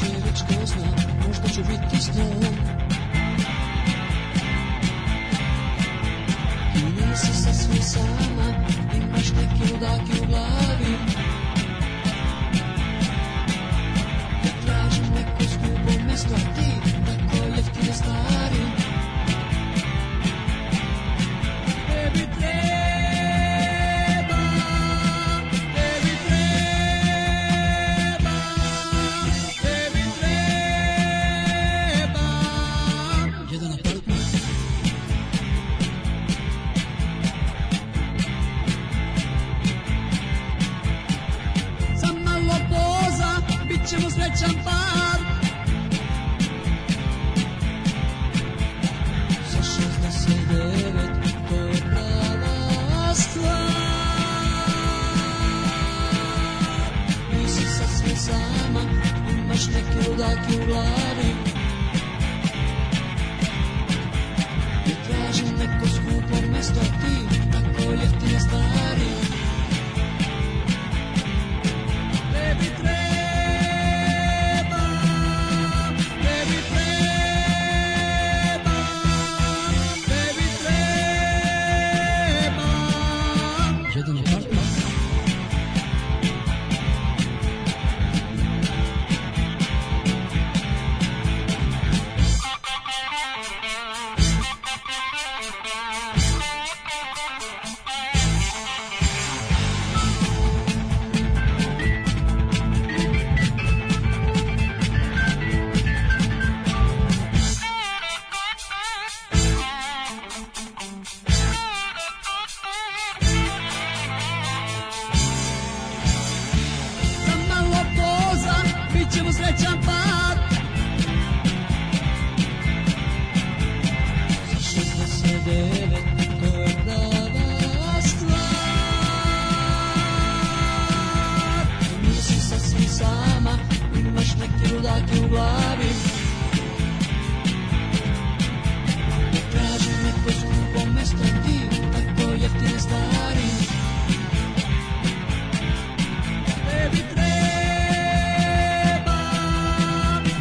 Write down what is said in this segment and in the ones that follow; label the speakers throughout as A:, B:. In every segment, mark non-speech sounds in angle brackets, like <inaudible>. A: ne znam, možda ću biti s njom Ti nisi sasvim sama, imaš neke ludake u glavi Ja tražim neko skupo mesto, a ti tako jeftine stvari Tebi treba, tebi treba, tebi treba Jedan apartman Za malo poza, bit ćemo srećan par Za 69, to je prava stvar Nisi sasvim sama, imaš neke ludake u glavi Ja tražim neko skupo mesto, a ti tako jeftine stvari Tebi treba, tebi treba, tebi treba. Jedan apartman. Za malo poza, bit ćemo srećan par. Za 69, to je prava stvar. Nisi sasvim sama, imaš neke ludake u glavi. Ja tražim neko skupo mesto, ti tako jeftine stvari. Tebi treba,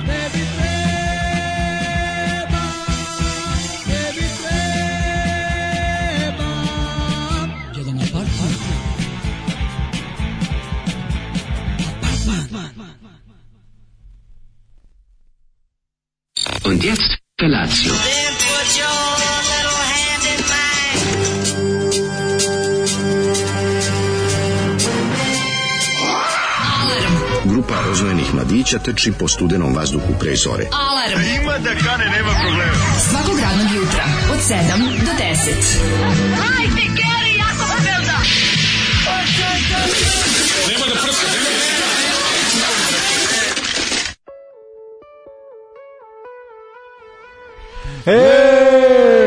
A: tebi treba, tebi treba. Jedan apartman. Apartman.
B: Und jetzt Felatio.
C: Then put your little hand in mine.
D: Grupa rozvojenih mladića trči po studenom vazduhu pre zore.
E: Alarm. Ima da kane, nema problema. Svakog radnog jutra, od 7 do 10. Hajde, Keri, jako se velda!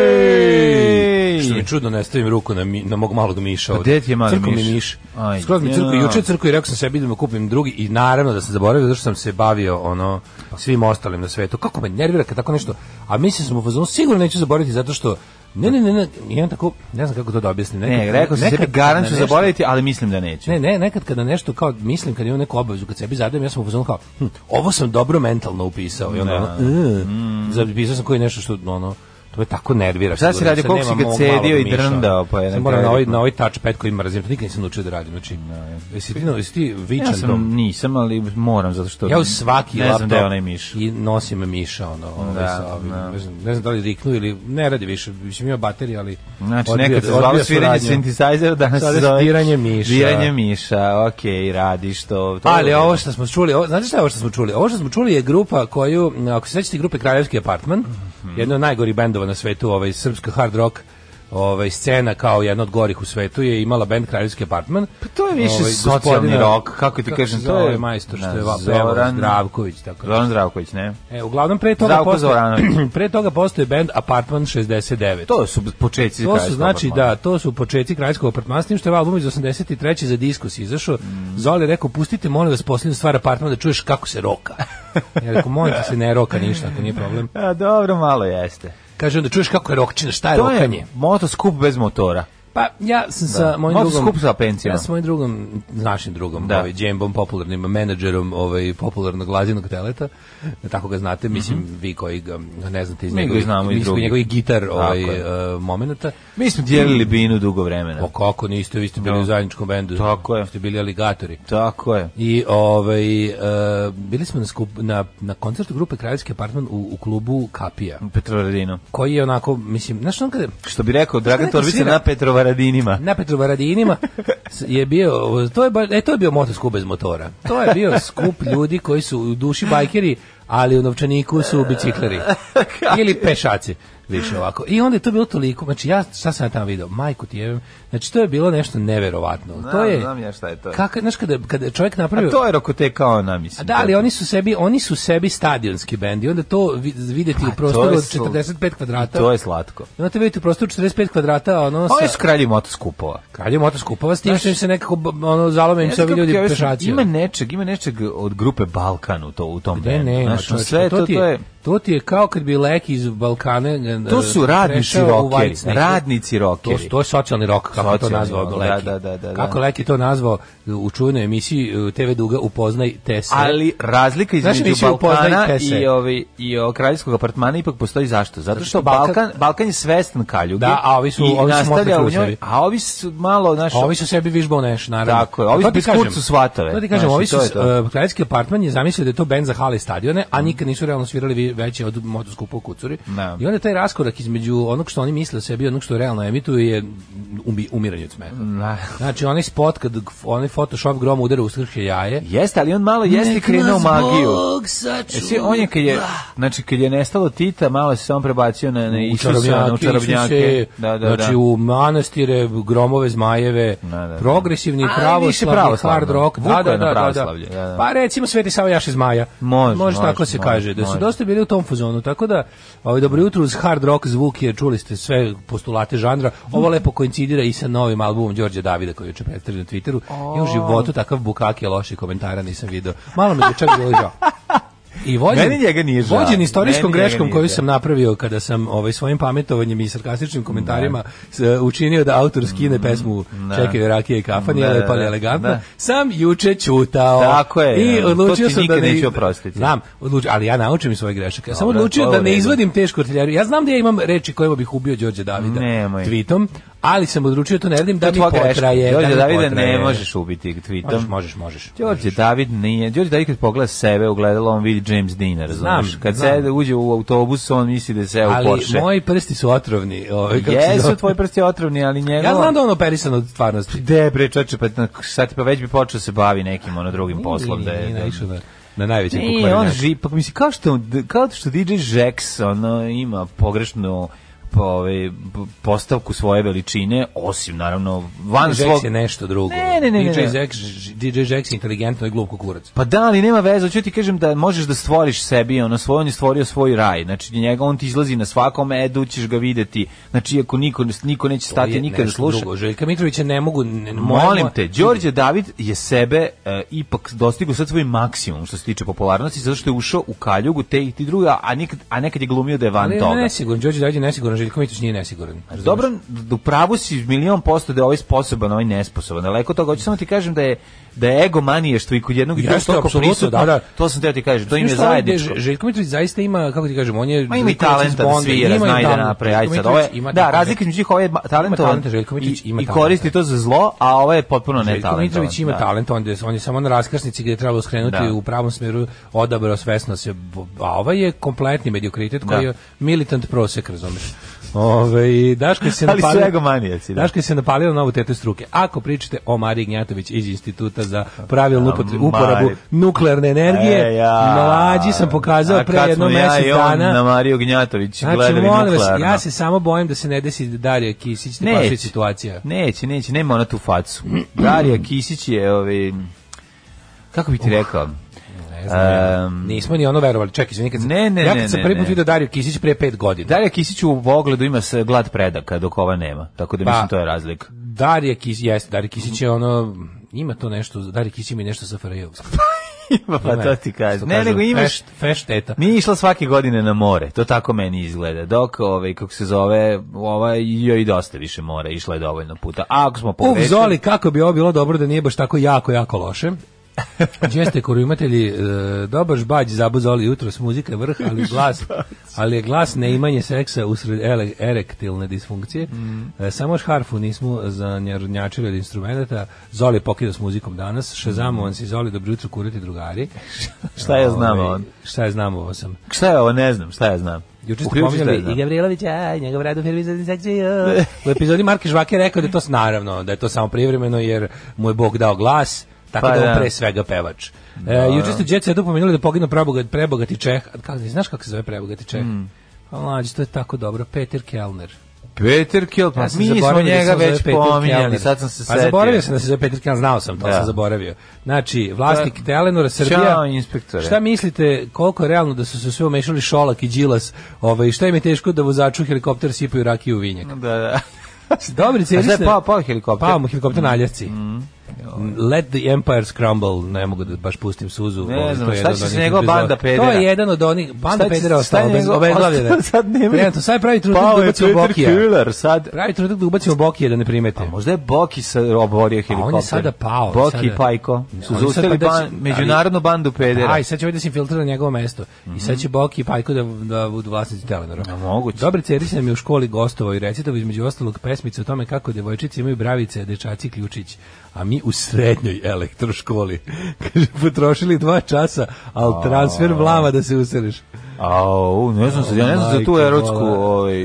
F: Ej! Pa
G: Što mi je čudno, ne stavim ruku na, mi, na mog malog miša. ovde.
F: gde ti je mali
G: Crko mi
F: miš?
G: miš.
F: Aj,
G: Skroz mi crko,
F: ja.
G: juče crko i rekao sam sebi da me kupim drugi i naravno da sam zaboravio zato što sam se bavio ono svim ostalim na svetu. Kako me nervira kad tako nešto, a mislim sam u fazonu sigurno neću zaboraviti zato što Ne, ne, ne, ne, imam tako, ne znam kako to da objasnim.
F: Ne,
G: Nekad-
F: rekao sam
G: nekad
F: sebi, garant
G: na
F: ću
G: nešto-
F: zaboraviti, ali mislim da neću.
G: Ne, ne, nekad kada nešto kao mislim kad imam neku obavezu kad sebi zadajem ja sam u fazonu kao hm, ovo sam dobro mentalno upisao i onda ono, "E", zapisao sam koji nešto što ono to me tako nervira.
F: Mm. Šta si
G: Sigurno,
F: radio,
G: sad
F: koliko si
G: nemam
F: ga
G: ovog
F: cedio
G: malog
F: i
G: miša.
F: drndao, pa je na
G: Sad moram
F: kraju
G: na ovaj
F: rekao-
G: na ovaj touchpad koji mrazim, to nikad nisam naučio da radim. Znači, jesi ti, jesi ti vičan
F: Ja sam,
G: dom?
F: nisam, ali moram, zato što...
G: Ja u svaki
F: ne znam
G: laptop
F: da je onaj miš.
G: i nosim miša ono, ovaj,
F: Da,
G: sa ovim,
F: da.
G: ne, znam, ne znam da li riknu ili ne radi više, mislim ima baterije, ali
F: Znači,
G: odbija-
F: nekad se
G: odbija
F: zvalo sviranje
G: suradnju.
F: synthesizera, danas
G: Sada
F: se
G: je
F: zove...
G: diranje miša.
F: Diranje miša, okej, radiš to. to
G: Ali
F: je-
G: ovo što smo čuli, ovo, znate šta je ovo što smo čuli? Ovo što smo čuli je grupa koju, m, ako se sećate grupe Kraljevski apartman,
F: Mhm.
G: jedna od najgorih bendova na svetu, ovaj, srpska hard rock ovaj, scena kao jedna od gorih u svetu je imala bend Kraljevski apartman.
F: Pa to je više
G: Ovaj,
F: socijalni
G: gospodina-
F: rok, kako ti kažem,
G: se
F: to
G: zove
F: je...
G: majstor što
F: Da,
G: je va- pevao
F: Zoran
G: Zdravković. Tako.
F: Zoran Zdravković, ne?
G: E, uglavnom pre toga,
F: Zdravko
G: postoje,
F: Zoranović.
G: <clears throat> pre toga postoje bend Apartman 69.
F: To su početci
G: To su
F: Kraljevskog
G: znači
F: apartmana.
G: da, to su počeci kraljskog apartmana, s tim što je ovaj album iz 83. za diskus izašao. Mm. Zoli je rekao pustite molim vas posljednju stvar apartmana da čuješ kako se
F: <laughs>
G: roka. ja rekao molim te se ne roka ništa, ako nije problem.
F: A, dobro, malo jeste.
G: Kaže onda čuješ kako je rokčina, šta je
F: E, To
G: rokanje?
F: je motoskup bez motora.
G: Pa ja sam sa mojim
F: Možda
G: drugom
F: skup sa pencijama.
G: Ja sa mojim drugom, našim drugom,
F: Da.
G: ovaj Džembom popularnim menadžerom, ovaj popularnog lazinog teleta. Tako ga znate, mislim vi koji ga ne znate iz
F: Mhm. Mi ga
G: njegovih,
F: znamo i
G: iz
F: drugi.
G: njegovih gitar
F: Tako
G: ovaj
F: je.
G: uh, momenata.
F: Mi smo dijelili binu dugo vremena.
G: Pa kako niste, vi ste bili
F: Da.
G: u zajedničkom bendu.
F: Tako je.
G: Ste bili aligatori.
F: Tako je.
G: I ovaj e, bili smo na, skup, na, na koncertu grupe Kraljevski apartman u, u klubu Kapija
F: Petrovaradinu.
G: koji je onako, mislim, znaš on kada
F: Što bi rekao Dragan
G: neko
F: Torbica
G: svira?
F: na Petrovaradinima.
G: na Petrovaradinima s- je bio, to je, ba- e, to je bio motor skup bez motora. To je bio skup ljudi koji su u duši bajkeri, ali u novčaniku su
F: <laughs>
G: bicikleri. Ili pešaci više ovako. I onda je to bilo toliko, znači ja šta sam ja tamo video, majku ti jebem, znači to je bilo nešto neverovatno. to
F: Znam,
G: je,
F: znam ja šta je to.
G: Kaka, znaš, kada, kada je čovjek napravio...
F: A to je rokoteka ona, mislim.
G: Da, ali oni su sebi, oni su sebi stadionski bendi. Onda to vi- videti u prostoru
F: Pa, je
G: od
F: sl-
G: 45 kvadrata.
F: To je slatko.
G: I onda te vidite u prostoru 45 kvadrata, ono
F: Oni
G: sa
F: su kralji motoskupova.
G: kraljem motoskupova, s tim što im se nekako b- ono zalome im se ovi ljudi
F: Ja znam kako ti objasnim,
G: pešaci.
F: Ima nečeg, ima nečeg od grupe Balkan u, to, u tom
G: Ne,
F: bendu.
G: ne,
F: Znaš, ono,
G: čovječe,
F: sve to,
G: ti
F: to je...
G: to ti je kao kad bi lek iz e, Balkane
F: To su radnici rokeri,
G: rockeri,
F: radnici
G: To,
F: rokeri.
G: to je socijalni rok, kako je to
F: Socijalni
G: nazvao
F: rock,
G: Leki.
F: da, da, da, da.
G: Kako Leki to nazvao u čuvenoj emisiji uh, TV Duga Upoznaj E. te sve.
F: Ali razlika
G: Znaš,
F: između
G: emisiju
F: Balkana
G: Upoznaj Tese.
F: i ovi i o kraljevskog apartmana ipak postoji zašto? Zato što
G: Balkan-
F: Balkan Balkan je svestan kaljuge.
G: Da, a ovi su-
F: i
G: ovi su
F: nastavlja
G: motli
F: u njoj,
G: klusevi.
F: a ovi su malo naš
G: A Pa Ovi su sebi vižbao neš, naravno.
F: Tako je, ovi
G: To ti
F: bez
G: kažem,
F: kurcu svatove.
G: To ti kažem,
F: Znaš,
G: ovi
F: i
G: su,
F: to je to. Mhm.
G: uh, kraljevski apartman je zamislio da je to band za hale i stadione, a nikad nisu realno svirali vi- veće od motoskupa u Kucuri.
F: Da.
G: I onda taj raskorak između onog što oni misle o sebi i onog što realno emituje je umi- umiranje od smeha.
F: Na-
G: Znači, onaj spot kad g- onaj Photoshop grom udara u skrške jaje,
F: Jeste, ali on malo jeste
G: Nek
F: krenuo
G: nas
F: magiju.
G: Bog
F: Jesi, on je kad je, znači kad je nestalo Tita, malo se on prebacio na, na
G: u
F: Isusa, na
G: čarobnjake,
F: čarobnjake.
G: Isuse,
F: Da, da,
G: znači
F: da.
G: u manastire, gromove, zmajeve,
F: Da, da, da.
G: progresivni,
F: Ali više
G: pravoslavni,
F: pravoslavno.
G: hard rock.
F: Vuko je na pravoslavlje, da, da.
G: Pa recimo Sveti Sava Jaš iz Maja.
F: Može,
G: Može
F: može,
G: tako se
F: može,
G: kaže. Da su
F: može.
G: dosta bili u tom fazonu. Tako da, ovaj, dobro jutro uz hard rock zvuk je, čuli ste sve postulate žanra. Ovo lepo koincidira i sa novim albumom Đorđe Davida koji je juče predstavljen na Twitteru. Ja u životu takav bukake loših komentara nisam video. Malo mi je čak bilo žao. I vođen,
F: Meni njega nije žao.
G: vođen istorijskom
F: Meni njega
G: greškom
F: nije
G: koju
F: žao.
G: sam napravio kada sam ovaj svojim pametovanjem i sarkastičnim komentarima s- e, učinio da autor skine pesmu Čekaju rakije i kafan,
F: Mm, Da,
G: je
F: da,
G: lepa ali
F: da.
G: elegantna,
F: Da.
G: sam juče čutao.
F: Tako je,
G: I
F: da.
G: odlučio
F: To ti
G: sam da
F: nikad
G: ne,
F: neću oprostiti.
G: Znam, odlučio, ali ja naučim iz svojih grešaka. Ja sam
F: Dobro,
G: odlučio
F: to je
G: da
F: u
G: ne
F: redu.
G: izvadim tešku artiljeriju. Ja znam da ja imam reči kojima bih ubio Đorđe Davida
F: Nemoj.
G: tweetom, ali sam odlučio to ne radim
F: To
G: da
F: je
G: mi
F: tvoja greška.
G: potraje. da
F: Đorđe
G: mi
F: Davida ne
G: potraje.
F: možeš ubiti tweetom.
G: Možeš, možeš, možeš.
F: Đorđe David nije. Đorđe David kad pogleda sebe u gledalo, on vidi James Dean, razumeš?
G: Znam,
F: kad
G: znam.
F: se uđe u autobus, on misli da se u
G: Ali
F: Porsche.
G: moji prsti su otrovni. Ovaj, kako se
F: Jesu
G: zove.
F: tvoji prsti otrovni, ali njegov...
G: Ja znam da je on operisan od stvarnosti.
F: De, bre, čoče, pa na- sad pa već bi počeo se bavi nekim ono drugim poslom. da je,
G: Nije
F: da-
G: naišao na, na najveći
F: Nije, on živi, pa misli, kao što, kao što DJ Jax ono, ima pogrešnu po, ovaj, p- postavku svoje veličine, osim naravno van
G: Jax
F: svog...
G: je nešto drugo.
F: Ne, ne, ne, ne,
G: DJ
F: ne.
G: Jax, DJ Jax je inteligentno i glup kukurac.
F: Pa da, ali nema veze, hoću ti kažem da možeš da stvoriš sebi, ono svoj, on je stvorio svoj raj, znači njega, on ti izlazi na svakom edu, ćeš ga videti, znači iako niko, niko neće
G: To
F: stati
G: je
F: nikada
G: nešto
F: sluša.
G: Drugo. Željka Mitrovića ne mogu... Ne, ne-
F: Molim
G: moram-
F: te, Đorđe David je sebe e, ipak dostigao sad svoj maksimum što se tiče popularnosti, zato što je ušao u kaljugu te i ti druga, a nekad, a nekad je glumio da je van
G: Ali
F: toga.
G: je nesiguran, Đorđe David je nesiguran, Željko Mitrović nije nesiguran. Razumeš?
F: Dobro, u pravu si milion posto da je ovaj sposoban, ovaj nesposoban. Daleko od toga, hoću samo ti kažem da je da je ego maniještvo i kod jednog i drugog
G: Jeste,
F: toliko
G: apsolutno,
F: prisutno.
G: da, da.
F: To sam teo ti kažem, to im je
G: Znaš šta, ovaj
F: zajedničko.
G: Ž- Željko Mitrović zaista ima, kako ti kažem, on je...
F: Ma ima i
G: Željko Mitrović
F: talenta
G: iz
F: da
G: Bonda,
F: svira,
G: ima i
F: zna i da
G: talenta.
F: napravi. Aj
G: Željko
F: sad, ovo je,
G: Mitrović ima
F: da,
G: talenta.
F: razlika između njih, ovo je ma- talentovan
G: talenta, Željko
F: i,
G: Mitrović ima
F: i
G: talenta.
F: koristi to za zlo, a ovo je potpuno
G: Željko
F: netalentovan.
G: Mitrović ima
F: da. <laughs>
G: talent, on je, on je samo na raskrsnici gdje je trebalo skrenuti
F: Da.
G: u pravom smjeru, odabrao svesno se, a ovaj je kompletni mediokritet koji
F: Da.
G: je militant prosek, razumiješ. Ove, i Daško se
F: <laughs> Ali su
G: napalio,
F: egomanijaci, da.
G: Daško se napalio na ovu tetu struke. Ako pričate o Mariji Gnjatović iz Instituta za pravilnu upotre- uporabu
F: Mari.
G: nuklearne energije,
F: E, ja.
G: mlađi sam pokazao
F: A
G: pre
F: kad
G: jedno
F: smo ja
G: mjesec
F: i on
G: dana.
F: na Mariju Gnjatović
G: Znači,
F: gledali
G: molim vas,
F: nuklearno.
G: ja se samo bojim da se ne desi Darija Kisić, ne
F: Neće.
G: paši situacija.
F: Neće, neće, nema ona tu facu. Darija Kisić je, ovaj, kako bi ti rekao,
G: Ne znam, ja.
F: Em,
G: nismo ni ono verovali. Čekaj, izvini, kad sam,
F: Ne, ne,
G: ja
F: ne,
G: kad sam
F: ne,
G: prvi put
F: ne.
G: vidio Dariju Kisić pre pet godina.
F: Darija Kisić u pogledu ima se glad predaka, dok ova nema. Tako da
G: Pa.
F: mislim to je
G: <laughs>
F: razlika.
G: Darija Kisić, jeste, Darija Kisić je ono, ima to nešto, Darija Kisić ima i nešto sa Farajevskom.
F: Ima, pa to ti kažem. Ne, nego imaš...
G: Feš, feš teta.
F: Nije išla svake godine na more, to tako meni izgleda. Dok, ovaj, kako se zove, ova, joj i dosta više mora, išla je dovoljno puta. A ako smo
G: Uf,
F: pogrešili...
G: Zoli, kako bi ovo bilo dobro da nije baš tako jako, jako
F: <laughs>
G: loše. Jeste korumatelji, e, dobar žbađ zabuzoli jutro s muzike vrh, ali
F: <laughs>
G: glas, ali je glas neimanje seksa usred ele, erektilne disfunkcije.
F: Mm.
G: E, samo još harfu nismo zanjarnjačili od instrumenta. Zoli je pokidao s muzikom danas. Šezamovan si Zoli, dobro jutro kurati drugari.
F: Mm. <laughs> Šta ja znam,
G: Ovaj,
F: on?
G: Šta je znamo ovo sam.
F: Šta je ovo, ne znam, šta ja znam.
G: Juče ste
F: Uključi šta ja
G: pominjali
F: znam.
G: i Gavrilovića, i njegov rad u firmi za disekciju. <laughs> U epizodi Marke Žvake je rekao da je to s- naravno, da je to samo privremeno jer mu je Bog dao glas, tako
F: Pa
G: da je on
F: da.
G: pre svega pevač. E, juče ste Jet Setu pomenuli da je poginuo prebogat, prebogati Čeh. A Kako, znaš kako se zove prebogati Čeh?
F: Mm.
G: A mlađe, to je tako dobro. Peter Kellner.
F: Peter Kill, pa
G: Ja sam
F: mi smo
G: zaboravio da se
F: njega
G: on zove
F: već
G: Peter
F: pominjali,
G: Kellner.
F: sad sam se
G: Pa
F: setio.
G: zaboravio sam da se zove Peter Kellner, znao sam to,
F: Da.
G: sam zaboravio. Znači, vlasnik Telenora Srbija.
F: Ćao, inspektore.
G: Šta mislite koliko je realno da su se sve umešali Šolak i Đilas? Ovaj šta im je teško da vozaču helikopter sipaju rakiju u vinjak.
F: Da, da.
G: Dobri
F: <laughs> A
G: cijeli
F: šta je
G: ste-
F: pao, pao pa helikopter? Mm.
G: Pao mu helikopter na Aljasci. Let the Empire Scramble, ne mogu da baš pustim suzu.
F: Ne
G: Ovo, to
F: znam,
G: je
F: šta
G: jedan
F: će
G: od
F: s
G: onih
F: njegova
G: epizoda.
F: banda
G: To
F: pedera?
G: je jedan od onih, banda
F: Šta će-
G: pedera
F: šta je
G: ostala bez
F: njegov- <laughs>
G: obezglavljena.
F: Sad nema-
G: Trenutno, sad pravi
F: Pao je
G: trudak da
F: Peter
G: u Bokija.
F: Killer, sad...
G: Pravi trudak da ubacimo Bokije da ne primete.
F: A možda je Boki sa oborio helikopter.
G: on je sada pao,
F: Boki
G: sada-
F: i Pajko
G: Ne,
F: su
G: on je sad
F: zaustali
G: pa da će-
F: ban, međunarodnu bandu pedera.
G: Aj, sad će ovaj da se infiltrira na njegovo mesto. I sad će Boki i Pajko da, da budu vlasnici Telenora.
F: A, Mhm. moguće.
G: Dobre Cerić nam je u školi gostovao i recitao između ostalog pesmice o tome kako devojčice imaju bravice, a dečaci ključić. A mi u srednjoj elektroškoli. <laughs> Kaže, potrošili dva časa, ali transfer vlava da se useliš.
F: Au, ne znam sad, ja ne znam za tu
G: Majko
F: erotsku,
G: Bola.
F: ovaj,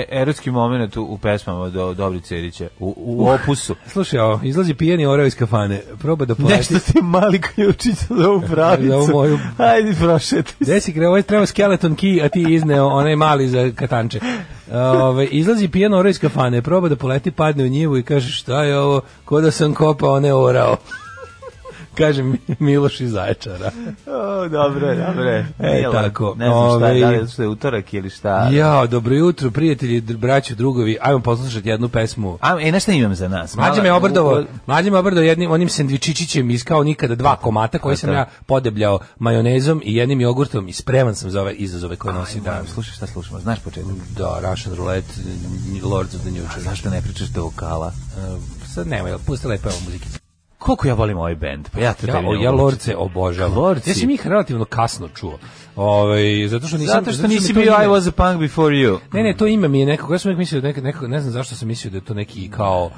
F: e- erotski moment u, u pesmama do Dobri Cerića, u, u
G: <laughs>
F: opusu.
G: Slušaj, ovo, izlazi pijeni oreo iz kafane. Proba da poleti.
F: Nešto ti je mali ključić za ovu
G: <laughs>
F: pravicu.
G: Za ovu moju-
F: Ajde,
G: <laughs>
F: prošetaj se.
G: Desi gre, ovo je trebao skeleton key, a ti izneo onaj mali za katanče. Ove, izlazi pijan ora iz kafane, proba da poleti, padne u njivu i kaže šta je ovo, ko da sam kopao, ne orao. <laughs> kaže Mi- Miloš iz Zaječara.
F: O, dobro, je, dobro. je.
G: E,
F: Milan,
G: tako.
F: Ne znam šta,
G: Ovaj-
F: je, da li je- što je utorak ili šta.
G: Jao, dobro jutro, prijatelji, dr- braćo, drugovi, ajmo poslušati jednu pesmu.
F: A, e, na šta imam za nas?
G: Mlađe me
F: Mala-
G: obrdovo, mlađe me obrdovo jednim onim sendvičićićem iz kao nikada dva komata koje sam ja podebljao majonezom i jednim jogurtom i spreman sam za ove izazove koje nosi dan.
F: Ajmo, Slušaj šta slušamo, znaš početak.
G: Da, Russian Roulette, Lords of the New Church.
F: Zašto ne pričaš do vokala?
G: E, sad nemoj, pusti lepo evo muzikicu.
F: Koliko ja volim ovaj bend? Pa ja to
G: Ja,
F: tebi ne
G: ja
F: mogu
G: Lordce obožavam.
F: Lordsi.
G: Ja sam ih relativno kasno čuo. Ovaj zato što nisam
F: Zato što
G: mi
F: nisi
G: to
F: bio
G: ime-
F: I was a punk before you.
G: Ne, ne, to ime mi je nekako, ja sam uvijek mislio da neka, nekako, ne znam zašto sam mislio da je to neki kao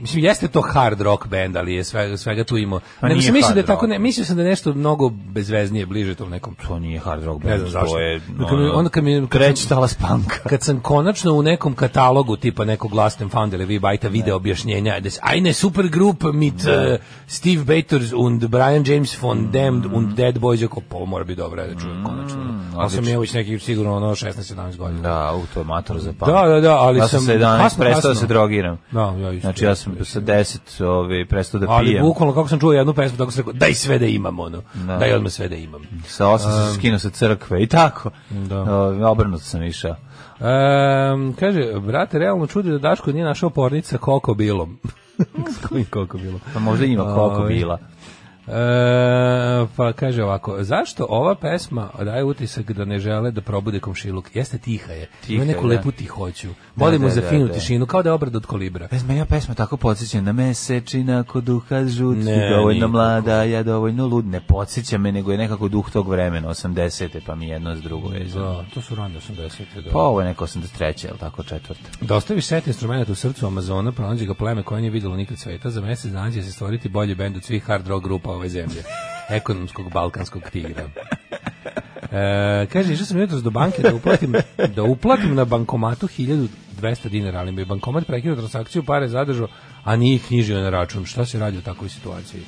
G: Mislim, jeste to hard rock band, ali je svega, svega tu imao.
F: Pa
G: ne,
F: nije
G: mislim, mislio da je
F: hard
G: tako,
F: rock.
G: ne, mislio sam da je nešto mnogo bezveznije, bliže tom nekom.
F: To nije hard rock band,
G: Ne znam zašto.
F: to je... ono,
G: Kad mi- onda kad mi- kad
F: treći
G: sam-
F: talas punka.
G: kad sam konačno u nekom katalogu tipa nekog Last and Found ili vi bajta video objašnjenja da se eine Supergroup mit eh, Steve Bators und Brian James von
F: Mm.
G: Damned und Dead Boys oko pa ovo mora biti dobro ja da čujem konačno. Ali sam
F: odlično.
G: ja već neki sigurno ono 16 17 godina.
F: Da, u to je mator za punk.
G: Da, da, da, ali
F: ja sam...
G: sam
F: sa 11
G: kasno,
F: prestao
G: kasno.
F: se drogiram.
G: Da, ja isto.
F: Znači ja sam sa 10 ovaj, prestao da
G: Ali
F: pijem.
G: bukvalno kako sam čuo jednu pesmu tako sam rekao daj sve da imam ono. Daj odmah sve da imam.
F: Sa 8 sam se skinuo sa crkve i tako.
G: Um, Da.
F: Ovaj, obrnuto sam
G: <laughs>
F: išao.
G: Ehm, kaže, brate, realno čudi da Daško nije našao pornica koko bilom. S kojim koko bilom?
F: Pa možda ima koliko
G: Ovaj.
F: bila.
G: E, pa kaže ovako, zašto ova pesma daje utisak da ne žele da probude komšiluk? Jeste tiha je,
F: Tiha
G: ima
F: je,
G: neku
F: da.
G: lepu tihoću. Volimo
F: da,
G: za
F: da,
G: finu
F: da.
G: tišinu, kao da je obrada od kolibra.
F: Pesma, ja pesma tako podsjeća na mesečina ko duha žut,
G: Ne,
F: ne, dovoljno
G: nikako.
F: mlada, ja dovoljno lud, ne podsjeća me, nego je nekako duh tog vremena, 80. pa mi jedno s drugo je.
G: Da, to su rane 80. Da.
F: Pa ovo je neko 83. je li tako četvrta?
G: Dostavi set instrumenta u srcu Amazona, pronađe ga pleme koje nije videlo nikad sveta, za mesec dana će se stvoriti bolji bend od svih hard rock grupa ove <laughs> zemlje. Ekonomskog balkanskog tigra. E, kaže, išao sam jutros do banke da uplatim, da uplatim na bankomatu 1200 dinara, ali mi je bankomat prekinuo transakciju, pare zadržao, a nije ih knjižio na račun. Šta se radi u takvoj situaciji?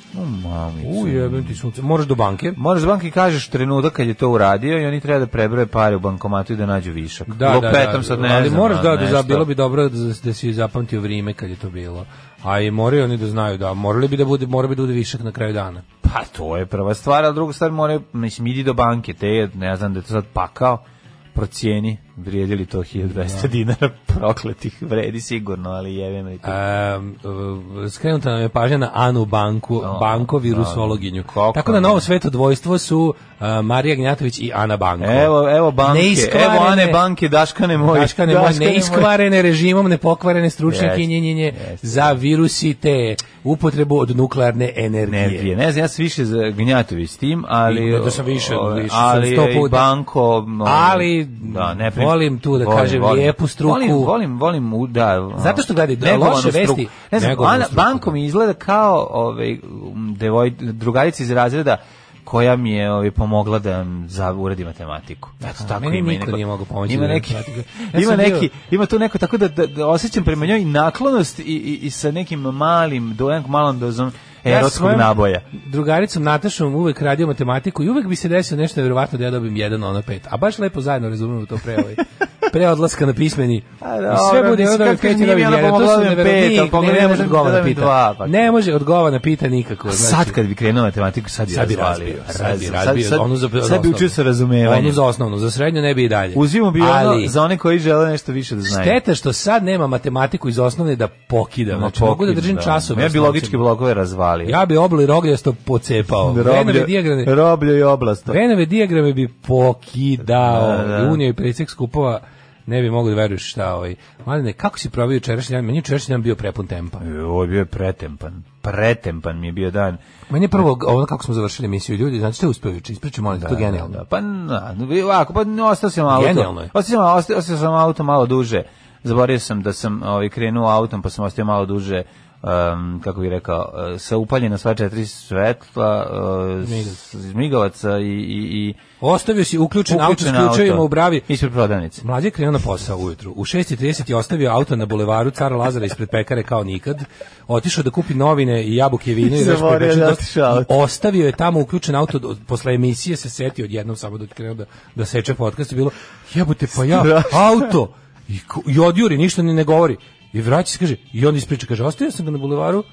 G: U, jebem ti sunce. Moraš do banke.
F: Moraš banki kažeš trenutak kad je to uradio i oni treba da prebroje pare u bankomatu i da nađu višak.
G: Da, da,
F: Lupetam
G: da,
F: sad ne
G: ali
F: znam,
G: moraš
F: a,
G: da, da,
F: nešto.
G: bilo bi dobro da, da si zapamtio vrijeme kad je to bilo. A i moraju oni da znaju da morali bi da bude mora bi da bude višak na kraju dana.
F: Pa to je prva stvar, a druga stvar mora, mislim, idi do banke, te je, ne znam da je to sad pakao, procijeni vrijedili to 1200 dinara <laughs> prokletih vredi sigurno, ali jevem li to.
G: Um, skrenuta nam je pažnja na Anu Banku, Banko virusologinju.
F: Kako
G: Tako da na
F: ne.
G: ovo sveto dvojstvo su uh, Marija Gnjatović i Ana Banko.
F: Evo, evo banke,
G: Neiskvarene-
F: evo Ane banke, Daškane moj.
G: Daškane moje,
F: moj.
G: neiskvarene režimom, nepokvarene stručnjaki
F: Jest,
G: njenjenje
F: jest.
G: za virusi te upotrebu od nuklearne energije.
F: energije. Ne znam, ja sam više za Gnjatović s tim, ali...
G: I, da sam više,
F: ove,
G: više sam
F: ali
G: sto
F: i
G: puta.
F: Banko... ono,
G: Ali,
F: prim-
G: volim tu da kažem lijepu struku.
F: Volim, volim, volim, u- da... ono,
G: Zato što gledaj,
F: negovanu
G: loše vesti-
F: struku. Ne znam,
G: negovanu
F: Ana-
G: struku,
F: Banko
G: da.
F: mi izgleda kao ovaj, um, devoj, drugarica iz razreda koja mi je ovaj, pomogla da za uredi matematiku. Eto,
G: A,
F: tako
G: meni
F: ima i
G: niko
F: neko-
G: nije mogao pomoći
F: Ima
G: da
F: neki,
G: uredim matematiku. Ja
F: <laughs> ima
G: sam bio-
F: neki, ima tu neko tako da, da, da osjećam prema njoj naklonost i, i, i sa nekim malim, do, malom dozom
G: sa
F: erotskog
G: svojom
F: naboja.
G: Drugaricom Natašom uvek radio matematiku i uvek bi se desilo nešto nevjerovatno da ja dobijem jedan, ona pet. A baš lepo zajedno razumemo to pre,
F: <laughs>
G: ovaj, pre odlaska na pismeni.
F: A
G: I sve
F: dobro,
G: bude
F: mislim,
G: onda dobijem
F: kako
G: pet i
F: nije mi
G: dobijem jedan.
F: ona
G: To
F: pomogla
G: su
F: da dobijem
G: nevjerovatni-
F: pet, ali pomogla
G: ne,
F: mi
G: ne
F: da
G: može
F: dobijem-
G: odgovor
F: da
G: na
F: dobijem
G: pita.
F: dva, pa.
G: Ne može odgovor na pita nikako.
F: A
G: znači-
F: sad kad bi krenuo matematiku, sad bi
G: sad bi
F: razvalio.
G: razbio, sad bi
F: Raz-
G: razbio,
F: sad-
G: onu za, za
F: Sad bi
G: osnovnu.
F: učio sa razumevanjem.
G: Onu za osnovnu, za srednju ne bi i dalje.
F: Uzimamo bi
G: Ali-
F: ono za one koji žele nešto više da znaju.
G: Šteta što sad nema matematiku iz osnovne da pokidam.
F: Ma,
G: Znači, mogu da
F: pokid, ono.
G: držim časove.
F: Ja bi logičke blokove razvalio.
G: Ja bi obli rogljasto pocepao. Venove dijagrame,
F: roblje i oblasto.
G: Venove dijagrame bi pokidao.
F: Da, da.
G: I unio i predsjek skupova ne bi mogu da veruješ šta ovaj. Mladine, kako si probio jučerašnji dan? Meni je jučerašnji dan bio prepun tempa.
F: Ovo je bio pretempan. Pretempan mi je bio dan.
G: Meni je prvo, ono kako smo završili emisiju ljudi, znači ste uspeli juče, ispričaj molim te, to je genijalno.
F: Da, da, pa, na, ovako, pa no, ostao sam auto.
G: Genijalno je.
F: Ostao sam, ostao, ostao sam auto malo duže. Zaboravio sam da sam ovaj, krenuo autom, pa sam ostao malo duže em, kako bih rekao, eh, sa upaljena sva četiri svetla, eh, s- iz migavaca i, i, i
G: Ostavio si uključen,
F: uključen
G: auto s ključevima u bravi.
F: Ispred prodavnice.
G: Mlađe je krenuo na posao ujutru. U 6.30 je ostavio auto na bulevaru Cara Lazara ispred pekare kao nikad. Otišao da kupi novine i jabuke i vino. I
F: Zaboravio
G: još pribečen
F: da
G: dosta-
F: otišao auto.
G: i Ostavio je tamo uključen auto. do- Posle emisije se setio odjednom samo da je krenuo da, da seče podcast. je bilo, jebote pa ja,
F: Strašno.
G: auto. I, ko- i odjuri, ništa ni ne govori. I vraća se, kaže, i on ispriča, kaže, ostavio sam ga na bulevaru,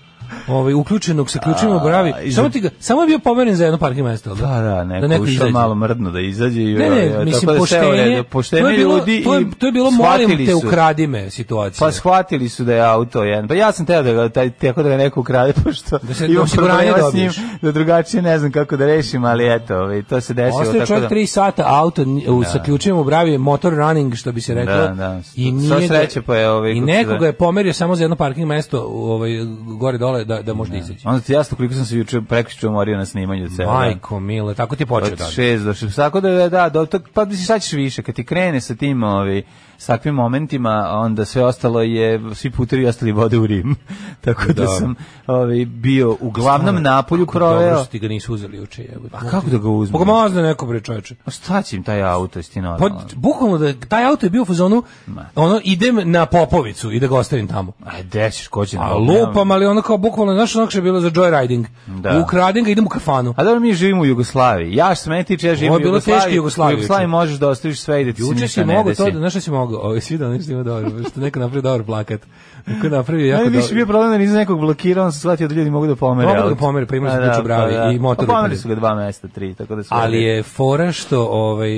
G: ovaj, uključenog sa ključima u bravi.
F: iz-
G: Samo, ti ga, samo je bio pomeren za jedno parking mesto. Da,
F: Pa da, neko, ušao
G: izađe.
F: malo mrdno da izađe. I,
G: Ne,
F: ovaj,
G: ne,
F: tako
G: mislim,
F: da sve u
G: poštenje,
F: redu. poštenje
G: to je bilo,
F: ljudi
G: to je,
F: i
G: to je bilo molim
F: shvatili
G: te,
F: su.
G: ukradi me situacija.
F: Pa shvatili su da je auto jedan. Pa ja sam teo da ga taj tako da ga neko ukrade <laughs> pošto
G: Da se
F: imam
G: osiguranje
F: problema s njim,
G: dobiješ.
F: da drugačije ne znam kako da rešim, ali eto, ovaj, to se desilo
G: Ostaje
F: tako da.
G: čovjek 3 sata auto ni- u, sa ključima u bravi, motor running, što bi se reklo.
F: Da, da.
G: I
F: Sva
G: nije ga-
F: sreća pa je ovaj,
G: I
F: kako se
G: nekoga
F: zove.
G: je pomerio samo za jedno parking mesto u ovaj, gore dole da, da može da izađe.
F: Onda ti jasno koliko sam se juče prekiče umorio na snimanju celo.
G: Majko, mile, tako ti je počeo
F: Od
G: dan.
F: šest do šest. Tako da, da, do, to, pa misliš, sad ćeš više. Kad ti krene sa tim, ovi, s takvim momentima, onda sve ostalo je, svi putevi ostali vode u Rim. <laughs> Tako da,
G: Da.
F: sam ovi, bio uglavnom napolju
G: Dobro
F: proveo.
G: što ti ga nisu uzeli juče. jebote.
F: A kako da ga uzmem?
G: Pa ga mazne neko bre čoveče.
F: Ma Šta će im taj auto, isti
G: Pa,
F: normalno?
G: bukvalno da taj auto je bio u fazonu, ono, idem na Popovicu i da ga ostavim tamo.
F: Aj, gde E, ćeš, ko će
G: A
F: nam-
G: lupam, ali ono kao bukvalno, znaš ono što je bilo za joyriding.
F: Da.
G: Ukradem ga, idem u kafanu.
F: A dobro, mi živimo u Jugoslaviji. Ja što se mene tiče, ja živim
G: Ovo
F: u
G: je bilo
F: Jugoslaviji.
G: teško Jugoslaviju
F: U Jugoslaviji
G: juče.
F: možeš da ostaviš sve i da ti se
G: Juče si
F: ništa ne
G: mogu
F: desi.
G: to, da- znaš šta si mogu? Ovo, svi da nešto ima dobro, što neko napravio dobar plakat. Neko je napravio jako
F: Meni
G: dobro.
F: više bio problem da nisam nekog blokirao, on se shvatio da ljudi mogu da pomere.
G: Mogu da ga
F: auto.
G: pomere, pa imali su
F: A,
G: ključ u bravi i motor
F: Pa pomeri
G: upadne.
F: su ga dva mesta, tri, tako da su...
G: Ali je fora što ovaj,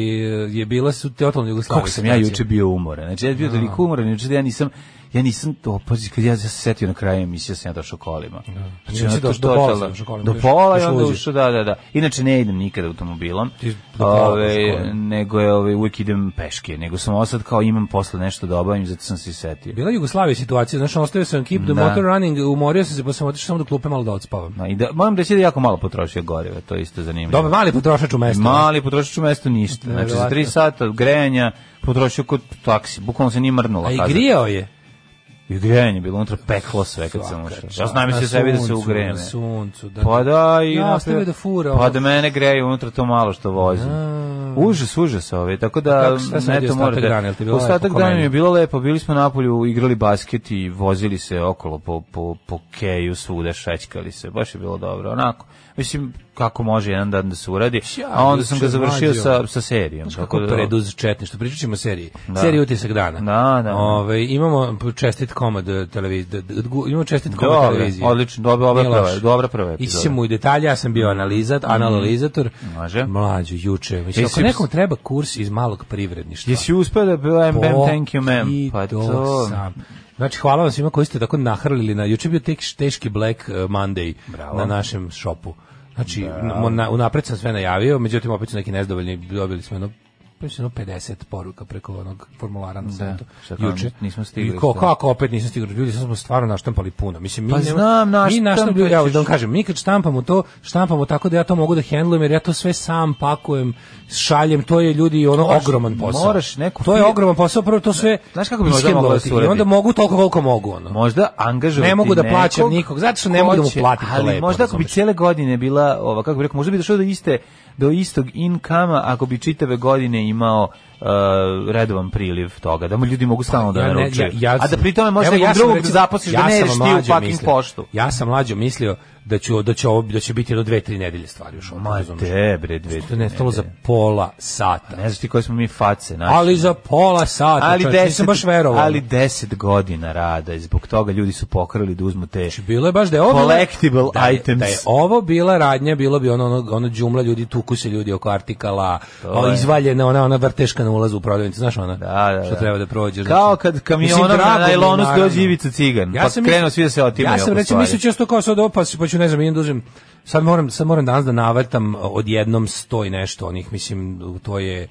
G: je bila su totalno Jugoslavija.
F: Kako sam ja juče bio umoran. Znači, ja sam bio toliko umoran, juče da ja nisam... Ja nisam to, pazi, kad ja se setio na kraju emisije, sam ja došao kolima.
G: Nisi
F: ono, to
G: došao, do pola
F: totalno-
G: si došao kolima,
F: Do
G: još-
F: pola i
G: još
F: onda
G: uđe.
F: ušao, da, da, da. Inače, ne idem nikada automobilom.
G: Ti do pola
F: Ove,
G: došao kolima.
F: nego je, ove, uvijek idem peške. Nego sam ovo sad kao imam posle nešto da obavim, zato sam se i setio.
G: Bila je Jugoslavija situacija, znaš, ostavio sam keep the
F: Da.
G: motor running, umorio sam se, pa sam otišao samo do klupe malo da odspavam.
F: Ma, I da, moram reći da jako malo potrošio goriva, to je isto zanimljivo.
G: Dobar, mali potrošač u mestu.
F: Mali potrošač u mestu ništa. Znači, za tri
G: Nevjerovatno.
F: sata grejanja potrošio kod taksi. Bukvalno se nije mrnula.
G: A i
F: kazna.
G: grijao je.
F: I grejanje je bilo unutra peklo sve kad sam ušao. Ja znam
G: Na
F: se sebi da se
G: suncu,
F: ugrejene.
G: Na suncu, da.
F: Pa da, i
G: Ja,
F: napravio-
G: ostavio da fura, ono.
F: Pa da mene greje unutra to malo što vozim. Užas, užas ovaj. Tako da
G: Kako, šta sam radio
F: eto
G: ostatak
F: morate.
G: dana? Jel ti bilo
F: ostatak
G: lepo ko
F: dana mi
G: meni?
F: je bilo lepo. Bili smo napolju, igrali basket i vozili se okolo po po po keju svuda, šećkali se. Baš je bilo dobro. Onako. Mislim kako može jedan dan da se uradi.
G: Ja,
F: A onda sam
G: juče
F: ga završio
G: mlađo.
F: sa sa serijom.
G: Kako
F: da-
G: preduz četništvo, pričat ćemo o seriji. Seriji utisak dana.
F: Da, da.
G: Ove, imamo čestit komad eh, televizije, imamo čestit komad
F: Dobro,
G: televizije.
F: odlično, dobro, dobra
G: Nije loš.
F: prva- dobra prva
G: Ići
F: epizoda. Mhm.
G: ćemo u detalje, ja sam bio analizat, analalizator.
F: Može.
G: Mlađo, juče. Mislim,
F: Jesi
G: ako nekom treba kurs iz malog privredništva.
F: Jesi uspeo da bio MBM, thank you ma'am. Pa
G: Pokidok
F: to...
G: sam. Znači, hvala vam svima koji ste tako nahrlili na, juče je bio tek teški Black eh, Monday na našem šopu. Znači, mo- na, unapred sam sve najavio, međutim, opet su neki nezdovoljni, dobili smo jedno mislim, jedno 50 poruka preko onog formulara na sajtu.
F: šta kao,
G: juče.
F: nismo stigli,
G: I ko,
F: šta?
G: kako opet nismo stigli? Ljudi, sad smo stvarno naštampali puno. Mislim, mi
F: Pa
G: nema-
F: znam,
G: mi
F: naštampaćeš.
G: naštampali, evo, da vam kažem, mi kad štampamo to, štampamo tako da ja to mogu da hendlujem, jer ja to sve sam pakujem, šaljem, to je ljudi ono
F: Moraš-
G: ogroman posao.
F: moraš neku
G: To je
F: fir-
G: ogroman posao, prvo to sve
F: Znaš kako bi možda
G: iskembalo
F: moglo da
G: ti.
F: se
G: I
F: uradi?
G: onda mogu toliko koliko mogu ono.
F: Možda angažovati
G: Ne mogu da
F: nekog
G: plaćam nikog, zato što ne
F: ko
G: mogu da mu
F: će,
G: platim to
F: ali
G: lepo,
F: možda ako bi
G: razumeš.
F: cijele godine bila, ova, kako bi rekao, možda bi došao do, iste, do istog inkama ako bi čitave godine imao uh, redovan priliv toga, da mu ljudi mogu stalno da
G: Pa Ja ne-
F: naručuju.
G: ja- ja
F: A da
G: sam-
F: pri tome možda
G: Evo,
F: nekog
G: ja sam
F: drugog da
G: recimo-
F: zaposliš
G: ja
F: da ne
G: sam
F: ješ ti u
G: mlađe
F: fucking
G: mislio-
F: poštu.
G: Ja sam mlađo mislio da će da će ovo da će biti do dve, tri nedelje stvari još. ono,
F: Ma
G: razumeš?
F: te bre, dve,
G: To je nestalo za pola sata.
F: Ne znaš ti koje smo mi face našli.
G: Ali za pola sata, ali
F: ali
G: čovječ, nisam baš verovao. ono.
F: ali 10 godina rada i zbog toga ljudi su pokrali da uzmu te
G: Znači, bilo je baš da je ovo... bila-
F: Collectible
G: da je-
F: items.
G: Da je ovo bila radnja, bilo bi ono, ono, ono džumla ljudi, tuku se ljudi oko artikala, o,
F: je.
G: izvaljena, ona, ona vrteška na ulazu u prodavnicu, znaš ona?
F: Da, da,
G: Što
F: da.
G: treba da prođeš.
F: Kao
G: znači.
F: kad kamionom
G: Mislim,
F: na
G: drago mi je,
F: najlonu
G: naravno.
F: dođe Ivica Cigan, pa
G: sam
F: krenu
G: mislio-
F: svi da se otimaju
G: Ja sam
F: oko
G: recimo
F: stvari.
G: mislio često kao sad opas, pa ću ne znam, idem da uzem Sad moram, sad moram danas da navrtam odjednom sto i nešto onih, mislim, to je,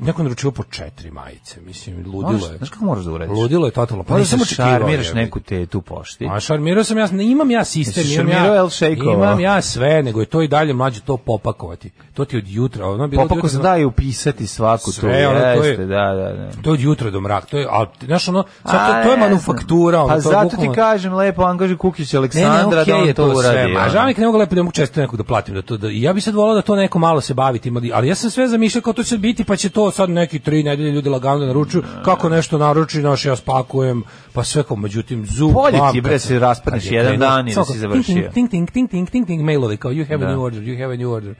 G: neko je naručio po četiri majice, mislim,
F: Moraš-
G: ludilo je.
F: znaš kako moraš da uradiš?
G: Ludilo je totalno, pa
F: Pa
G: nisam
F: nisam
G: očekivao.
F: šarmiraš
G: jebi.
F: neku te tu pošti.
G: A šarmirao sam ja, imam ja sistem,
F: Jesi
G: imam ja,
F: šarmirao El Sheikova?
G: imam ja sve, nego je to i dalje mlađe to popakovati. To ti je od jutra, ono je bilo od
F: Popako
G: jutra
F: se
G: do-
F: daje upisati svaku tu.
G: Sve, ono, to je-
F: Jeste, da, da, da.
G: To je od jutra do mrak, to je, a, znaš ono, sad
F: A,
G: to, to je
F: ne znam.
G: manufaktura. ono,
F: Pa
G: to je
F: zato ti
G: bukvalno-
F: kažem, lepo angaži Kukić
G: Ne, ne,
F: Aleksandra da
G: okej
F: on
G: je
F: to
G: sve,
F: uradi.
G: Ma
F: ono.
G: žao mi je kad ne mogu lepo da mogu često nekog da platim da to da ja bi sad volao da to neko malo se bavi tim, ali- ali ja sam sve zamišljao kao to će biti pa će to sad neki tri nedelje ljudi lagano da naručuju, kako nešto naruči, naš ja spakujem, pa sve kao međutim zub.
F: Bolje ti,
G: bam,
F: bre,
G: kad-
F: se raspadneš
G: kad je
F: jedan
G: krenuo,
F: dan i da
G: samo
F: si
G: kao
F: završio.
G: Ting ting ting ting ting ting mailovi kao you have a
F: Da.
G: new order, you have a new order.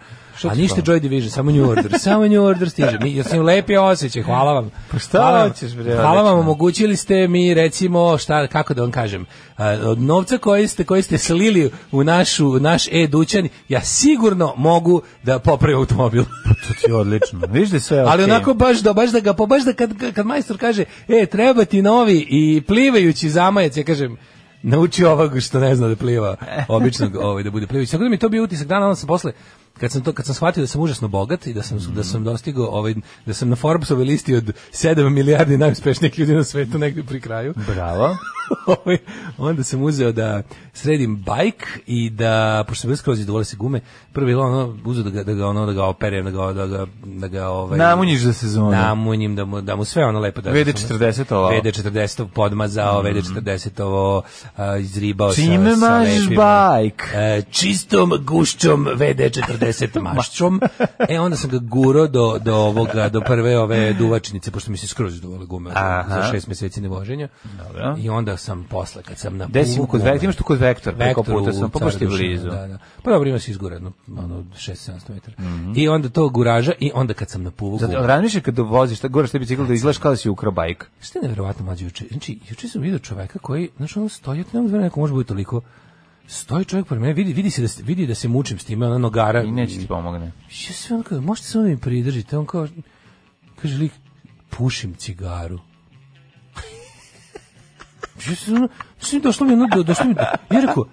G: A ništa Joy Division, samo New Order, samo New Order stiže. Mi, ja sam lepi osjećaj, hvala vam. Pa
F: šta hoćeš, bre,
G: Hvala vam,
F: odlično.
G: omogućili ste mi recimo šta kako da vam kažem e, od novca koji ste koji ste slili u našu u naš e dućan ja sigurno mogu da popravim automobil
F: Pa To ti je odlično. Viš da je sve
G: ali
F: okej.
G: onako baš da baš da ga pa baš da kad kad majstor kaže e treba ti novi i plivajući zamajac ja kažem nauči ovog što ne zna da pliva
F: <laughs>
G: običnog ovaj da bude plivajući tako da mi je to bio utisak dana onda sam posle kad sam to kad sam shvatio da sam užasno bogat i da sam da sam dostigao ovaj da sam na Forbesovoj listi od 7 milijardi najuspešnijih ljudi na svetu negde pri kraju <laughs>
F: Bravo.
G: Ovaj, onda sam uzeo da sredim bajk i da pošto sam bio skroz izduvali se gume, prvi je ono uzeo da ga da ga ono da ga operem, da ga da ga da ga ovaj
F: Namunjiš za sezonu.
G: Namunjim da mu da mu sve ono lepo da
F: VD40 ovo. Mhm.
G: VD40 podmazao, VD40 ovo a, izribao sa-
F: Čime
G: sa
F: mažeš
G: lepim-
F: bajk?
G: E, čistom gušćom
F: <laughs>
G: VD40 mašćom. e, onda sam ga guro do, do, ovoga, do prve ove duvačnice, pošto mi se skroz izduvali gume
F: Aha.
G: za šest meseci nevoženja.
F: Dobro.
G: I onda sam posle, kad sam na
F: Gde si mu kod Vektora? Imaš tu kod Vektor, preko puta sam, pa baš ti je blizu.
G: Da, da. Pa dobro, ima se izgura, jedno, ono, 6-700 metara. I onda to guraža i onda kad sam na puvu
F: Mhm. Zato, razmišljaj kad voziš, tako goreš te bicikl da izgledaš kao da si ukrao bajk.
G: Šta je nevjerovatno mlađe juče? Znači, juče sam vidio čoveka koji, znači ono stoji, ja to ne mogu da verujem, neko može biti toliko, stoji čovjek pored mene, vidi, vidi, se da, se- vidi da se mučim s time, ona nogara.
F: I neće ti pomogne.
G: Ja sve on kao, možete samo da mi pridržite, on kao, kaže lik, pušim cigaru. <laughs> Ja sam ono, mislim, došlo mi ono, do, došlo mi, ja rekao,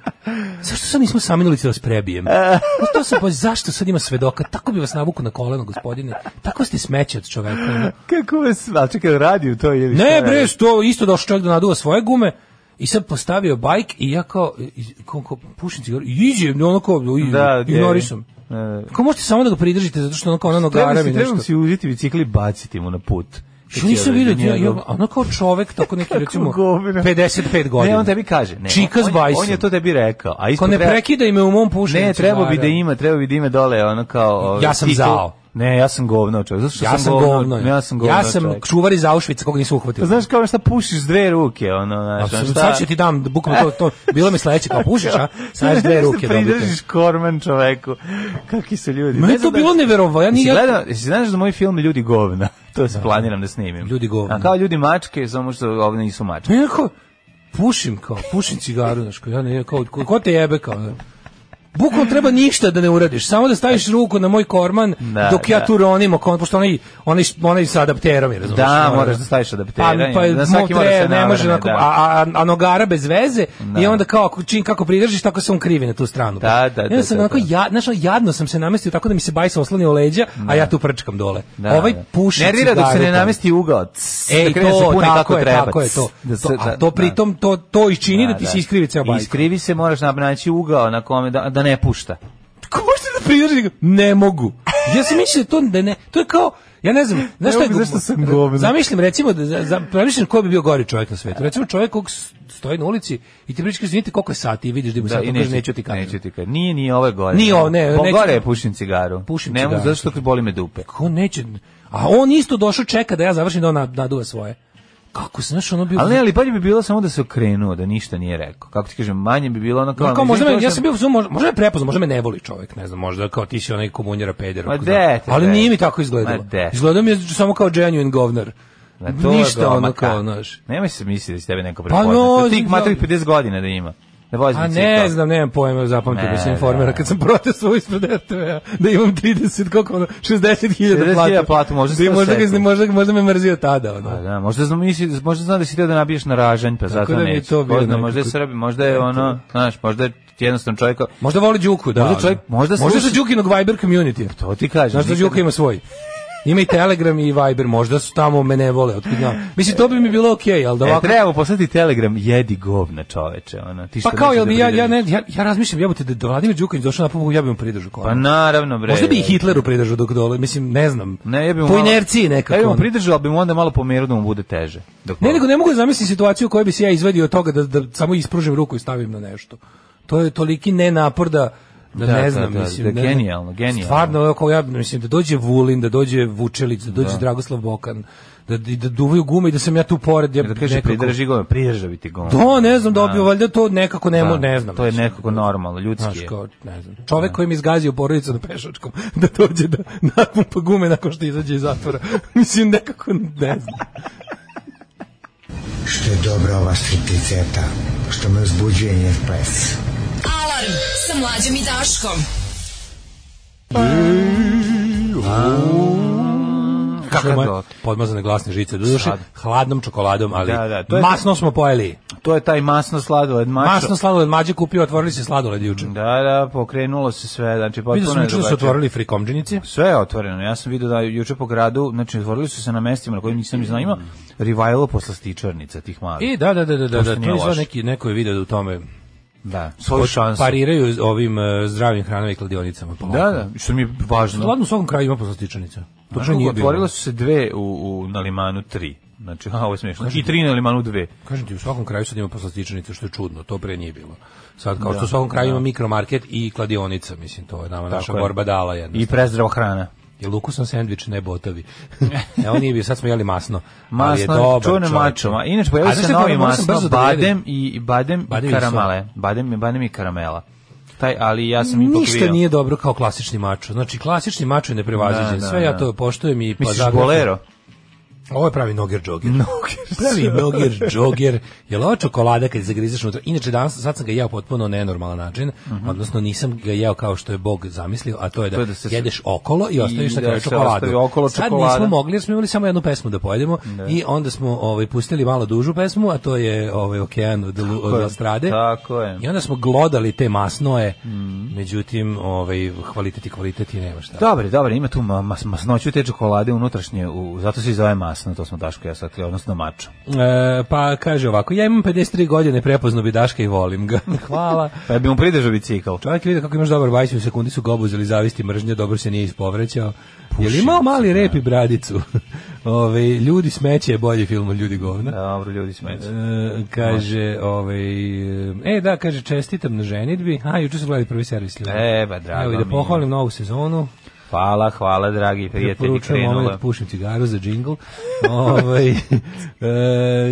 G: zašto sad nismo sami na ulici da vas prebijem? Znaš, to sam, pa, zašto sad ima svedoka? Tako bi vas navuku na koleno, gospodine. Tako ste smeće od čoveka. ono.
F: Kako vas, ali čekaj, radio to ili
G: Ne, bre, to isto došao čovjek da naduva svoje gume i sad postavio bajk i ja kao, i- kao, kao pušim cigaru, iđem, ono kao, i-
F: Da, gdje je?
G: ignorisam. Kako možete samo da ga pridržite, zato što ono kao ono nogara
F: Treba
G: mi
F: si, treba
G: nešto.
F: si uzeti bicikli i baciti mu na put.
G: Što nisam vidio, ja, ja, ono kao čovek, tako
F: <laughs>
G: neki recimo
F: govna.
G: 55 godina.
F: Ne, on tebi kaže. Ne,
G: Čika s
F: on, on,
G: bajsom.
F: je to tebi rekao. A isto
G: Ko ne
F: treba-
G: prekida me u mom pušenju.
F: Ne, trebao bi da
G: cigara.
F: ima, trebao bi da ima dole ono kao... ovaj,
G: Ja sam
F: titulu.
G: zao.
F: Ne, ja sam govno čovjek. Zato što
G: Ja sam govno.
F: Ja sam govno
G: Ja sam
F: čovjek.
G: čuvar iz Auschwitz, koga nisu uhvatili.
F: Znaš kao šta pušiš s dve ruke, ono, znaš, ono,
G: Apsolutno,
F: šta-
G: sad ću ti dam, bukvalno to, to, bilo mi sledeće, kao pušiš,
F: <laughs>
G: a? Sad dve ruke dobite.
F: Pridržiš korman čoveku. Kakvi su ljudi.
G: Meni
F: Ne
G: je
F: znam
G: to bilo
F: da-
G: neverovatno. Ja
F: Jesi
G: ni- ja-
F: gledao, jesi znaš da moj film Ljudi govna? <laughs> To se planiram da snimim.
G: Ljudi govna.
F: A kao ljudi mačke, samo što ovdje nisu mačke.
G: Ja kao, pušim kao, pušim cigaru, znaš, kao, ja ne, kao, ko, ko te jebe kao, ne. Bukvalno treba ništa da ne uradiš, samo da staviš ruku na moj korman
F: Da,
G: dok ja
F: da.
G: tu ronim oko, pošto onaj, onaj, onaj sa adapterom je, razumiješ?
F: Da, moraš da staviš adaptiranje.
G: Pa, pa
F: Da, svaki mora
G: motre,
F: se
G: ne može,
F: navrne,
G: onako,
F: da.
G: a, a, a nogara bez veze i onda kao, ako- čim kako pridržiš, tako se on krivi na tu stranu.
F: Da, da,
G: I onda
F: da,
G: sam
F: da,
G: onako,
F: da.
G: ja, znaš, ono, jadno sam se namestio tako da mi se bajs oslanja o leđa, a ja tu prčkam dole.
F: Da,
G: ovaj
F: da.
G: puši
F: Nervira dok se ne
G: cigaru.
F: namesti ugao. Cs,
G: Ej, to,
F: da krene da se
G: tako,
F: puni kako
G: je,
F: treba.
G: tako je to.
F: Da se-
G: to a
F: da,
G: to
F: da.
G: pritom, to, to i čini da, ti
F: Da,
G: se iskrivi ceo bajs.
F: Iskrivi se, moraš nab- naći ugao na kome da, da ne pušta.
G: Kako možete da pridrži? Ne mogu. Ja sam mislio da to da ne, to je kao Ja ne znam, znaš šta je
F: mogu, zašto sam govno?
G: Zamišljam recimo da za, za premišljam ko bi bio gori čovjek na svetu. Recimo čovjek kog s- stoji na ulici i ti pričaš izvinite koliko je sati i vidiš da mu
F: Da,
G: sad
F: i
G: kaže
F: neću,
G: neću ti kažem.
F: Neću ti kažem. Nije, nije ove gore.
G: Nije ovo, ne,
F: Po
G: neću-
F: gore je pušim cigaru.
G: Pušim
F: ne mogu,
G: cigaru.
F: zato što boli me dupe.
G: Ko neće? A on isto došao čeka da ja završim da on nad- naduva svoje. Kako se znaš ono bio
F: Ali ne, ali bolje bi bilo samo da se okrenuo, da ništa nije rekao. Kako ti kažem, manje bi bilo ono kao...
G: Ono kao,
F: "Ma,
G: možda
F: izvini,
G: me,
F: to
G: ja sam bio u fazonu, možda, možda me prepoznao, možda me ne voli čovjek, ne znam, možda kao ti si onaj komunjera peder.
F: Ma
G: ako
F: de,
G: znam.
F: te,
G: Ali
F: de.
G: nije mi tako izgledalo.
F: Ma de.
G: Izgledao mi je samo kao genuine govnar.
F: Ma, to je
G: Ništa
F: doma,
G: ono
F: ka."
G: kao, znaš.
F: Nemoj se misliti da će tebe neko
G: Pa no,
F: prepoznati. Pa no, ti
G: znam-
F: matrik 50 godina da ima. Da vozi
G: A
F: bicikla.
G: ne znam, nemam pojma, zapamtio
F: Ne,
G: da se informira
F: da.
G: kad sam protestovao ispred RTV-a, da imam 30, koliko ono, 60 hiljada
F: 60.000
G: platu.
F: platu, možda
G: da i
F: se
G: možda, ga,
F: osjetim.
G: možda, možda me mrzio tada,
F: Pa
G: ono.
F: da, možda znam misli, možda znam da si teo da nabiješ na ražanj, pa zato
G: da mi je
F: neće.
G: to bilo
F: Ko zna, možda je
G: nekako-
F: Srbi, možda je ono, znaš, možda je jednostavno čovjek...
G: Možda voli Đuku, da.
F: Možda čovjek-
G: ono.
F: možda
G: možda su
F: sluša-
G: Đukinog Viber community.
F: To ti kažem.
G: Znaš da
F: nikad-
G: Đuka ima svoj. Ima i Telegram i Viber, možda su tamo me ne vole, otkud znam. Mislim, to bi mi bilo okej, ali da
F: E,
G: ovako...
F: treba mu poslati telegram, jedi govna čoveče, ono. Ti
G: Pa
F: što
G: kao,
F: misliš
G: jel
F: da
G: bi ja, ja,
F: pridržiš?
G: ne, ja, ja razmišljam, jebote, da da Vladimir Đuković došao na pomogu, ja bi mu pridržao
F: Pa
G: koronu.
F: naravno, bre.
G: Možda bi i Hitleru pridržao dok dole, mislim, ne znam.
F: Ne, ja bi mu
G: po
F: malo-
G: inerciji nekako.
F: Ja bi mu
G: ono.
F: pridržao, ali bi mu onda malo pomerao da mu bude teže. Dok
G: Ne, nego ne mogu zamisliti situaciju u kojoj bi se ja izvadio od toga da, da samo ispružim ruku i stavim na nešto. To je toliki nenapor da da,
F: Da,
G: ne
F: da,
G: znam,
F: da,
G: mislim.
F: da,
G: ne znam.
F: genijalno, genijalno.
G: Stvarno, evo, kao ja mislim da dođe Vulin, da dođe Vučelić, da dođe Dragoslav Bokan, da, i da duvaju gume i da sam ja tu pored, ja
F: E, Da kaže, pridrži govna, pridržavi ti govna.
G: To ne znam,
F: Da.
G: dobio valjda to nekako ne, mo-
F: Da,
G: ne znam.
F: To je
G: mislim.
F: nekako normalno, ljudski
G: Znaš,
F: je.
G: kao, ne znam. Čovek koji mi izgazio porodicu na pešačkom, <laughs> da dođe da napumpa gume nakon što izađe iz zatvora. <laughs> Mislim, nekako ne znam.
H: Što je dobra ova stripticeta, što me uzbuđuje njen ples.
E: Alarm sa mlađom i Daškom.
G: Kako
F: Kakav
G: je
F: dok?
G: podmazane glasne žice, doduše
F: Sad.
G: hladnom čokoladom, ali
F: Da, da, to je- Znači-
G: masno smo pojeli.
F: To je taj masno sladoled, mačo.
G: Masno sladoled mađe kupio, otvorili se sladoled juče.
F: Da, da, pokrenulo se sve, znači Mm, potpuno
G: Vidio sam
F: je
G: juče da su
F: drugačije.
G: otvorili frikomđenici.
F: Sve je otvoreno. Ja sam vidio da juče po gradu, znači otvorili su se na mestima na kojim nisam ni znao ima revivalo posle stičarnica tih malih.
G: I da, da, da, da, da,
F: Pošto
G: da, to
F: nije
G: je izgleda
F: loše.
G: neki, neko je video da u tome
F: Da, svoju šansu.
G: pariraju s ovim e, zdravim hranovim kladionicama. polako.
F: Da, da, što mi je važno.
G: Ladno u svakom kraju ima poslastičanica. To što
F: Znači,
G: nije bilo.
F: otvorilo su se dve u, u na limanu tri. Znači, <laughs> a, ovo je smiješno. I tri na limanu dve.
G: Kažem ti, u svakom kraju sad ima poslastičanica, što je čudno, to pre nije bilo. Sad, kao što u svakom kraju ima mikromarket i kladionica, mislim, to je nama naša
F: je.
G: borba dala jedna.
F: I prezdrava hrana.
G: Je lukusan sendvič, ne botovi. <laughs> Evo nije bio, sad smo jeli masno. ali je
F: Masno,
G: dobar
F: čuvene
G: čovječe.
F: mačoma. Inače,
G: A
F: pojavio
G: znaš
F: se
G: šta,
F: novi
G: moram- moram sam
F: masno,
G: brzo da jedem.
F: badem i, i badem,
G: Badem
F: i
G: i
F: karamale. Badem, i- badem i karamela. Taj, ali ja sam ipak
G: Ništa
F: bio-
G: nije dobro kao klasični mačo. Znači, klasični mačo je neprevaziđen.
F: Da, da,
G: Sve ja
F: da.
G: to poštujem i... pa
F: Misliš
G: zagrešim.
F: bolero?
G: Ovo je pravi noger džoger. pravi
F: <laughs>
G: noger džoger. Jel ova čokolada kad zagrizeš unutra? Inače danas sad sam ga jeo potpuno nenormalan način, odnosno nisam ga jeo kao što je Bog zamislio, a to je da,
F: Mhm. To je da se-
G: jedeš okolo i ostaviš
F: I
G: na
F: da
G: kraju
F: se
G: čokoladu.
F: ostavi okolo
G: sad
F: čokolada.
G: nismo mogli jer smo imali samo jednu pesmu da pojedemo i onda smo ovaj pustili malo dužu pesmu, a to je ovaj okean od, Lu- od
F: je,
G: Lastrade.
F: tako je. Mhm.
G: I onda smo glodali te masnoje. Međutim, ovaj kvalitet i kvalitet i nema šta.
F: Dobre, dobre, ima tu ma- mas, masnoću te čokolade unutrašnje, u, zato se i zove masno, to smo Daško i ja sakli, odnosno mačo.
G: E, pa kaže ovako, ja imam 53 godine, prepoznao bi Daška i volim ga. <laughs> Hvala.
F: Pa bi mu pridržao bicikl.
G: Čovjek vidi kako imaš dobar bajs i u sekundi su ga obuzeli zavisti mržnja, dobro se nije ispovrećao. Je li imao mali rep i bradicu? <laughs> Ove, ljudi smeće je bolji film od ljudi govna.
F: Dobro, ljudi smeće.
G: E, kaže, ovaj, e da, kaže, čestitam na ženitbi. A, juče su gledali prvi servis ljudi.
F: E, ba, drago
G: Evo i da
F: mi je.
G: pohvalim novu sezonu.
F: Hvala, hvala, dragi prijatelji,
G: Preporučujem ovaj
F: krenulo. je.
G: moment, pušim cigaru za džingl. Ovaj, <laughs> e,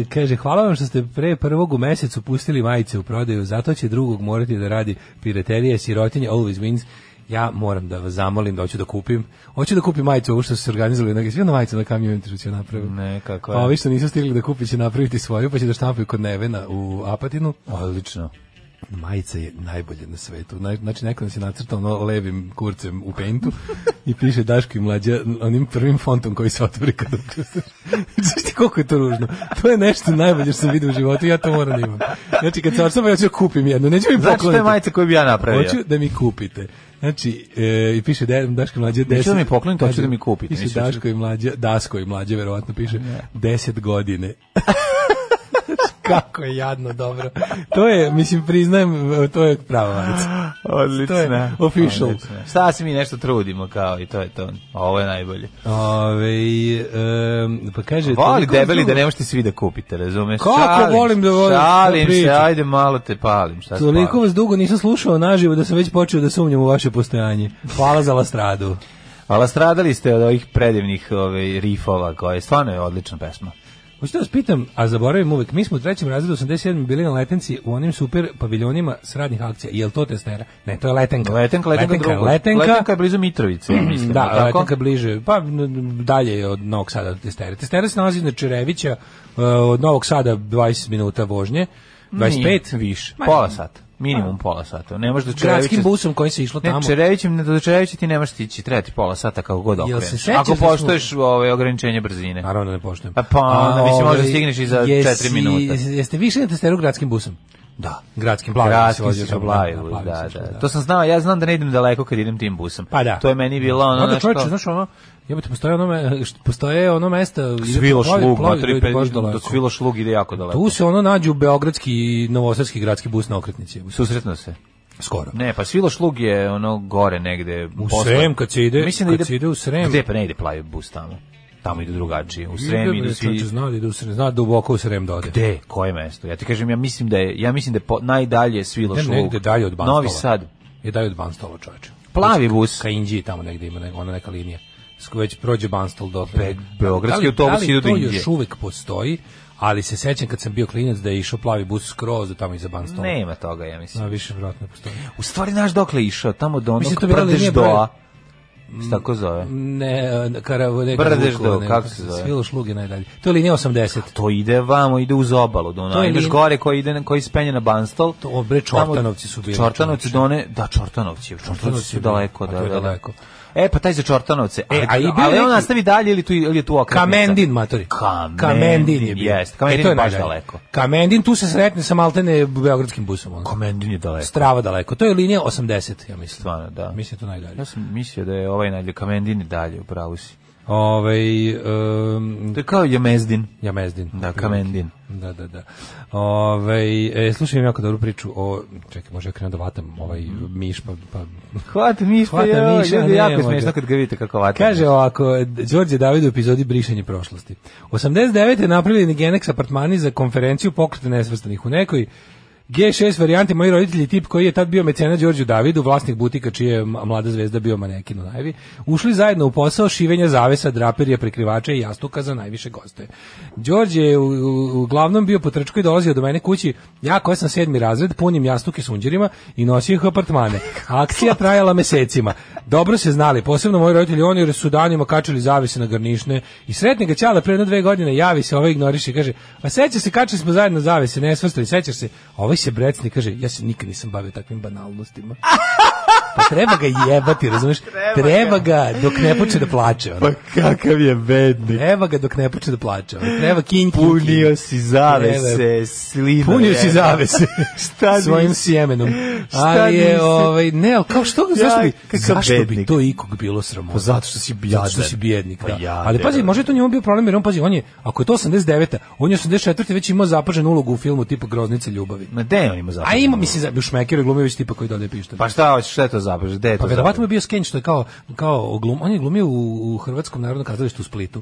G: kaže, hvala vam što ste pre prvog u mesecu pustili majice u prodaju, zato će drugog morati da radi piraterija, sirotinje, always wins. Ja moram da vas zamolim da hoću da kupim. Hoću da kupim majicu, ovo što su se organizovali. Neka, svi na majicu na kamionu intervju će napraviti.
F: Ne, kako
G: Pa
F: je.
G: ovi što nisu stigli da kupi će napraviti svoju, pa će da štampaju kod Nevena u Apatinu.
F: Odlično.
G: majica je najbolja na svetu. Naj- Znači, neko nas je nacrtao ono levim kurcem u pentu i piše Daško i mlađa onim prvim fontom koji se otvori kada učestvaš. Znaš ti koliko je to ružno? To je nešto najbolje što sam vidio u životu, ja to moram da imam. Znači, kad se odsam, ja ću da kupim jednu, neću mi
F: Znači, to je
G: pokloniti.
F: majica koju bi ja napravio.
G: Hoću da mi kupite. Znači, e, i piše da, Daško i mlađa 10...
F: da mi poklonite, hoću
G: Kaže,
F: da mi kupite,
G: Piše
F: nisam
G: Daško i mlađa, Dasko i mlađa, verovatno piše, 10 godine. <laughs> Kako je jadno dobro. To je, mislim, priznajem, to je prava majica.
F: Odlično.
G: To je official.
F: Odlično. Šta se mi nešto trudimo kao i to je to. A Ovo je najbolje.
G: Ove, em, pa kaže...
F: Voli
G: toliko
F: debeli
G: dugo-
F: da ne možete svi da kupite, razumeš?
G: Kako
F: Šalim
G: volim da
F: se,
G: volim,
F: Šalim se,
G: pričam.
F: ajde malo te palim. Šta se
G: Toliko
F: pališ?
G: vas dugo nisam slušao naživo da sam već počeo da sumnjam u vaše postojanje. Hvala za Lastradu.
F: Ali stradali ste od ovih predivnih ovaj, rifova koje stvarno je odlična pesma.
G: Hoćete da vas pitam, a zaboravim uvek, mi smo u trećem razredu 87. bili na letenci u onim super paviljonima s radnih akcija. Je li to testera? Ne, to je letenka.
F: Letenka, letenka,
G: letenka,
F: drugo.
G: letenka, Mm,
F: letenka je blizu Mitrovice, ja mislim.
G: Da,
F: je li tako?
G: letenka bliže, pa n- dalje je od Novog Sada do Testere. Testere se nalazi na Čerevića, e, od Novog Sada 20 minuta vožnje, 25
F: Nije, više.
G: Ma,
F: Pola sata. Minimum pola sata. Ne možeš do Čerevića.
G: Gradskim busom koji se išlo
F: Ne,
G: tamo.
F: Čerevićem, ne, do Čerevića ti ne možeš tići, treba ti pola sata kako god
G: Jel se
F: okreneš.
G: sećaš
F: Ako
G: da smo-
F: poštoješ ove ograničenje brzine.
G: Naravno da ne poštujem.
F: Pa, pa, onda
G: A,
F: mislim, možda
G: ovaj,
F: stigneš i za
G: jesi-
F: četiri minuta.
G: Jeste više na Testeru gradskim busom?
F: Da.
G: Gradskim plavim. se
F: Gradskim
G: vozio
F: si
G: Pa, sam,
F: ga Blajevu,
G: plavim
F: da,
G: sam se,
F: da. To sam znao, ja znam da ne idem daleko kad idem tim busom.
G: Pa da.
F: To je meni bilo ono
G: Onda
F: nešto...
G: čovječe, znaš ono, jebote, postoje ono, me, što- postoje ono mesto...
F: Sviloš
G: plovi-
F: lug,
G: plovi
F: na tri,
G: koji
F: pet,
G: baš
F: do
G: daleko.
F: Sviloš lug ide jako daleko.
G: Tu se ono nađu beogradski i novosadski gradski bus na okretnici.
F: Susretno se.
G: Skoro.
F: Ne, pa Sviloš lug je ono gore negde.
G: U
F: posle.
G: Srem kad se ide,
F: Mislim da
G: kad
F: ide,
G: se ide u Srem.
F: Gde pa ne ide plavi bus tamo? Tamo idu drugačije. U Srem idu svi...
G: Čovječe, zna da ide u Srem, zna duboko u Srem da ode.
F: Gde? Koje mesto? Ja ti kažem, ja mislim da je, ja mislim da je po, najdalje Sviloš
G: Ne,
F: lug.
G: negde dalje od Banstola.
F: Novi Sad.
G: Je dalje od Banstola, čovječe.
F: Plavi bus.
G: Ka Indiji tamo negde ima ne- ona neka linija. S koje već prođe Banstol do
F: Be- beogradski autobusi idu
G: Da
F: do
G: li to
F: Indije?
G: još uvek postoji, ali se sećam kad sam bio klinac da je išao plavi bus skroz do tamo iza Banstola.
F: Nema toga, ja mislim.
G: Na više vjerojatno ne postoji.
F: U stvari, znaš dokle je išao? Tamo do onog
G: Mislim, to je bila linija
F: Brdež
G: broj-
F: doa. Šta
G: Mm.
F: tako zove?
G: Ne, e, karav, ne,
F: Brdež
G: Karavukova,
F: do-
G: ne,
F: kako se zove?
G: Sviloš Lug je najdalje. To je linija 80.
F: To ide vamo, ide uz obalu. Do
G: To
F: ona.
G: je
F: Ideš
G: lin-
F: gore koji, ide, na- koji spenje na Banstol.
G: To, bre,
F: Tamo-
G: Čortanovci su bili,
F: Čortanovci
G: čoveče.
F: done, da, Čortanovci. Čortanovci su
G: bili,
F: daleko,
G: a
F: da,
G: to je
F: da, da.
G: daleko.
F: E, pa taj za Čortanovce. E,
G: E,
F: a,
G: a i
F: i
G: bio
F: ali on
G: neki-
F: nastavi dalje ili, tu, ili je tu okretnica?
G: Kamendin, matori.
F: Kamendin,
G: je bio. E,
F: jest. Kamendin
G: to
F: je baš
G: najdalje.
F: daleko.
G: Kamendin, tu se sretne sa maltene beogradskim busom. Ono.
F: Kamendin je daleko.
G: Strava daleko. To je linija 80, ja mislim.
F: Stvarno, da.
G: Mislim to najdalje.
F: Ja sam mislio da je ovaj najdalje Kamendin i dalje, u pravu si.
G: Ovaj um,
F: To je kao Jemezdin.
G: Jamezdin.
F: Da, Kamendin.
G: Da, da, da. Ovaj e, slušaj imam jako dobru priču o... Čekaj, može ja krenem da vatam ovaj
F: Mhm.
G: miš, pa... pa.
F: Hvata miša,
G: Hvata
F: joj,
G: miša,
F: ljudi, jako je
G: nema
F: smiješno
G: ga.
F: kad ga vidite kako vata.
G: Kaže ovako, Đorđe David u epizodi Brišanje prošlosti. 89. je napravljen Genex apartmani za konferenciju pokreta nesvrstanih u nekoj G6 varijanti, moji roditelji, tip koji je tad bio mecena Đorđu Davidu, vlasnik butika čije je ma- mlada zvezda bio manekin u najvi, ušli zajedno u posao šivenja zavesa, draperija, prekrivača i jastuka za najviše goste. Đorđe je u- u- uglavnom bio po trčku i dolazio do mene kući, ja koja sam sedmi razred, punim jastuke sunđerima i nosio ih u apartmane. Akcija trajala mesecima. Dobro se znali, posebno moji roditelji, oni jer su danima kačili zavise na garnišne i sretni ga ćala pre jedno dve godine javi se, ovaj ignoriše i kaže, a seća se kačili smo zajedno zavise, ne svrstali, sećaš se, a ovaj se brecni i kaže, ja se nikad nisam bavio takvim banalnostima. Pa treba ga jebati, razumeš? <laughs> Treba ga dok ne počne da plače. Ono.
F: kakav je bednik.
G: Treba ga dok ne počne da plače. Ono. Treba kin, kin,
F: Punio
G: kin.
F: si zavese,
G: Treba.
F: slino.
G: Punio si
F: je.
G: zavese
F: <laughs> Šta
G: svojim
F: nisi?
G: sjemenom.
F: Šta
G: Ali
F: nisi?
G: je, ovaj, ne, ali kao što, zašto bi,
F: kakav
G: zašto bi
F: bednik.
G: to ikog bilo sramotno?
F: Pa zato što si
G: Zato što
F: jadan.
G: si bijednik,
F: Pa
G: da.
F: jadan.
G: Ali pazi, možda je to njemu bio problem, jer on, pazi, on je, ako je to 89. on je 84. već imao zapaženu ulogu u filmu tipa Groznice ljubavi.
F: Ma gde je on ima zapažen?
G: A ima, mislim, za- u Šmekeru je glumio već tipa koji dodaje pištolj.
F: Pa šta hoćeš, šta je to zapažen? Gde je to
G: Pa verovatno
F: zapažen?
G: je bio skenč što je kao kao glum, on je glumio u, u Hrvatskom narodnom kazalištu u Splitu.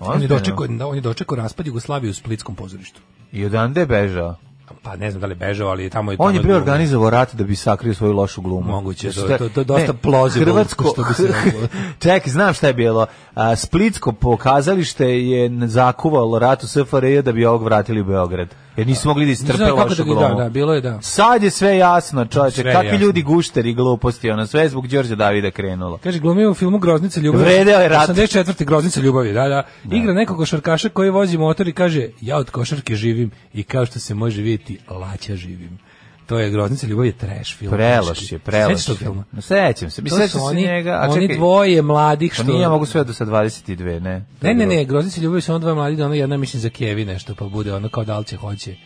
G: On je
F: Ozbiljno?
G: dočekao da, on je dočekao raspad Jugoslavije u splitskom pozorištu.
F: I odande je bežao?
G: Pa ne znam da li je bežao, ali tamo je
F: On
G: tamo
F: je
G: glumio.
F: preorganizovao rat da bi sakrio svoju lošu glumu.
G: Moguće,
F: Znači,
G: to-
F: šta-
G: to- to je dosta
F: ne,
G: plausible,
F: Hrvatsko,
G: što bi se reklo.
F: <laughs> Čekaj, znam šta je bilo. A, Splitsko pokazalište je n- zakuvalo rat u SFRJ da bi ovog vratili u Beograd. Jer nisu mogli da
G: Ne
F: istrpe
G: znam kako
F: lošu
G: da,
F: glumu.
G: ga- da, da, bilo je da.
F: Sad je sve jasno, čovječe,
G: Sve je
F: kakvi
G: jasno.
F: ljudi gušteri i gluposti, ono, sve je zbog Đorđa Davida krenulo.
G: Kaže glumio u filmu Groznica ljubavi.
F: Vredeo je rat.
G: 84. Groznica ljubavi, da, da. Igra nekog košarkaša koji vozi motor i kaže ja od košarke živim i kao što se može vidjeti laća živim. to je groznica ljubav je trash film.
F: Preloš je, preloš.
G: Sećaš tog filma?
F: No, Sećam se.
G: To
F: Mislim
G: su
F: se
G: oni,
F: njega, a
G: oni
F: čekaj,
G: dvoje mladih što...
F: pa nije ja mogu sve do sa 22, ne.
G: Ne, ne, ne, groznici ljubavi su ono dva mladi, da ono jedna mislim za Kevi nešto, pa bude ono kao da li će hoće.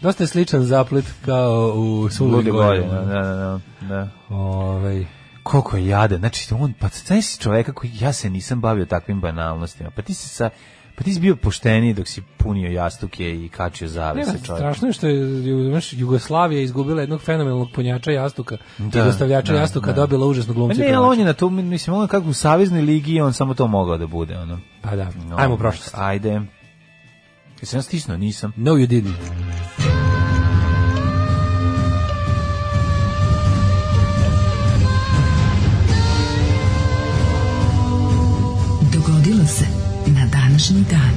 G: Dosta je sličan zaplet kao u Sulude
F: Lude
G: godine.
F: godine, da, da, da, da.
G: Ovaj,
F: Koliko je jade, znači on, pa znaš čoveka koji, ja se nisam bavio takvim banalnostima, pa ti si sa, pa ti si bio pošteniji dok si punio jastuke i kačio
G: ne,
F: zavese čoveka.
G: strašno je što je ju- znaš, Jugoslavija izgubila jednog fenomenalnog punjača jastuka
F: Da,
G: i dostavljača
F: da,
G: jastuka,
F: da.
G: dobila užasno
F: Pa
G: glumce.
F: ne,
G: i
F: ali
G: pevače.
F: on je na to, mislim, on je kako u saveznoj ligi je on samo to mogao da bude, ono.
G: Pa da,
F: No,
G: ajmo u prošlost.
F: Ajde. Jesam ja stisnuo? Nisam.
G: No you didn't.
E: Dogodilo se na današnji dan.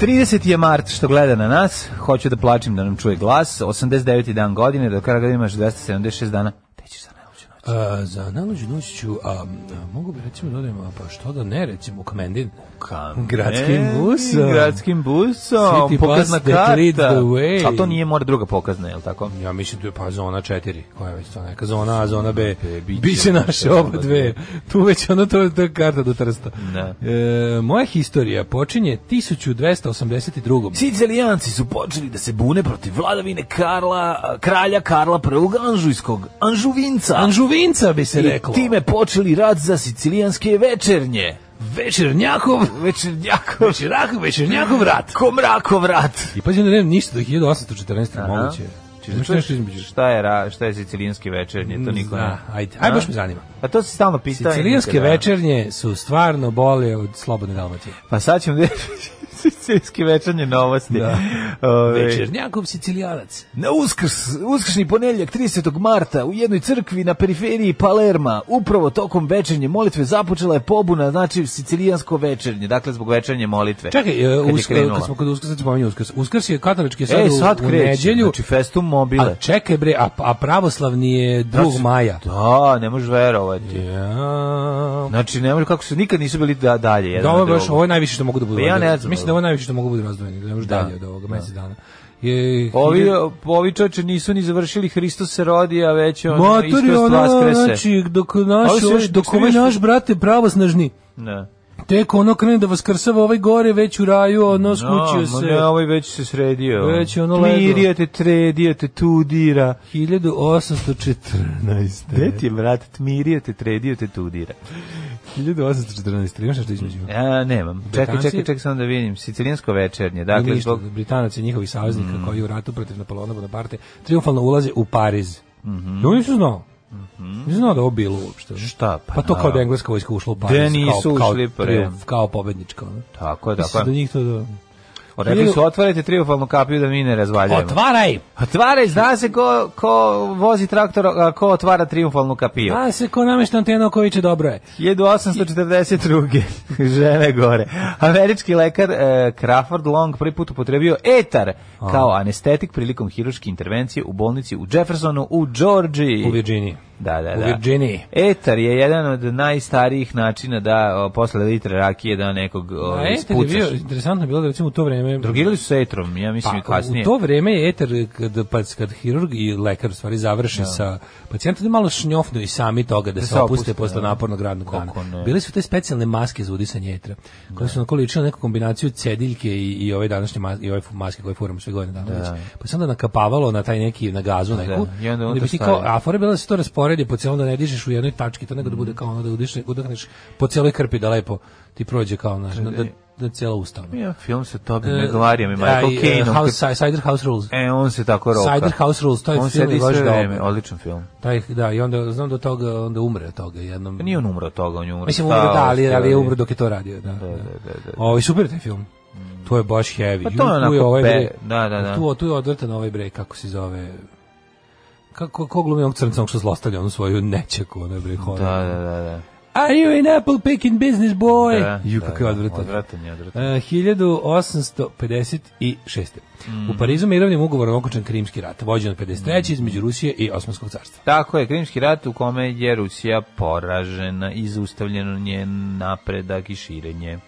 F: 30. je mart što gleda na nas, hoću da plačim da nam čuje glas, 89. dan godine, do kraja godine imaš 276 dana, te ćeš za najluđu noć.
G: A, za najluđu noć ću, a, a, mogu bi recimo dodajemo, pa što da ne, recimo u Kamendin.
F: Kam-
G: Gradskim
F: E,
G: busom.
F: Gradskim busom,
G: City
F: pokazna
G: bus that leads
F: karta.
G: the way.
F: Ali to nije mora druga pokazna, je li tako?
G: Ja mislim tu je pa zona 4, koja je već to neka zona A, zona B,
F: E, biće
G: biće naše
F: naše
G: oba
F: oba
G: dve. Tu već ono to to je karta do trsta.
F: Da.
G: E, moja historija počinje 1282.
F: Sicilijanci su počeli da se bune protiv vladavine Karla, kralja Karla prvog Anžujskog, Anžuvinca.
G: Anžuvinca bi se reklo.
F: počeli rad za sicilijanske večernje.
G: Večernjakov,
F: Večernjakov.
G: Večernjakov, Večernjakov rat. Znači,
F: Komrakov rat.
G: I pazi, onda nemam ništa do 1814.
F: Aha.
G: moguće.
F: Češ
G: Imaš
F: da
G: nešto
F: čuješ
G: između?
F: Šta je, ra, šta je sicilijanski večernje, to niko ne.
G: Zna, ajde, ajde,
F: A?
G: baš me zanima.
F: A to se stalno pitao.
G: Sicilijanske večernje su stvarno bolje od Slobodne Dalmatije.
F: Pa sad ćemo da <laughs> sicilijanski večernje novosti.
G: Da.
F: Ove,
G: Večernjakov Sicilijanac.
F: Na uskrs, uskršnji ponedjeljak 30. marta u jednoj crkvi na periferiji Palerma, upravo tokom večernje molitve započela je pobuna, znači sicilijansko večernje, dakle zbog večernje molitve.
G: Čekaj, e,
F: Kad je
G: uskrs,
F: krenula.
G: kad smo kod uskrsa, sad spominju uskrs. Uskrs je katolički sad,
F: Ej,
G: u-
F: sad
G: u,
F: kreće,
G: neđelju.
F: znači festum mobile.
G: A čekaj bre, a, a pravoslavni je 2.
F: Znači,
G: maja.
F: Da, ne možeš verovati.
G: Ja.
F: Znači, ne možeš, kako su, nikad nisu bili da, dalje.
G: Da,
F: Jedan
G: ovo je
F: od
G: baš,
F: drugog.
G: ovo je najviše što mogu da budu.
F: Pa ja ne
G: razdvojeni.
F: znam.
G: Mislim da ovo je najviše što mogu da budu razdvojeni, da ne možeš
F: Da.
G: dalje od ovoga, mesec dana. Je,
F: Ovi, ovi čoveče nisu ni završili Hristos se rodi, a već on
G: Matori,
F: iskrs
G: ono,
F: vaskrese.
G: znači, dok naš,
F: Ali su još-
G: dok
F: su
G: ovaj
F: još-
G: naš, brate, pravosnažni,
F: Ne.
G: tek ono krene da vaskrsava ovaj gore, već u raju, ono, skućio
F: ma
G: se.
F: Ne, ovaj već se sredio.
G: Već je ono leglo.
F: Mirio te tredio te tudira.
G: 1814.
F: Gde ti je, brat? Mirio te tredio te tudira.
G: 1814. Imaš nešto između?
F: Ja nemam. Čekaj,
G: Britanci-
F: čekaj, čekaj, samo da vidim. Sicilijansko večernje.
G: Dakle, Mm.
F: Dakle,
G: ništa,
F: zbog...
G: Britanac i njihovi saveznika koji u ratu protiv Napoleona Bonaparte triumfalno ulaze u Pariz. Mm -hmm. Ja nisam znao. Nisam znao da je ovo bilo uopšte.
F: Šta? Pa
G: Mhm. Pa to kao
F: naravno.
G: da je engleska vojska ušla u Pariz.
F: Da nisu
G: kao,
F: ušli,
G: kao,
F: pre.
G: triumf, kao pobednička. Ono.
F: Tako je, tako
G: Mislim
F: je.
G: da njih to da...
F: Rekli su, otvarajte triofalnu kapiju da mi ne razvaljujemo.
G: Otvaraj!
F: Otvaraj, zna se ko, ko vozi traktor, a ko otvara triumfalnu kapiju.
G: A se ko namešta antena Okoviće, dobro je.
F: 1842. <laughs> žene gore. Američki lekar e, Crawford Long prvi put upotrebio etar kao anestetik prilikom hiruške intervencije u bolnici u Jeffersonu u Georgiji.
G: U Virginiji.
F: Da, da,
G: U
F: da.
G: Virginiji.
F: Etar je jedan od najstarijih načina da o, posle litre rakije da nekog o,
G: A eter je
F: ispucaš.
G: bio, interesantno je bilo da recimo u to vreme...
F: Drogirali su se etrom, ja mislim i Pa, kasnije.
G: u to vreme je eter, kad, pa, kad hirurg i lekar u stvari završe sa pacijentom, da malo šnjofnu i sami toga da, se
F: se
G: opuste
F: opuste,
G: posle
F: da.
G: napornog radnog dana.
F: Kako ne.
G: Bile su te specijalne maske za udisanje etra, koje su onako ličile na neku kombinaciju cediljke i, i ove današnje maske, i ove fu- maske koje furamo sve godine dana. već. Pa se onda nakapavalo na taj neki, na gazu neku.
F: i onda
G: onda bi
F: unutra
G: ti kao,
F: stavio.
G: a fora je bila da se to rasporedi po celom, da ne dižeš u jednoj tački, to nego da
F: Mm.
G: bude kao ono da udiš, udahneš po celoj krpi da lepo ti prođe kao na, na, da, da cijela usta. ono.
F: Ja, film se tobi
G: E,
F: ne govarim i
G: aj,
F: Michael
G: e,
F: Caine. on
G: House, Cider House Rules.
F: kad- E, on se tako roka.
G: Cider House Rules, to je
F: on
G: film
F: sedi
G: i baš
F: sve
G: dobro.
F: vreme, odličan film.
G: Taj, da, i onda znam da od toga, onda umre od toga jednom.
F: Pa nije on umro od toga, on je umro.
G: Mislim,
F: od
G: umre, da,
F: starosti,
G: ali, ali je umro dok je to radio. Da, da, da.
F: da, da.
G: Ovo, super je taj film. To je baš heavy.
F: Pa to
G: Ju,
F: je
G: tu
F: onako
G: ovaj
F: pe-
G: bre,
F: da, da, da.
G: Tu, tu je odvrtan ovaj bre, kako se zove... Kako ko glumi onog crnca onog što zlostavlja onu svoju nećaku, ono je bre, horor.
F: Da, da, da, da.
G: Are you an apple picking business boy?
F: Da,
G: Ju,
F: da,
G: kako je
F: da,
G: odvratan.
F: Odvratan je, odvratan.
G: E, 1856. U Parizu mirovnim ugovorom okončan Krimski rat, vođen od 53. između Rusije i Osmanskog carstva.
F: Tako je, Krimski rat u kome je Rusija poražena i zaustavljeno njen napredak i širenje.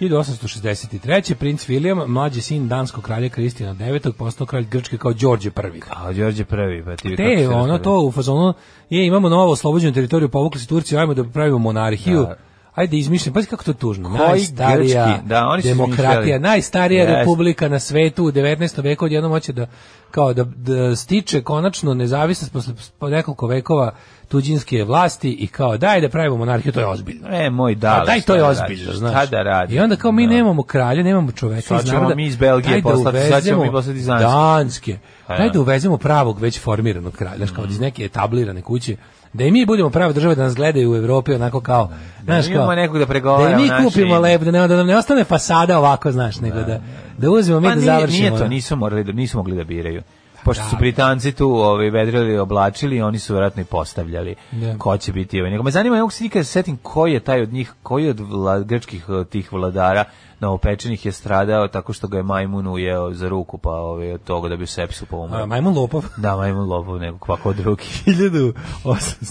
G: 1863. princ William, mlađi sin danskog kralja Kristijana IX, postao kralj Grčke kao Đorđe I.
F: A Đorđe prvi, pa ti... kako
G: Te,
F: se
G: ono
F: razgovara.
G: to u fazonu, je, imamo novo oslobođenu teritoriju, povukli se Turci, ajmo da pravimo monarhiju.
F: Da.
G: Ajde, izmišljam, pazi kako to tužno.
F: Koji
G: najstarija
F: grčki, da, oni su
G: demokratija,
F: izmišljali.
G: najstarija
F: Jeste.
G: republika na svetu u 19. veku, odjednom hoće da, kao da, da stiče konačno nezavisnost posle po nekoliko vekova tuđinske vlasti i kao daj da pravimo monarhiju, to je ozbiljno.
F: E, moj
G: Da,
F: dale.
G: daj to je
F: šta
G: ozbiljno,
F: radiš?
G: znaš.
F: Šta da radi?
G: I onda kao mi
F: Da.
G: nemamo kralja, nemamo čoveka,
F: Sad ćemo
G: znamo da-
F: mi iz Belgije
G: daj da
F: poslati, sad ćemo mi
G: uvezemo
F: poslati iz Danske.
G: Danske.
F: E.
G: Daj da uvezemo pravog već formiranog kralja, znaš, kao
F: Mhm.
G: iz neke etablirane kuće, da i mi budemo prava država da nas gledaju u Evropi onako kao, znaš,
F: mi
G: kao,
F: imamo nekog da pregovara
G: da i
F: o
G: mi
F: našoj
G: kupimo
F: ime.
G: lep, da, ne, da nam ne ostane fasada ovako, znaš, nego da, da uzmemo mi
F: Pa
G: da
F: nije,
G: završimo. ono. Pa
F: nije to, nisu, morali, da- nisu mogli da biraju. Pošto su Britanci tu ovaj, vedrili i oblačili, oni su vjerojatno i postavljali
G: Da.
F: ko će biti ovaj. Nego me zanima, ne mogu se nikad setim ko je taj od njih, koji od vla, grčkih eh, tih vladara novopečenih je stradao tako što ga je majmun ujeo za ruku, pa ovaj, od toga da bi sepsu
G: A,
F: pomogao.
G: Majmun Lopov. <laughs>
F: Da, majmun lopov, nego kvako drugi.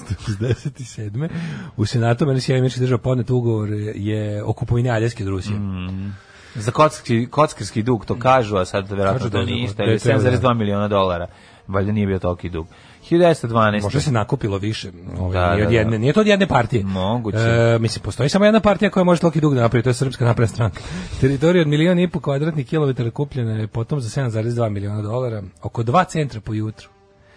G: 1867. U Senatu meni Sjedinjenih Američkih Država podnet ugovor je o kupovini Aljaske od Rusije.
F: Mhm. Za kockarski, kockarski dug to kažu, a sad
G: Kažu
F: vjerojatno
G: da
F: to
G: je
F: nije ništa,
G: da je
F: ili
G: treba, da.
F: 7,2 miliona dolara. Valjda nije bio toliki dug. 1912.
G: Možda se nakupilo više. Ovaj,
F: Da,
G: nije,
F: da,
G: od jedne,
F: da.
G: nije to od jedne partije.
F: Moguće.
G: E, mislim, postoji samo jedna partija koja može toliko dug da napravi, to je Srpska napredna
F: <laughs>
G: stranka. Teritorija od milijona i po kvadratnih kilometara kupljena je potom za 7,2 miliona dolara, oko 2 centra po jutru.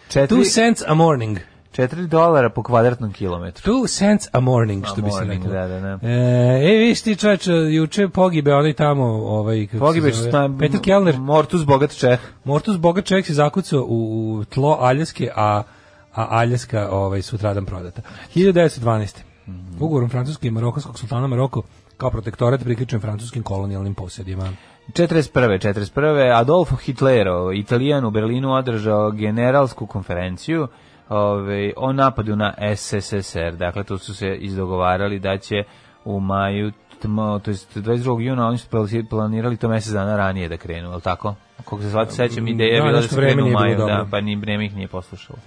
F: Četiri-
G: 2 cents a morning.
F: 4 dolara po kvadratnom kilometru.
G: 2 cents a morning, što
F: A
G: bi se
F: morning,
G: reklo.
F: da, da, da.
G: E, e, vidiš ti čoveč, juče pogibe onaj tamo, ovaj, kako se
F: Pogibeš
G: zove,
F: stan...
G: Peter Kellner,
F: Mortus bogat Čeh.
G: Mortus bogat čovjek se zakucao u, u tlo Aljaske, a, a Aljaska ovaj, sutradan prodata. 1912.
F: Mhm.
G: Ugovorom francuskog i marokanskog sultana Maroko kao protektorat priključen francuskim kolonijalnim posjedima.
F: 41. 41. Adolfo Hitlero, italijan u Berlinu, održao generalsku konferenciju ove, o napadu na SSSR. Dakle, tu su se izdogovarali da će u maju, tmo- to jest 22. juna, oni su plasi- planirali to mesec dana ranije da krenu, je li tako? Koliko se svati sećam, ideja je
G: da,
F: bila da
G: nešto
F: se
G: vreme
F: krenu u
G: nije bilo
F: maju, da,
G: dobro.
F: pa ni vreme ih nije poslušalo.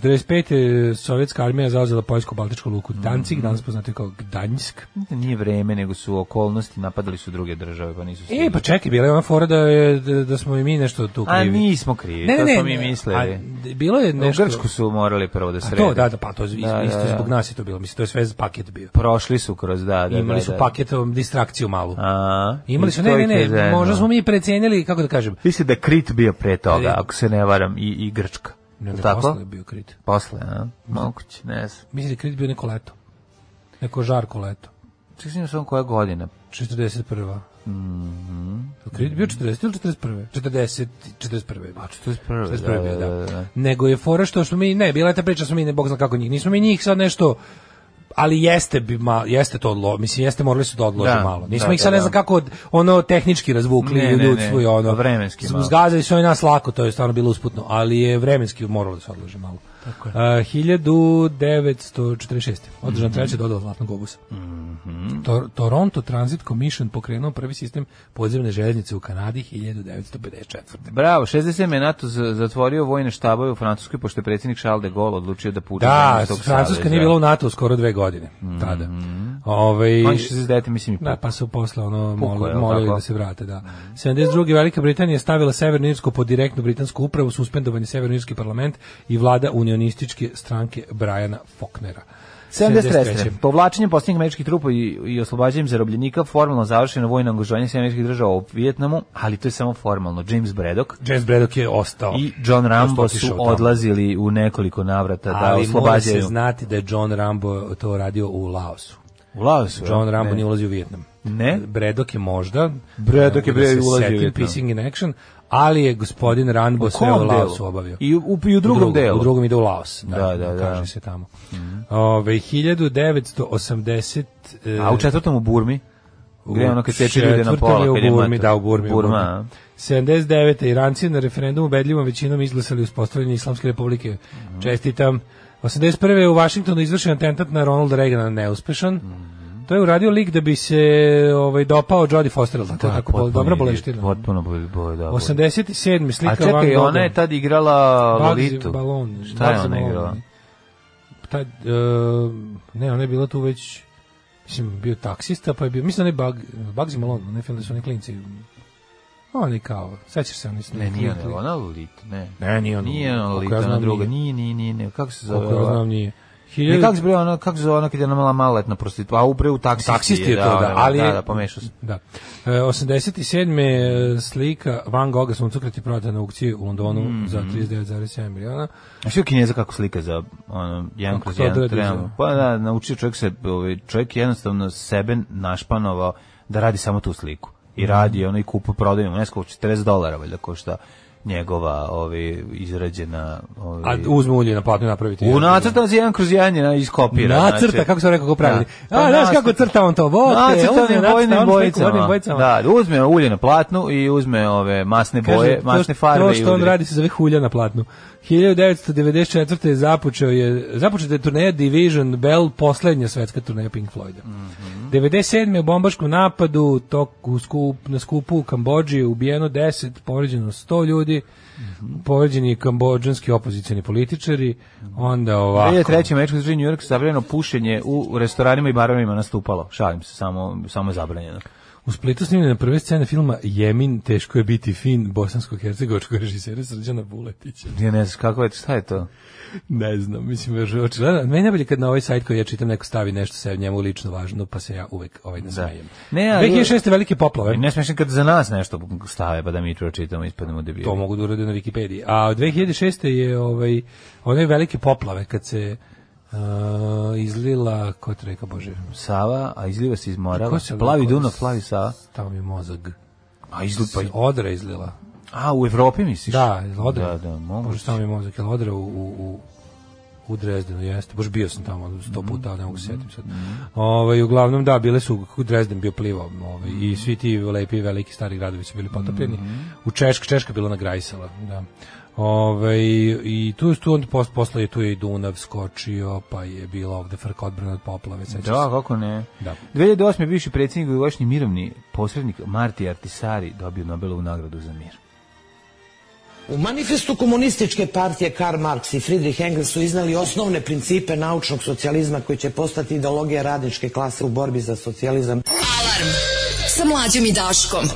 G: 1945. je sovjetska armija zauzela poljsko-baltičku luku
F: Mhm.
G: Danzig, danas poznate kao Gdanjsk.
F: Nije vreme, nego su okolnosti, napadali su druge države, pa nisu
G: E,
F: stigli.
G: pa čekaj, bila je ona fora da, je- da, da smo i mi nešto tu
F: A
G: krivi.
F: nismo krivi, to smo mi mislili.
G: a bilo je nešto...
F: U Grčku su morali prvo da
G: A
F: srede.
G: to, da, da, pa to je
F: Da, da,
G: isto
F: da.
G: zbog nas je to bilo. Mislim, to je sve paket bio.
F: Prošli su kroz, da, da.
G: imali
F: da,
G: su
F: da.
G: paketom distrakciju malu.
F: A,
G: Imali
F: i
G: su, ne,
F: to
G: ne,
F: ih je
G: ne,
F: zajedno.
G: možda smo mi precijenili, kako da kažem,
F: Mislim da je Krit bio pre toga,
G: Krit.
F: ako se ne varam, i, i Grčka.
G: ne,
F: Jel
G: ne,
F: tako?
G: posle je bio krit.
F: Posle, a? Moguće, ne znam.
G: Mislim da je krit bio neko leto. Neko žarko leto.
F: Čekaj, sam sam koja godina.
G: 41. Mm
F: Mhm.
G: Krit bio 40 ili 41? 40, 41. je bio.
F: 41.,
G: 41. je bio,
F: da, da, da.
G: Nego je fora što smo mi, ne, bila je ta priča, smo mi, ne, bog zna kako njih, nismo mi njih sad nešto, ali jeste bi ma, jeste to odlo, mislim jeste morali su da odlože
F: Da,
G: malo. Nismo
F: da,
G: ih sad
F: da,
G: ne znam
F: da.
G: kako od- ono tehnički razvukli
F: Ne, ne,
G: ljudstvo
F: ne,
G: i ono
F: vremenski malo.
G: Zgazali su oni nas lako, to je stvarno bilo usputno, ali je vremenski moralo da se odloži malo. Tako je. 1946. Održan
F: Mhm.
G: treća dodala Zlatnog globusa. Tor- Toronto Transit Commission pokrenuo prvi sistem podzemne željeznice u Kanadi 1954.
F: Bravo, 67. je NATO z- zatvorio vojne štabove u Francuskoj, pošto je predsjednik Charles de Gaulle odlučio da puče
G: Da,
F: iz tog
G: Francuska
F: saveza. Mhm.
G: nije bila u NATO skoro dve godine tada. Ovaj
F: On je 69. mislim i
G: Da, pa su posle ono
F: Puko,
G: moli-
F: je li
G: molili
F: tako? Mhm.
G: da se vrate, da. 72. Velika Britanija je stavila Severnu Irsku pod direktnu britansku upravu, suspendovan je Severni Irski parlament i vlada unionističke stranke Briana Faulknera.
F: 73. Povlačenjem posljednjih američkih trupa i, i oslobađanjem zarobljenika formalno završeno vojno angažovanje Sjedinjenih američkih država u Vijetnamu, ali to je samo formalno. James Braddock
G: James Braddock je ostao.
F: i John Rambo
G: otišao
F: su
G: tamo.
F: odlazili u nekoliko navrata da
G: Ali mora se
F: oslobađaju.
G: znati da je John Rambo to radio u Laosu.
F: U Laosu.
G: Pa, John
F: a?
G: Rambo
F: Ne.
G: nije ulazio u Vijetnam.
F: Ne?
G: Bredok je možda.
F: Braddock je
G: ne mogu da se
F: bio i ulazio u
G: setim,
F: Vijetnam.
G: Pissing in action, ali je gospodin Rambo sve u
F: kom
G: Laosu
F: delu?
G: obavio.
F: I u- i u drugom delu.
G: U drugom ide u Laos. Da,
F: Da, Mhm. da, da.
G: Kaže se tamo. Ove, 1980... e,
F: A u četvrtom u Burmi? Gde ono kad seče ljude na
G: četvrtom
F: pola?
G: je
F: kad je
G: u Burmi,
F: mator.
G: da, u Burmi. u
F: Burma,
G: Burmi.
F: a?
G: 79. Iranci na referendumu ubedljivom većinom izglasali uspostavljanje Islamske republike. Čestitam. 81. je u Vašingtonu izvršen atentat na Ronald Reagana neuspešan. To je uradio lik da bi se ovaj dopao Jodie Foster, al tako
F: Da,
G: tako bol,
F: Pa, potpuno
G: dobra
F: idiot,
G: boleština.
F: Potpuno bol, bol, da. bol.
G: 87. slika
F: A čekaj,
G: Van
F: ona je
G: Gogha.
F: tad igrala Lolitu.
G: Balon.
F: Šta je
G: Bugs
F: ona
G: Balon.
F: igrala?
G: Tad, e, ne, ona je bila tu već mislim, bio taksista, pa je bio, mislim, onaj Bug, Bugsy Malone, onaj film da su oni klinci, oni kao, sećaš se, oni su...
F: Ne, nije ona, ona Lolita, ne.
G: Ne, nije ono.
F: Nije ona
G: Koliko
F: Lolita,
G: ja
F: ona
G: znam,
F: druga,
G: nije.
F: nije, nije, nije, nije, kako se zove?
G: Koliko ja
F: ova?
G: znam, nije.
F: Ne, kako se bre ona, kako se zove ona kad je ona mala maletna prostitutka, a upravo u taksisti,
G: Taksist je to, da,
F: ona,
G: ali-
F: da, da, pomešao se.
G: Da. E, 87. slika Van Gogha suncokret je prodata na aukciji u Londonu
F: Mhm.
G: za 39,7 miliona.
F: A što Kineza kako slika za ono, jedan
G: Kako
F: kroz
G: to
F: jedan
G: odradi,
F: trebamo?
G: za-
F: Pa da, naučio čovjek se, ovaj, čovjek jednostavno sebe našpanovao da radi samo tu sliku. I radi ono i kupu prodaju, mu nesko 40 dolara valjda košta njegova ovi, izrađena... ovaj- Ovi,
G: A uzme ulje na platnu i napraviti.
F: u nacrta za jedan kroz jedan je na- iskopira.
G: Nacrta,
F: znači.
G: kako sam rekao, kako pravi.
F: Da.
G: A,
F: Pa
G: znaš
F: nacrta.
G: kako crta on to? Bote, uzme
F: Nacrtanim
G: nacrta,
F: bojnim
G: ono što rekao,
F: bojicama.
G: bojnim bojicama.
F: Da, uzme ulje na platnu i uzme ove masne
G: Kaže,
F: boje,
G: to-
F: masne farbe
G: To
F: i
G: što on
F: udri.
G: radi se zove hulja na platnu. 1994. je započeo je započeta je turneja Division Bell, poslednja svetska turneja Pink Floyda.
F: Mhm.
G: 97. u bombaškom napadu tok u skup, na skupu u Kambodži je ubijeno 10, povređeno 100 ljudi,
F: Mhm.
G: povređeni kambodžanski opozicioni političari, onda ovako.
F: 2003. američko državlje New York zabranjeno pušenje u restoranima i barovima nastupalo. Šalim se, samo, samo je zabranjeno.
G: U Splitu snimljena prve scene filma Jemin, teško je biti fin, bosansko-hercegovačkog režisera Srđana Buletića.
F: Ja ne znam kako je, šta je to?
G: Ne znam, mislim još očigledno. Meni je najbolje kad na ovaj sajt koji ja čitam neko stavi nešto sve njemu lično važno, pa se ja uvek ovaj nasmejem.
F: Da. Ne, ali-
G: 2006. velike poplave.
F: I ne smiješno kad za nas nešto stave, pa da mi pročitamo, ispadnemo debili.
G: To mogu da urade na Wikipediji. A 2006. je ovaj, one velike poplave kad se uh, izlila, ko to reka, bože,
F: Sava, a izliva se iz Morava.
G: Ko se-
F: Pa, Plavi
G: ko-
F: Dunav, plavi Sava.
G: tamo mi je mozag.
F: A, izli,
G: Pa odra izlila.
F: a u Evropi misliš?
G: Da, iz odra.
F: Da, da,
G: Bože,
F: moguće.
G: tamo mi je mozak, jel odra u, u, u u Drezdenu, jeste. Bože, bio sam tamo
F: Mhm.
G: sto puta, ali ne mogu se sjetim sad. Ovaj, uglavnom, da, bile su, kako je Drezden bio plivao, ovaj,
F: Mhm.
G: i svi ti lepi, veliki, stari gradovi su bili potopljeni. U Češka, Češka je bila nagrajsala, da. Ove, i tu, tu on post, posle je tu je i Dunav skočio, pa je bila ovde frka odbrana od poplave, sećaš
F: Da,
G: se.
F: kako ne.
G: Da.
F: 2008. bivši predsjednik Jugovašnji mirovni posrednik Marti Artisari dobio Nobelovu nagradu za mir.
I: U manifestu komunističke partije Karl Marx i Friedrich Engels su iznali osnovne principe naučnog socijalizma koji će postati ideologija radničke klase u borbi za socijalizam.
E: Alarm sa mlađom i Daškom.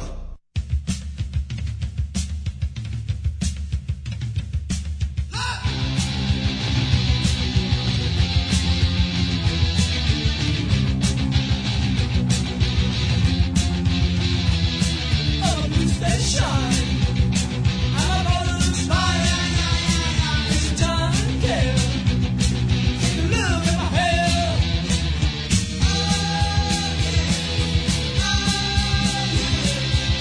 A: Thank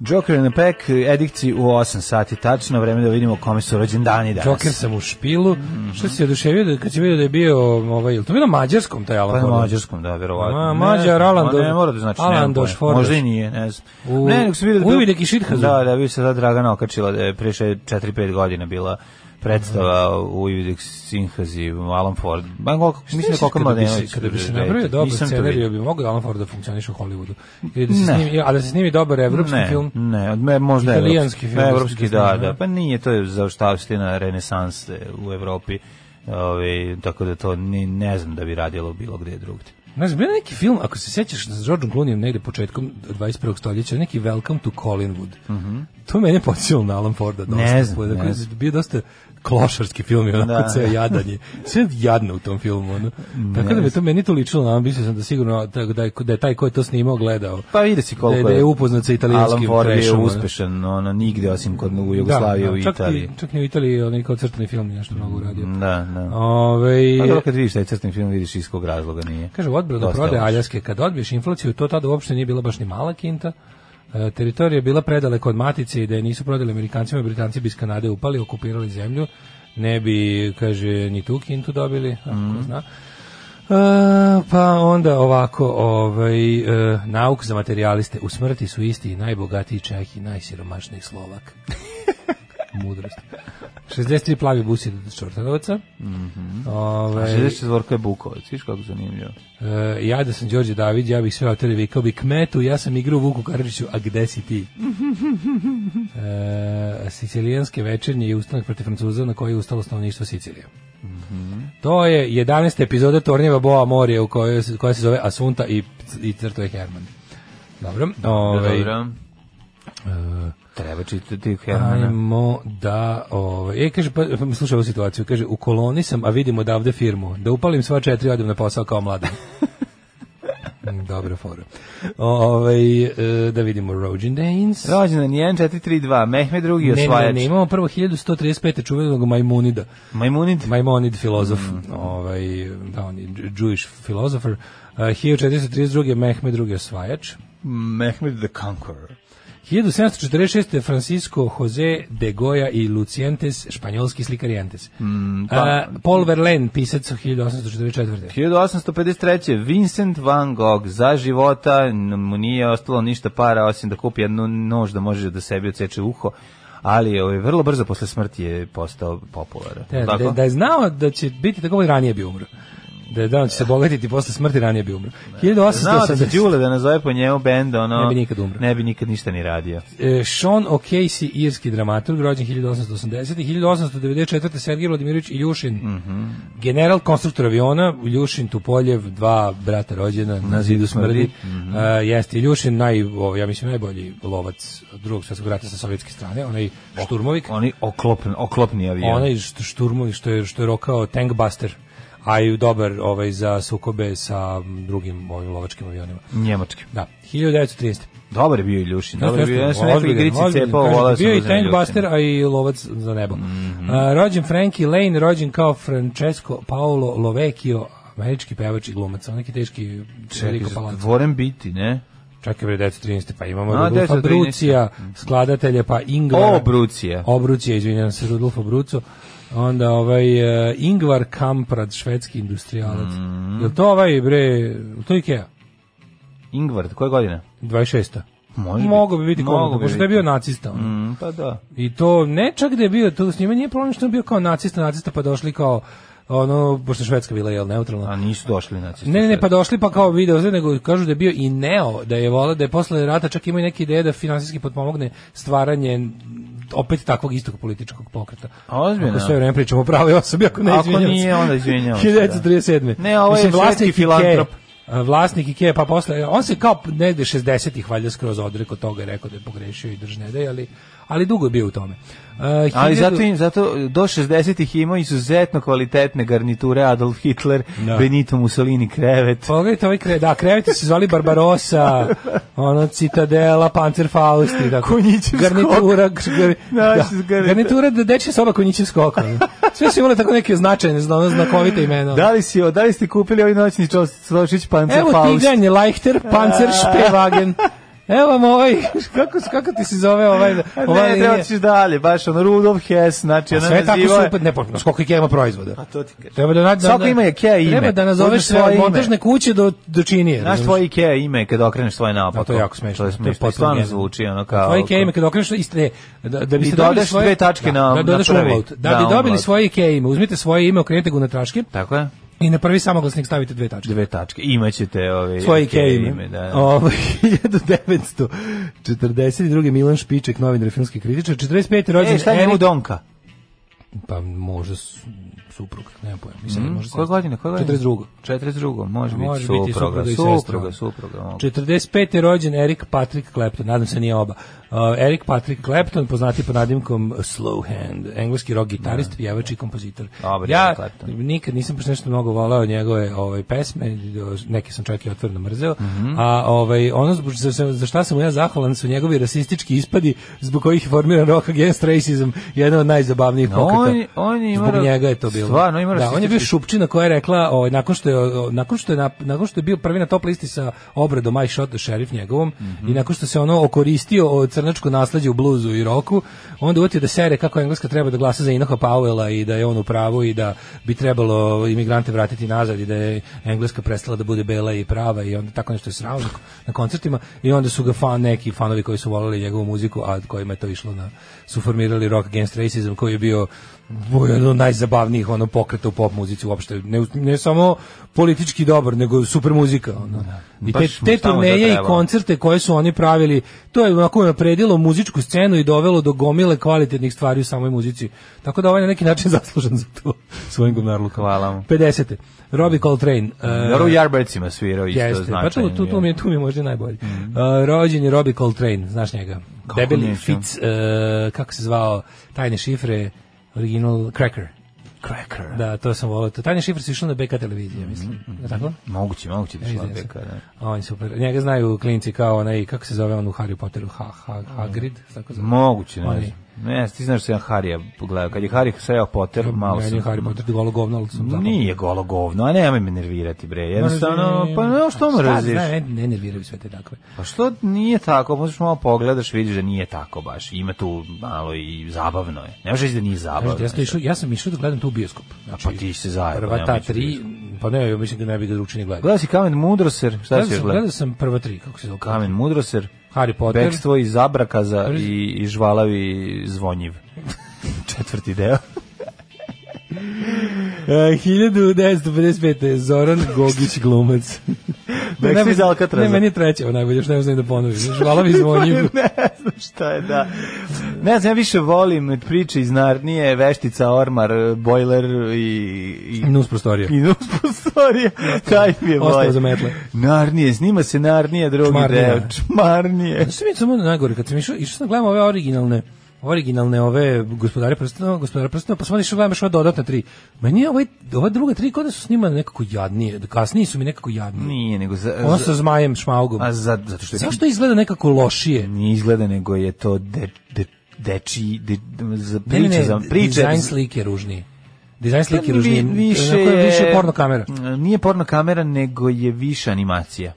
F: Joker and the Pack, edikci u 8 sati, tačno vreme da vidimo kome su rođendani danas.
G: Joker sam u špilu. Što si se oduševio da- kad si vidio da je bio ovaj, jel to bilo na mađarskom taj Alan
F: Pa na
G: Ford?
F: mađarskom, da, verovatno.
G: Ma,
F: Ne
G: Mađar,
F: znam,
G: Alan
F: ma
G: Do-
F: Ne mora da znači,
G: Alan
F: nemam
G: Doš
F: pojma.
G: Fordoš.
F: Možda i nije, ne znam.
G: U-
F: ne, nego sam vidio da...
G: Uvid je Kišithazu.
F: Da, da, vi se da Dragana okačila da je pre 4-5 godina bila predstava u Uvidek Sinhazi, u Alan Ford. Ma, koliko- mislim da
G: Misliš
F: koliko
G: kada bi se-
F: mladenović.
G: Kada bi se
F: dete.
G: napravio dobar
F: Nisam to
G: scenarij,
F: vidio.
G: bi mogao Alan Ford da funkcioniše u Hollywoodu. Ili da se
F: Ne.
G: snimi, a da se snimi dobar evropski
F: ne,
G: film.
F: Ne, od me možda
G: Italijanski
F: evropski.
G: film,
F: Evropski,
G: mislim da
F: da,
G: znam,
F: da.
G: ne?
F: Pa nije, to je zaoštavština renesanse u Evropi. Ove, tako da to ni, ne znam da bi radilo bilo gde drugde.
G: Ne znam, bio je neki film, ako se sjećaš s Georgeom Clooneyem negde početkom 21. stoljeća, neki Welcome to Collinwood. To mene podsjetilo na Alan Forda dosta.
F: Mhm. Ne znam,
G: Dakle,
F: ne znam.
G: Bio dosta klošarski film i onako
F: Da.
G: ceo jadanje. Sve jadno u tom filmu. Ono. Tako da me to meni to ličilo na mislio sam da sigurno da, da, je, da je taj ko je to snimao gledao.
F: Pa vidi si koliko
G: Da je- da je upoznat sa italijanskim
F: Alan Ford je
G: trashom, ono.
F: uspešan, ono, nigde osim kod u Jugoslaviji, u
G: čak
F: Italiji.
G: I, čak ni u Italiji, onaj kao crtani film je nešto mnogo uradio.
F: Da, da.
G: Ove,
F: Pa dobro, kad vidiš taj crtni film, vidiš iz kog razloga nije.
G: Kaže, odbrana
F: Dosta
G: prodaje
F: loš.
G: Aljaske, kad odbiješ inflaciju, to tada uopšte nije bila baš ni mala kinta. E, teritorija je bila predaleko od matice i da je nisu prodali Amerikancima, Britanci bi iz Kanade upali, okupirali zemlju. Ne bi, kaže, ni tu kintu dobili, ako
F: Mhm.
G: zna. E, pa onda ovako, ovaj, e, nauk za materijaliste. U smrti su isti i najbogatiji Čeh i najsiromašniji
F: <laughs>
G: Slovak. Mudrost. 63 plavi busi do Čortanovaca.
F: Mhm.
G: Ovaj,
F: Kaže, Znaš, Zvorko je Bukovac, viš kako zanimljivo.
G: E, ja da sam Đorđe David, ja bih sve otere vikao bi kmetu, ja sam igrao Vuku Karadžiću, a gde si ti? E, sicilijanske večernje i ustanak protiv Francuza na koji je ustalo stanovništvo Sicilije. To je 11. epizoda Tornjeva Boa Morije u kojoj, se- koja se zove Asunta i, i crto je Herman. Dobro. Ovaj,
F: Dobro. E, Treba čitati Hermana.
G: Ajmo da, ovaj, e, kaže, pa, pa slušaj ovu situaciju, kaže, u koloni sam, a vidim odavde firmu, da upalim sva četiri, odem na posao kao mladan. Mm, Dobra fora. Ovaj, e, da vidimo Rođendanes.
F: Rođendan 1432, Mehmed II
G: Ne, ne,
F: osvajač.
G: ne, imamo prvo 1135. čuvenog Majmunida.
F: Majmunid.
G: Majmonid filozof, ovaj, da, on je Dž- Jewish philosopher. Uh, 1432. Mehmed II. osvajač.
F: Mehmed the Conqueror.
G: 1746. Francisco Jose de Goya i Lucientes, španjolski slikar Jentes.
F: pa-
G: A, Paul Verlaine, pisac 1844.
F: 1853. Vincent van Gogh za života n- mu nije ostalo ništa para osim da kupi jednu nož da može da sebi odseče uho, ali je ovaj, vrlo brzo posle smrti je postao popularan.
G: Da,
F: Tako?
G: da, da je znao da će biti tako, on je ranije bi umro. Da je da on će se bogatiti posle smrti, ranije bi umro.
F: Znao da se
G: 1880.
F: Đule da nazove po njemu bend, ono...
G: Ne bi nikad umro.
F: Ne bi nikad ništa ni radio.
G: E, Sean O'Casey, irski dramaturg, rođen 1880. 1894. Sergij Vladimirović Iljušin, general konstruktor aviona, Iljušin Tupoljev, dva brata rođena na zidu smrdi. E, jeste Iljušin, naj, o, ja mislim, najbolji lovac drugog svjetskog rata sa sovjetske strane, onaj šturmovik,
F: Oni oklopni, oklopni avion.
G: onaj št- šturmovik što je, što je rokao tankbuster, a i dobar ovaj, za sukobe sa drugim ovim lovačkim avionima.
F: Njemački.
G: Da, 1913.
F: Dobar je bio Iljušin. Dobar je bio, ja sam
G: Ozbiljan,
F: nekog igrici
G: ozbiljan,
F: cepao,
G: kažem,
F: volao sam Mhm.
G: Bio i
F: da znam
G: tankbuster,
F: Iljušina.
G: a i lovac za nebo. A, rođen Frankie Lane, rođen kao Francesco Paolo Lovecchio, američki pevač i glumac, on neki teški veliko palac.
F: Dvoren biti, ne?
G: Čekaj bre, 1913. Pa imamo
F: A,
G: Rudolfa
F: 1913.
G: Brucija, skladatelja, pa Ingvar.
F: O, Brucija.
G: Obrucija, izvinjam se, Rudolfa Brucu. Onda ovaj e, Ingvar Kamprad, švedski industrijalac.
F: Mhm.
G: Jel to ovaj, bre, jel to Ikea?
F: Ingvard, koje godine?
G: 26.
F: Može biti.
G: Mogu bi biti
F: Mogu
G: komotno,
F: bi
G: pošto
F: biti.
G: je bio nacista. ono. on.
F: Mm, pa da.
G: I to ne čak da je bio, to s njima nije problem što je bio kao nacista, nacista pa došli kao ono, pošto je Švedska bila jel neutralna.
F: A nisu došli nacisti.
G: Ne, ne, ne, pa došli pa kao video, znači, nego kažu da je bio i neo, da je vola, da je posle rata čak imao i neke ideje da finansijski potpomogne stvaranje opet takvog istog političkog pokreta.
F: A, ozbiljno?
G: Ako sve vreme pričamo o pravoj osobi, ako ne
F: Ako
G: izvinjam se.
F: nije, onda izvinjavam se, da.
G: 1937.
F: Ne, ovo je
G: Mislim,
F: švedski
G: vlasnik Ikee-
F: filantrop.
G: a, vlasnik Ikea, pa posle, on se kao negde 60-ih valjda skroz odrekao toga i rekao da je pogrešio i drž ne daj, ali, ali dugo je bio u tome. Uh,
F: Ali zato im zato e, do 60-ih imao izuzetno kvalitetne garniture Adolf Hitler,
G: Da.
F: Benito Mussolini krevet.
G: Pogledajte ovaj kre, da, kreveti su zvali Barbarosa, ono Citadela, Panzerfaust i tako.
F: Konjićev
G: garnitura, skok. Gar,
F: Naši
G: da,
F: s garnitura.
G: garnitura da dečja soba konjićev skok. ono. Sve su imale tako neke značajne, zna- ono, znakovite imena.
F: Da li si, da li ste kupili ovaj noćni čos- čošić Panzer
G: Evo
F: Faust?
G: tiganj, Leichter, Panzer, Spewagen. Evo vam ovaj, <laughs> kako, kako ti se zove ovaj?
F: A
G: ovaj
F: Ne, treba ćeš dalje, baš ono Rudolf Hess, znači
G: A
F: ono
G: sve je tako
F: naziva je-
G: super, ne, pa, skoliko Ikea ima proizvoda.
F: A to ti kažem.
G: Treba da nađe
F: Svako ima Ikea ime.
G: Treba da nazoveš
F: Uzmeš
G: sve
F: svoje
G: od
F: ime.
G: montažne kuće do do činije.
F: Znaš
G: razumeš?
F: tvoje Ikea ime kada okreneš svoje naopako?
G: A to je jako smešno.
F: To je
G: To je
F: smešno.
G: potpuno
F: I stvarno
G: genijalno.
F: zvuči ono kao...
G: Tvoje Ikea ime kad okreneš iste da, da biste
F: I
G: dobili
F: dodaš
G: svoje
F: dve tačke
G: da,
F: na-
G: da
F: na
G: dodaš
F: prvi.
G: umlaut. Da,
F: Da,
G: bi dobili
F: umlaut.
G: svoje Ikea ime, uzmite svoje ime, okrenite ga na traške
F: Tako je?
G: i na prvi samoglasnik stavite dve tačke.
F: Dve tačke. Imaćete ove...
G: svoje Ovaj, Ikea ime.
F: Da, da.
G: Ovo, <laughs> 1942. Milan Špiček, novinar i filmski kritičar, 45. rođen
F: E, šta je njemu
G: Erik-
F: Donka?
G: Pa možda su- suprug, nema pojma. Mislim,
F: Mhm.
G: možda
F: Koje
G: se-
F: godine? Koje godine?
G: 42.
F: 42. Može,
G: Može biti
F: biti supruga.
G: supruga i
F: supruga,
G: sestra.
F: supruga, supruga. mogu.
G: 45. je rođen Erik Patrick Clapton, nadam se nije oba. Uh, Erik Patrick Clapton, poznati pod nadimkom Slow Hand, engleski rock gitarist, pjevač i kompozitor.
F: Dobar je
G: ja
F: Eric Clapton.
G: nikad nisam baš nešto mnogo volao njegove ovaj, pesme, neke sam čak i otvorno mrzeo,
F: Mhm.
G: a ovaj, ono zbog- za, za, za šta sam mu ja zahvalan su njegovi rasistički ispadi zbog kojih je formiran rock against racism, jedan od najzabavnijih
F: No,
G: pokreta.
F: on- on je imao
G: zbog
F: ra-
G: njega je to bilo.
F: stvarno imao
G: da, on je bio
F: rasistički-
G: Šupčina koja je rekla, ovaj, nakon što je o, nakon što je nap- nakon što je bio prvi na top listi sa obradom My Shot the Sheriff njegovom i nakon što se ono okoristio od crnačko nasleđe u bluzu i roku, onda uvetio da sere kako engleska treba da glasa za Inoha Powella i da je on u pravu i da bi trebalo imigrante vratiti nazad i da je engleska prestala da bude bela i prava i onda tako nešto je srao na, na koncertima i onda su ga fan neki fanovi koji su voleli njegovu muziku, a kojima je to išlo na su formirali Rock Against Racism koji je bio bio jedan od najzabavnijih ono pokreta u pop muzici uopšte ne, ne samo politički dobar nego super muzika ono. i te,
F: Baš mu
G: te
F: samo to
G: turneje i
F: treba.
G: koncerte koje su oni pravili to je onako napredilo muzičku scenu i dovelo do gomile kvalitetnih stvari u samoj muzici tako da ovaj na neki način <laughs> zaslužen za to svojim gumnarlukom
F: Hvala mu.
G: 50. Robbie Coltrane e,
F: Dobro, u Jarbecima svirao isto
G: Jeste, pa
F: značajno
G: tu, tu, tu,
F: je.
G: mi je, tu mi je možda najbolji. Uh, rođen je Robbie Coltrane, znaš njega.
F: Kako
G: Debeli
F: neću.
G: Fitz, uh, kako se zvao, tajne šifre, original Cracker. Cracker. Da, to sam volio. Tajne šifre su išle na BK
F: Mhm,
G: televizije, mislim. Je tako?
F: Moguće, moguće da
G: Vidi
F: šla
G: se.
F: beka, da.
G: A On je super. Njega znaju klinci kao onaj, kako se zove on u Harry Potteru, ha, ha, Hagrid,
F: Mhm.
G: tako zove.
F: Moguće,
G: On
F: ne
G: je-
F: znam. Ne, ti znaš da sam ja Harija pogledao. Kad je Harij sreo Potter, malo
G: Meni
F: sam...
G: je Harry Potter golo govno, ali sam zapamtio.
F: Nije golo govno, a nemoj me nervirati, bre. Jednostavno,
G: Mrzim.
F: pa no, što
G: Šta,
F: mraziš?
G: Ne, ne, ne nerviraju sve te dakle. takve.
F: Pa što nije tako? Možeš malo pogledaš, vidiš da nije tako baš. Ima tu malo i zabavno je. Ne možeš reći da nije zabavno.
G: Kažete, ja sam išao, ja sam išao da gledam tu u bioskop.
F: Pa
G: Znači,
F: A pa ti si zajebao,
G: Prva
F: nemoj
G: ta
F: ići u
G: tri, pa ne, ja mislim da ne bih ga drugčije ni gledao.
F: Gledao si Kamen Mudroser? Šta
G: Gledao
F: si još
G: sam,
F: gledao?
G: gledao sam prva tri, kako se zove.
F: Kamen Mudroser,
G: Harry Potter.
F: Bekstvo iz Zabrakaza
G: Prvi-
F: i, i Žvalavi
G: <laughs>
F: zvonjiv. Četvrti deo.
G: E, 1955. e, Zoran
F: <laughs>
G: Gogić glumac.
F: Bekstvo
G: Ne,
F: iz Alcatraza.
G: Ne,
F: Pa
G: meni je treća, onaj, još ne znam da ponovim. Žvalavi zvonjiv.
F: <laughs> ne znam šta je, da. Ne znam, ja više volim priče iz Narnije, veštica, ormar, bojler i... i
G: Nus prostorija.
F: I nus prostorija, taj mi je
G: Ostao
F: bolje.
G: za metle.
F: Narnije, snima se Narnije, drugi
G: Čmarnije.
F: deo, Čmarnije.
G: Znaš što mi je samo najgore, kad sam išao, išao sam gledam ove originalne originalne ove gospodare prstena, gospodare prstena, pa sam onda išao gledam još ova dodatna tri. Meni je ovaj, ova druga tri kod da su snimane nekako jadnije, kasnije su mi nekako jadnije.
F: Nije, nego... Za,
G: Ono
F: za-
G: sa zmajem šmaugom.
F: a za, zato što je...
G: Zašto izgleda nekako lošije?
F: Nije izgleda, nego je to de, de, deči, de, za
G: Ne, ne,
F: priče,
G: ne,
F: za priče.
G: dizajn slike je ružniji. Dizajn
F: Pa
G: slike je ružniji.
F: vi- više
G: Onako je Mm.
F: je...
G: više porno kamera.
F: Nije porno kamera, nego je više animacija.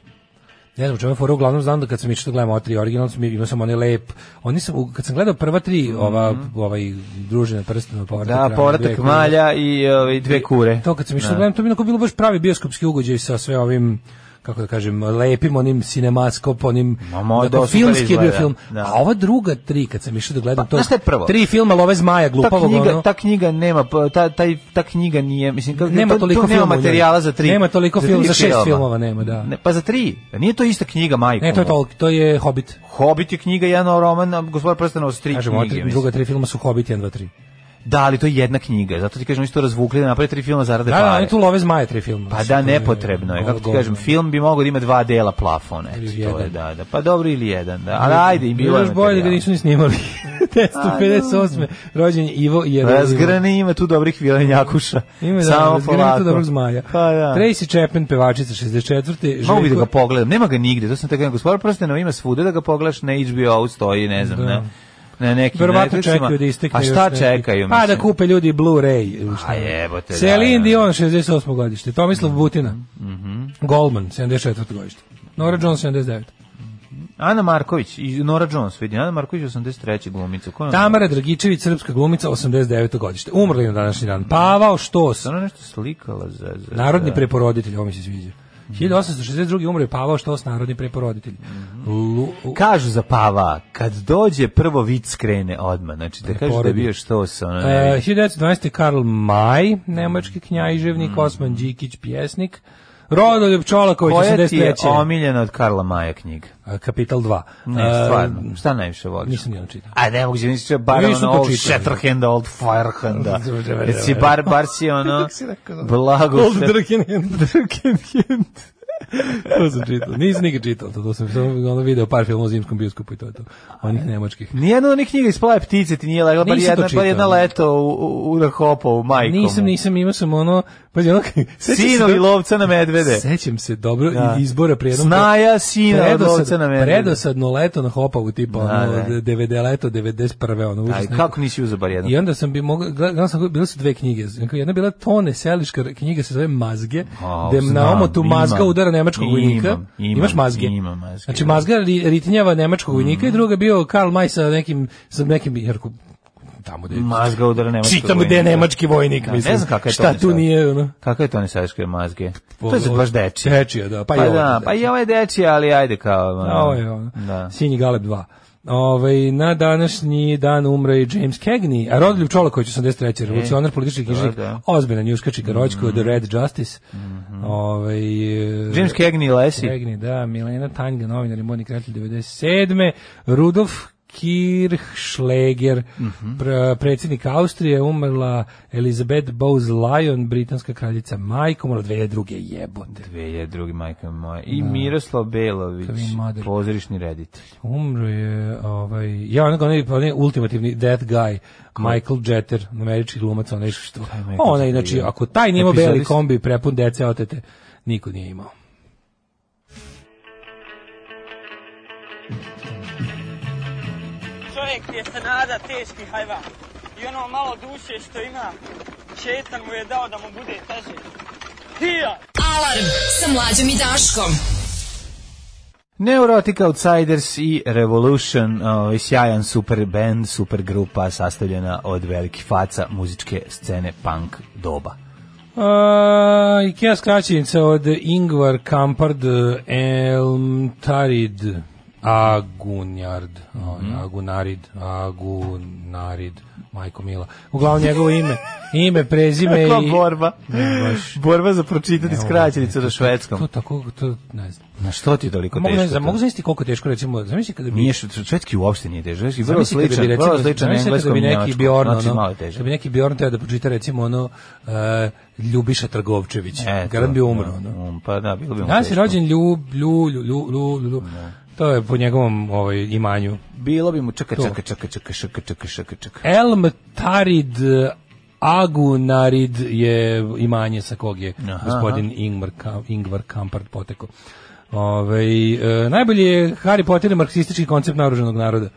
G: Ne znam u čemu je fora, uglavnom znam da kad sam išao da gledam ova tri originalno, sam imao sam onaj lep. Oni sam, u- kad sam gledao prva tri, ova, ovaj družina prstena, povratak,
F: Mhm. Da,
G: Rame, dve
F: povratak
G: kugle.
F: malja i ovaj, dve kure.
G: To kad sam išao da gledam, to bi onako bilo baš pravi bioskopski ugođaj sa sve ovim kako da kažem, lepim onim cinemaskop, onim
F: Ma, ma,
G: onako
F: da, super
G: filmski je bio
F: izgleda,
G: film.
F: da.
G: A ova druga tri, kad sam išao da gledam,
F: Pa,
G: to
F: znaš šta je prvo?
G: tri filma Love Zmaja,
F: ta
G: glupavog,
F: knjiga,
G: ono.
F: ta knjiga nema, pa, ta, taj, ta knjiga nije, mislim, kako,
G: Nema
F: to-
G: toliko
F: to nema
G: filmova u njoj.
F: materijala za tri.
G: Nema toliko
F: tri
G: film- za šest filmova nema, da.
F: Ne, pa za tri, nije to ista knjiga, majko.
G: Ne, to je
F: moja.
G: to, to je Hobbit.
F: Hobbit je knjiga, jedan roman, a gospodar prstanova su tri
G: Kažem, ova
F: knjige.
G: tri,
F: mislim.
G: druga tri filma su Hobbit 1, 2, 3.
F: Da, ali to je jedna knjiga, zato ti kažem, oni su to razvukli da naprave tri filma zarade
G: Da, da,
F: pare.
G: oni tu love zmaje tri filma. ono,
F: Pa da, nepotrebno je, kako ti kažem, film bi mogao da ima dva dela plafone.
G: Ili
F: To je,
G: jedan.
F: da, da, pa dobro ili jedan, da, ali ajde, i bilo je
G: Još bolje da ga
F: materijala.
G: nisu ni snimali. <laughs> 1958.
F: Mm.
G: rođen je Ivo Jerolim.
F: Razgrani ima tu dobrih vilenjakuša.
G: Ima da,
F: Samo
G: razgrani
F: polako.
G: tu dobrog zmaja.
F: Pa da.
G: Tracy Chapman, pevačica 64.
F: Mogu bi da
G: Željko-
F: ga pogledam, nema ga nigde, to sam tako jedan gospodar prstenova, ima svuda da ga pogledaš, na HBO-u stoji, ne znam, na, na nekim
G: Verovatno
F: Netflixima.
G: čekaju da istekne
F: A
G: još
F: šta
G: neki.
F: čekaju?
G: Pa da
F: mislim?
G: kupe ljudi Blu-ray.
F: A jebote, da,
G: Celine
F: da. Mhm.
G: Dion, 68. godište. Tomislav Butina. Goldman, 74. godište. Nora Jones, 79.
F: Ana Marković i Nora Jones, vidi, Ana Marković 83. glumica. Ko je ona?
G: Tamara Dragičević, srpska glumica, 89. godište. Umrli na današnji dan. Pavao Štos,
F: Ona nešto slikala za... za
G: narodni
F: za-
G: preporoditelj, ovo mi se sviđa.
F: Mhm.
G: 1862. umre Pavao Štos, narodni preporoditelj.
F: Mhm.
G: Lu- u-
F: Kažu za Pava, kad dođe prvo vic krene odmah, znači da kažu da je
G: porodi.
F: bio što se ono ne
G: E,
F: vidi.
G: 1912. je Karl Maj, nemački knjaiževnik, Osman Đikić, pjesnik. Rodoljub Čolaković,
F: Mhm. Koja ti je
G: 83.
F: omiljena od Karla Maja knjiga?
G: A, Kapital 2.
F: Ne,
G: E,
F: stvarno, šta najviše voliš?
G: Nisam nijedan čitao.
F: A ne mogu se nisi čitao bar
G: Nisam
F: ono
G: to
F: old
G: čitao.
F: Shatterhanda, old
G: <laughs>
F: Firehanda.
G: Dobro, dobro,
F: Jer si
G: dobro.
F: bar, bar si ono...
G: <laughs> Kako si rekao za-
F: Blago
G: Old
F: Shat-
G: Druckenhand. to sam čitao. Nisam nikad čitao to. To sam samo ono video par filmova u zimskom bioskopu i to je to. Onih nemačkih.
F: Nijedna od onih knjiga iz Plave ptice ti nije legla, bar
G: Nisam to
F: jedna, bar
G: čitao.
F: jedna leto u, u, u na hopovu, majkom.
G: Nisam, nisam, imao sam ono... Pazi, ono... sećam se
F: Sinovi
G: do-
F: lovca na medvede.
G: Sećam se dobro
F: Da.
G: i izbora prijedom.
F: Snaja sina od lovca na medvede.
G: Predosadno leto na hopavu, tipa
F: Da,
G: ono,
F: da.
G: 90 leto, 91. Ono,
F: Aj,
G: užasno.
F: kako nisi uzeo bar jednu?
G: I onda sam bi mogao, gledao sam, bile su dve knjige. Jedna je bila Tone Seliška, knjiga se zove Mazge,
F: A,
G: gde na
F: znam,
G: omotu mazga
F: imam.
G: udara nemačkog
F: Imam,
G: vojnika.
F: imam,
G: Imaš mazge?
F: imam mazge,
G: Znači,
F: da. Mhm.
G: mazga ri- ritinjava nemačkog vojnika i druga je bio Karl Maj sa nekim, sa nekim, jer ko- tamo gde
F: Mazga udara nemačka.
G: Čitam gde je nemački vojnik,
F: Da, ne
G: mislim.
F: znam kakva je
G: Šta
F: Tone
G: tu
F: Seliška.
G: nije, ono?
F: Kakve to ne saješke mazge? To je za baš dečije.
G: Dečija, da. Pa, i
F: Pa,
G: ovo je
F: da, pa
G: dečije.
F: i ovo je dečije, ali ajde kao... ono,
G: Ovo je ono.
F: Da.
G: Sinji Galeb 2. Ove, na današnji dan umre i James Cagney, a Rodoljub Čolaković 83. revolucionar, politički knjižnik,
F: E, da. Mhm.
G: ozbiljan njuškači Garočko, The Red Justice. Ove, e,
F: James Cagney i Lesi.
G: Cagney, da, Milena Tanjga, novinar i modni kretelj 97. Rudolf Kirchschläger,
F: Mhm.
G: pr- predsjednik Austrije, umrla Elizabeth Bowes Lyon, britanska kraljica majka, umrla 2002. jebote.
F: 2002. majka moja. I Miroslav Belović,
G: Kevin Mader.
F: pozorišni reditelj.
G: Umro je ovaj ja onog onaj pa onaj ultimativni death guy Michael Jeter, američki glumac onaj što.
F: je Michael
G: Ona
F: Jeter
G: inače
F: bio?
G: ako taj nije imao
F: Epizodist?
G: beli kombi prepun dece otete, niko nije imao.
J: Čovjek je se nada teški hajvan. I ono malo duše što ima, šetan mu je dao da mu bude teže. Hija!
E: Alarm sa mlađom i Daškom.
F: Neurotic Outsiders i Revolution, ovaj, sjajan super band, super grupa sastavljena od velikih faca muzičke scene punk doba.
G: A, Uh, Ikea skraćenica od Ingvar Kampard Elmtarid Agunjard
F: Mhm.
G: ovaj, Agunarid Agunarid Majko Mila uglavnom njegovo ime ime,
F: <laughs>
G: prezime
F: Kakva
G: i
F: borba? Borba za pročitati skraćenicu na
G: to
F: švedskom.
G: tako to ne znam
F: Na što ti je toliko
G: Mogu,
F: teško?
G: ne znam,
F: to?
G: mogu zamisliti koliko je teško, recimo, zamisli kada bi...
F: Nije šv- švedski uopšte nije teže. Švedski je vrlo
G: zamisli kada bi,
F: sličan,
G: recimo,
F: vrlo sličan
G: zamisli kada
F: engleskom
G: bi
F: i
G: neki
F: nemačkom.
G: Bjorn,
F: znači,
G: ono,
F: malo je
G: kada
F: teže.
G: bi neki Bjorn teo da pročita, recimo, ono, e, Ljubiša Trgovčević,
F: Eto,
G: garant bi umro,
F: da,
G: ono.
F: um, Pa da, bilo bi mu
G: Danas je
F: teško.
G: rođen Ljub, Lju, Lju, Lju, Lju, Lju. To je po njegovom ovaj, imanju.
F: Bilo bi mu čeka,
G: To.
F: čeka, čeka, čeka, čeka, čeka, čeka,
G: <laughs>
F: čeka.
G: Elm Tarid eh, Agunarid je imanje sa kog je
F: Aha.
G: gospodin Ingvar, Kam- Ingvar Kampard potekao. Ovaj e, najbolji je Harry Potter i marksistički koncept naoružanog naroda.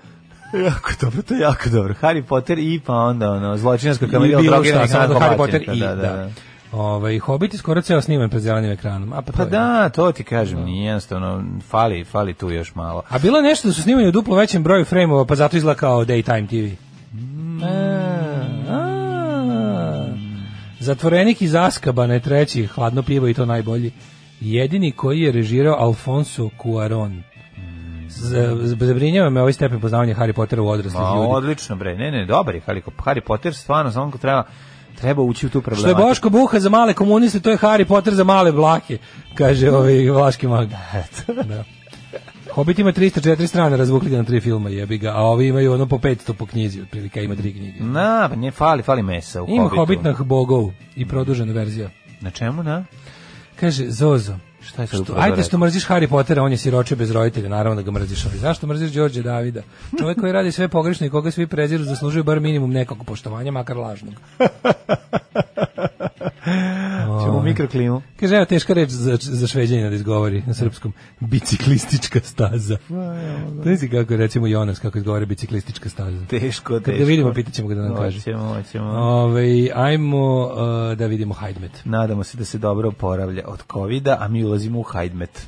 F: Jako dobro, to je jako dobro. Harry Potter i pa onda ono, zločinačka
G: I
F: kamerija od
G: bilo
F: droge
G: šta,
F: na
G: samo da Harry Potter
F: Kovačenka,
G: i,
F: da, da, da.
G: Ovaj, Hobbit je skoro ceo sniman pred zelenim ekranom. A pa, to
F: Pa
G: je.
F: da, to ti kažem, nije jednostavno, fali, fali tu još malo.
G: A bilo je nešto da su snimani u duplo većem broju frejmova, pa zato izgleda kao daytime E, TV.
F: Mm.
G: A, a. Zatvorenik iz Askabana je treći, hladno pivo i to najbolji. Jedini koji je režirao Alfonso Cuaron.
F: Mm.
G: Z- z- Zabrinjava me ovaj stepen poznavanja Harry Pottera u odraslih
F: Ma,
G: ljudi.
F: odlično bre, ne, ne, dobar je Harry, Harry Potter, stvarno, samo ko treba, treba ući u tu
G: Što je
F: problematiku.
G: Boško Buha za male komuniste, to je Harry Potter za male blake, kaže ovaj vlaški mag. Da. Hobbit ima 304 strane, razvukli ga na tri filma, jebi ga, a ovi imaju ono po 500 po knjizi, otprilike, a ima tri knjige.
F: Na, pa ne, fali, fali mesa u
G: Ima
F: Hobbitu.
G: Hobbit na bogov i produžena verzija.
F: Na čemu, na?
G: Kaže, Zozo,
F: Šta je sad
G: što,
F: upravo
G: ajde
F: rekao?
G: što mrziš Harry Pottera, on je siroče bez roditelja, naravno da ga mrziš, ali zašto mrziš Đorđe Davida? Čovjek koji radi sve pogrešno i koga svi preziru zaslužuje bar minimum nekog poštovanja, makar lažnog.
F: Čemu mikroklimu?
G: Kaže, evo teška reč za, za šveđanina da izgovori na srpskom. Biciklistička staza. Da si kako recimo Jonas kako izgovori biciklistička staza.
F: Teško, teško.
G: Kad ga vidimo, pitat ćemo ga da nam kaže.
F: Hoćemo, hoćemo.
G: Ove, ajmo uh, da vidimo Hajdmet.
F: Nadamo se da se dobro oporavlja od covida, a mi ulazimo u hajdmet.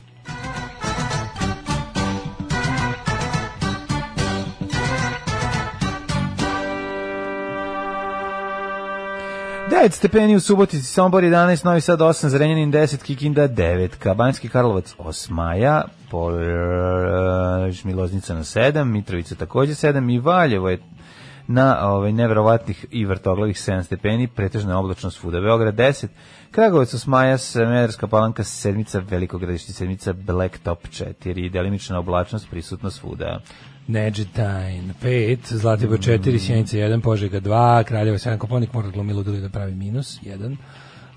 F: 9 stepeni u Subotici, Sombor 11, Novi Sad 8, Zrenjanin 10, Kikinda 9, Banjski Karlovac 8 maja, Pol, Miloznica na 7, Mitrovica takođe 7 i Valjevo je na ovaj neverovatnih i vrtoglavih 7 stepeni, pretežna oblačnost svuda. Beograd 10, Kragovac 8 maja, Smederska palanka sedmica, Veliko gradište sedmica, Blacktop 4 i delimična oblačnost prisutna svuda.
G: Nedžetajn 5, Zlatibor 4, Sjenica 1, Požega 2, Kraljevo 7, Koponik mora glumilo duli da pravi minus 1.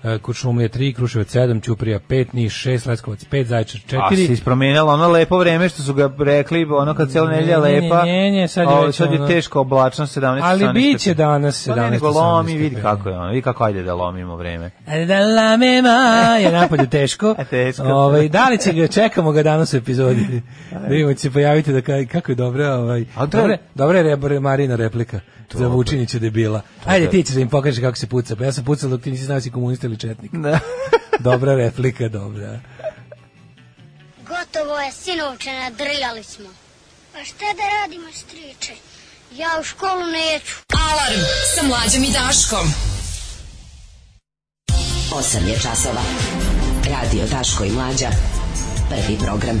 G: E, Kuršumlija 3, Kruševac 7, Ćuprija 5, Niš 6, Leskovac 5, Zaječar
F: A se
G: 4.
F: ispromenjalo ono lepo vreme što su ga rekli, ono kad cijela nedelja
G: Ne, ne,
F: lepa.
G: ne, ne, sad je
F: ovo,
G: već
F: sad je
G: ono-
F: teško oblačno 17
G: Ali
F: 18
G: biće
F: stepeni.
G: danas
F: Pa ne,
G: 17
F: nego lomi,
G: 18
F: vidi
G: stepeni.
F: kako je ono, vidi kako ajde da lomimo vreme.
G: Da la me ma, je napolju
F: <laughs>
G: teško.
F: A teško.
G: Ovaj, da li će ga, čekamo ga danas u
F: <laughs>
G: epizodi. da vidimo, će se pojaviti da kaj, kako je dobra, ovaj,
F: A to je-
G: dobra, dobra je Reb- Marina replika za Vučinića debila. Ajde, ti ćeš da im pokažeš kako se puca. Pa ja sam pucao dok ti nisi znao si komunista ili četnik.
F: Da.
G: <laughs> dobra replika, dobra.
K: Gotovo je, sinovče, nadrljali smo. Pa šta da radimo, striče? Ja u školu neću.
E: Alarm sa mlađom i Daškom.
L: 8 je časova. Radio Daško i Mlađa. Prvi program.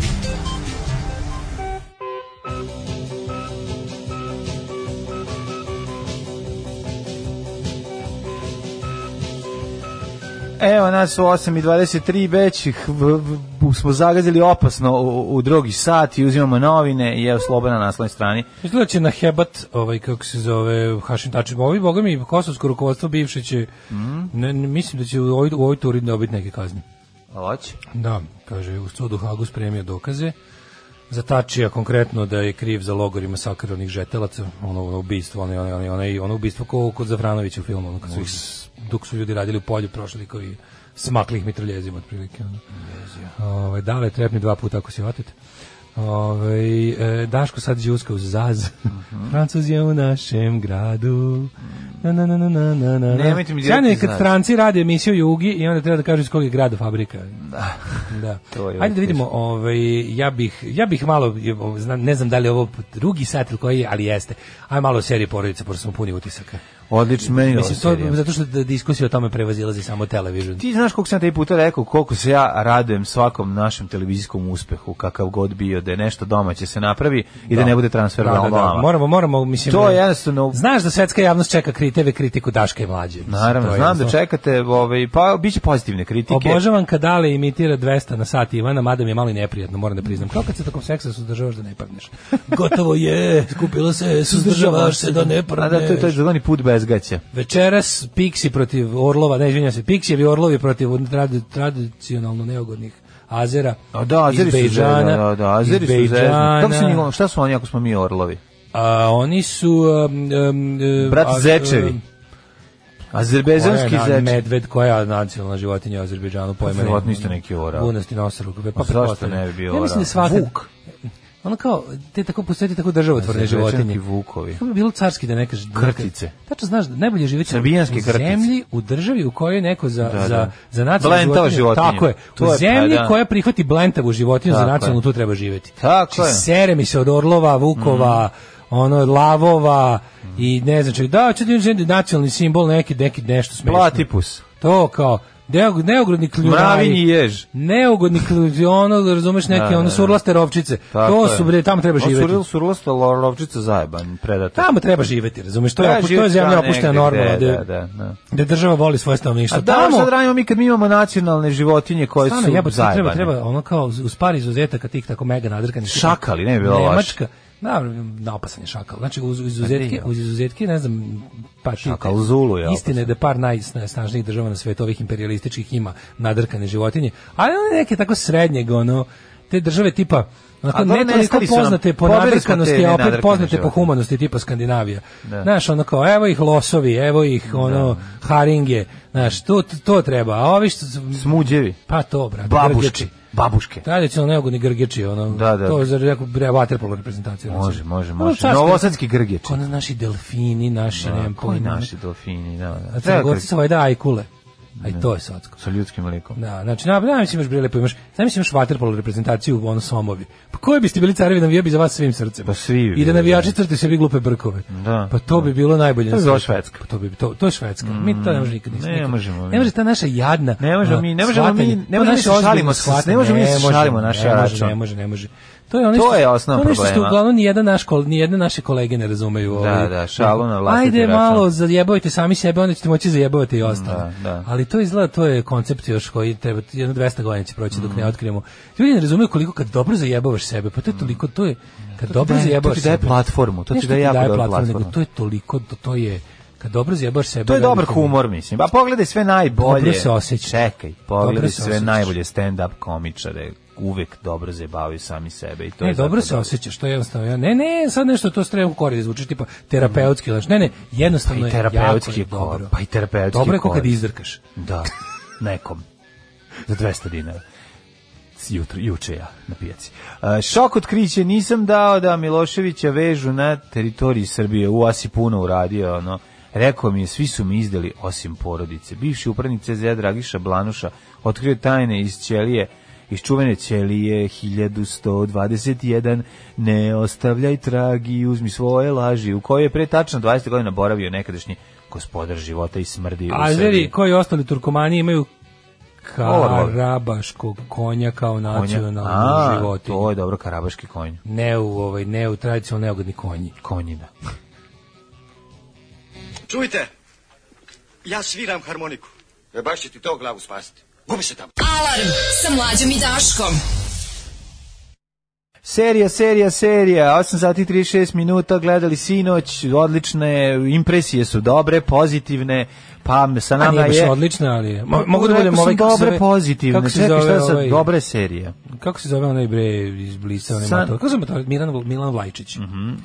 F: Evo nas u 8.23 već ih v- v- smo zagazili opasno u, u drugi sat i uzimamo novine i evo sloba na naslovnoj strani.
G: Izgleda će na hebat, ovaj, kako se zove, Hašim Tačin, ovi, boga mi, kosovsko rukovodstvo bivše će,
F: Mm.
G: ne, ne, mislim da će u ovoj, u ovoj turi dobiti neke kazne.
F: Loć.
G: Da, kaže, u sudu u Hagu spremio dokaze za Tačija konkretno da je kriv za logor i masakr onih žetelaca, ono, ono ubistvo, ono, ono, ono, ono, ono ubistvo ko kod Zavranovića u filmu, ono, kad su ih, s- dok su ljudi radili u polju, prošli koji smakli ih mitraljezima, otprilike. Ono. Ove, da li trepni dva puta ako se vatite? Ove, e, Daško sad džuska uz zaz.
F: Mhm.
G: Francuz je u našem gradu. Na, na, na, na, na, na, na.
F: Nemojte mi dirati
G: Sjajno je kad
F: zaz.
G: stranci rade emisiju Jugi i onda treba da kažu iz kog je grada fabrika. Da. da.
F: <laughs> To je uvijek
G: Ajde da vidimo, ovaj, ja, bih, ja bih malo, je, o, zna- ne znam da li je ovo drugi sat ili koji je, ali jeste. Ajde malo o seriji porodice, pošto smo puni utisaka.
F: Odlično, meni je
G: Mislim, to,
F: ovo serija.
G: je zato što da diskusija o tome prevazilazi samo televizion.
F: Ti znaš koliko sam taj puta rekao, koliko se ja radujem svakom našem televizijskom uspehu, kakav god bio, da je nešto domaće se napravi i da, ne bude transfer
G: da, da, da.
F: budalama.
G: Moramo, moramo, mislim...
F: To je jednostavno-
G: Znaš da svetska javnost čeka kri, TV kritiku Daška i Mlađe. Mislim,
F: Naravno,
G: to je
F: znam da
G: jednostavno-
F: čekate, ovaj, pa biće pozitivne kritike.
G: Obožavam kad Ale imitira 200 na sat Ivana, mada mi je malo i neprijatno, moram da priznam. Kao kad se tokom seksa suzdržavaš da ne
F: <laughs>
G: padneš. Gotovo je, skupila se, suzdržavaš se da ne
F: A da, to je taj
G: padneš.
F: zeleni put bez gaća.
G: Večeras Piksi protiv Orlova, ne izvinjam se, Piksijevi Orlovi protiv tradi- tradicionalno neogodnih Azera.
F: A da, Azeri
G: iz
F: su
G: Bejđana,
F: zezni, da, da, Azeri
G: iz
F: su zezni. Kako su
G: Bejđana.
F: njih- ono, šta su oni ako smo mi orlovi?
G: A, oni su... Um, um, um,
F: Brat
G: a-
F: zečevi.
G: um,
F: Azerbejdžanski
G: koja je na-
F: zeč.
G: Medved, koja je nacionalna životinja u Azerbejdžanu, pojma nema.
F: verovatno isto neki orao.
G: Vunasti nosorog. Pa
F: zašto
G: pretpostavljam.
F: ne bi bio
G: Ja mislim da
F: orao?
G: svaka...
F: Vuk.
G: Ono kao, te tako postoje tako državotvorne životinje.
F: Azerbejdžanski vukovi.
G: Kako bi bilo carski da ne kažeš?
F: Krtice.
G: Tačno znaš, da najbolje je živjeti
F: Srbijanske
G: u
F: krtice.
G: zemlji, u državi u kojoj je neko za,
F: Da,
G: za,
F: da.
G: za nacionalnu
F: Blentava životinja.
G: Tako je.
F: To
G: u
F: je, pa
G: zemlji
F: da.
G: koja prihvati blentavu životinju za
F: Tako je.
G: nacionalnu, tu treba živjeti.
F: Tako
G: Znači,
F: je. Mm.
G: sere mi se od orlova, vukova, ono, lavova, i ne znam čega. Da, ću ti uzeti nacionalni simbol, neki, neki nešto smiješno.
F: Platipus.
G: To kao, neog- neugodni kljunaji.
F: Mravinji jež.
G: Neugodni kljunaji, ono, razumeš, neke, ono, surlaste rovčice.
F: Tako
G: to
F: je. Ono
G: su, bre, tamo treba
F: Ovo su
G: živeti.
F: ril- su rulasta lovčica zajeban, predator.
G: Tamo treba živeti, razumeš, to je,
F: Treba
G: opu- to je
F: živjeti
G: zemlja
F: tamo
G: opuštena
F: negde,
G: normalno,
F: da,
G: da,
F: da, da.
G: da država voli svoje
F: A
G: stanovništvo.
F: da,
G: tamo,
F: šta da radimo mi kad mi imamo nacionalne životinje koje
G: Stvarno,
F: su
G: jebote, sad treba,
F: zajebane?
G: treba ono kao uz- uz par izuzetaka tih tako mega nadrkanih.
F: Šakali, ne bi bilo loše. Pa
G: Nemačka, da, naopasan je šakal. Znači, uz uz izuzetke,
F: nije.
G: uz izuzetke, ne znam, pa ti-
F: Šakal Zulu je
G: Istina je da par najsnažnijih država na svetu ovih imperialističkih ima nadrkane životinje, ali one neke tako srednjeg, ono, te države tipa, Onako,
F: A dobro,
G: ne toliko
F: nestali su nam.
G: poznate po
F: Pobili smo te
G: nadrkanosti, a opet
F: nenadrkane
G: poznate po
F: životinje.
G: humanosti tipa Skandinavija. Znaš, ono kao, evo ih losovi, evo ih, ono, haringe, znaš, to, to treba, a ovi što su-
F: Smuđevi.
G: pa to, brate,
F: Babuške.
G: grgeči.
F: Babuške.
G: Tradicionalno neugodni grgeči, ono,
F: Da, da.
G: to je za neku bre, vaterpolo reprezentaciju.
F: Može,
G: recimo.
F: može,
G: Ono,
F: može.
G: čarske-
F: Novosadski grgeči.
G: Kod nas naši delfini, naši, da, nemam
F: Koji
G: pojma.
F: naši delfini, da. da.
G: A crnogorci su vajda ovaj, ajkule. A i to je socko.
F: Sa ljudskim likom.
G: Da, znači, na, na, mislim, još brilepo imaš, znam, mislim, još vaterpolo reprezentaciju u ono somovi. Pa koji biste bili carevi, navijao bi za vas svim srcem.
F: Pa svi
G: I
F: bi
G: da
F: bili,
G: navijači crte sebi glupe brkove.
F: Da.
G: Pa to bi bilo najbolje.
F: To
G: na
F: bi bila
G: svetu.
F: Švedska.
G: Pa to, bi, to, to je Švedska. Mi to ne možemo nikad.
F: Ne
G: nikad.
F: možemo mi.
G: Ne može ta naša jadna
F: Ne možemo
G: a,
F: mi- ne možemo mi-
G: shvatanje. To
F: ne možemo mi
G: naše
F: se
G: ozbiljno
F: šalimo s-
G: shvatanje.
F: ne možemo mi se
G: može,
F: šalimo naš
G: ne može,
F: račun.
G: Ne može, ne može. To je ono
F: To
G: što-
F: je osnov
G: to je ono što
F: problema.
G: uglavnom ni jedan naš kol, ni jedne naše kolege ne razumeju. ovaj.
F: da, šalu na vlastiti
G: Ajde
F: račun.
G: malo zajebavajte sami sebe, onda ćete moći zajebavati i ostalo.
F: Da, da.
G: Ali to izgleda, to je koncept još koji treba, jedno 200 godina će proći dok ne
F: Mm.
G: otkrijemo. Ljudi ne razumiju koliko kad dobro zajebavaš sebe, pa to je toliko, to je, kad
F: ti
G: dobro
F: daje-
G: zajebavaš
F: Mm. to ti daje
G: sebe-
F: platformu, to
G: Ne
F: ti
G: što
F: daje jako dobru
G: platformu, nego
F: platformu.
G: to je toliko, to, to je, kad dobro zajebavaš sebe...
F: To je dobar
G: veliki-
F: humor, mislim. Pa pogledaj sve najbolje.
G: Dobro se osjeća.
F: Čekaj,
G: Dobro
F: pogledaj
G: se
F: sve
G: osjećaš.
F: najbolje stand-up komičare. Uvek dobro zabavaju sami sebe. I to
G: ne,
F: je
G: E, dobro
F: zapravo
G: se osjećaš, to je jednostavno. ja- Ne, ne, sad nešto to stremu kori, zvuči tipa terapeutski, znači ne, ne, jednostavno
F: Pa i
G: je jako
F: terapeutski
G: je
F: je kor.
G: dobro.
F: Pa i terapeutski
G: Dobro je ko
F: kor.
G: kad izdrkaš.
F: Da, nekom. Za 200 dinara. S Jutro, juče ja na pijaci. E, šok otkriće, nisam dao da Miloševića vežu na teritoriji Srbije. U Asi puno uradio, ono. Rekao mi je, svi su mi izdali osim porodice. Bivši upravnik CZ Dragiša Blanuša otkrio tajne iz Ćelije iz čuvene ćelije 1121 ne ostavljaj tragi uzmi svoje laži u kojoj je pre tačno 20 godina boravio nekadašnji gospodar života i smrdi u Srbiji.
G: Azeri koji ostali Turkomani imaju
F: Orlove.
G: karabaškog konja kao
F: konja.
G: nacionalnu
F: A,
G: životinju.
F: To je dobro, karabaški konj.
G: Ne u, ovaj, ne u tradicionalno neugodni konji.
F: Konjina.
M: Čujte, ja sviram harmoniku. E baš će ti to glavu spasiti. Gubi se tamo.
E: Alarm sa mlađom i Daškom.
F: Serija, serija, serija, 8 sati i 36 minuta, gledali sinoć, odlične, impresije su dobre, pozitivne, pa m- sa
G: A
F: nama
G: nije baš
F: je...
G: odlična, ali je. Mo- mogu da
F: Rekao
G: budem
F: sam
G: ovaj kako se
F: dobre,
G: zove-
F: pozitivne,
G: kako se
F: čekaj,
G: zove
F: šta sad,
G: ovaj-
F: dobre serije.
G: Kako se zove onaj bre iz Blisa, onaj
F: San- Mhm.
G: motor? Kako se zove motor? Milan, Milan Vlajčić.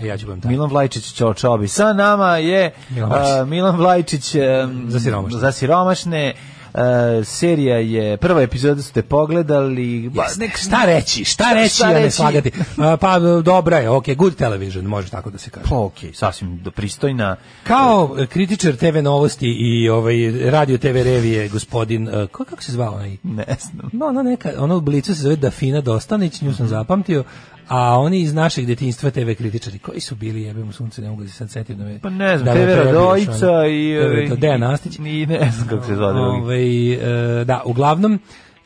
G: E, ja ću budem taj.
F: Milan Vlajčić Čočobi. Sa nama je
G: Milan
F: a,
G: Vlajčić.
F: Milan Vlajčić em,
G: Za siromašne.
F: Za siromašne. E, serija je, prva epizoda ste pogledali. ba-
G: Nek, šta reći, šta reći,
F: Šta
G: a ne
F: reći?
G: slagati. A, pa dobra je, ok, good television, može tako da se kaže.
F: Pa okej, sasvim do- pristojna.
G: Kao e, kritičar TV novosti i ovaj radio TV revije gospodin e, ko kako se zvao onaj?
F: Ne znam.
G: No, ona neka, ona u blicu se zove Dafina Dostanić, nju sam zapamtio, a oni iz našeg detinjstva TV kritičari, koji su bili, jebem u sunce, ne mogu da se sad setim da me...
F: Pa ne znam,
G: da
F: da,
G: me
F: TV
G: prebiješ, ono.
F: Radojica i...
G: TV
F: ovaj,
G: to, Dejan Nastić.
F: I ne znam kako se zove drugi.
G: Ovaj, e, da, uglavnom,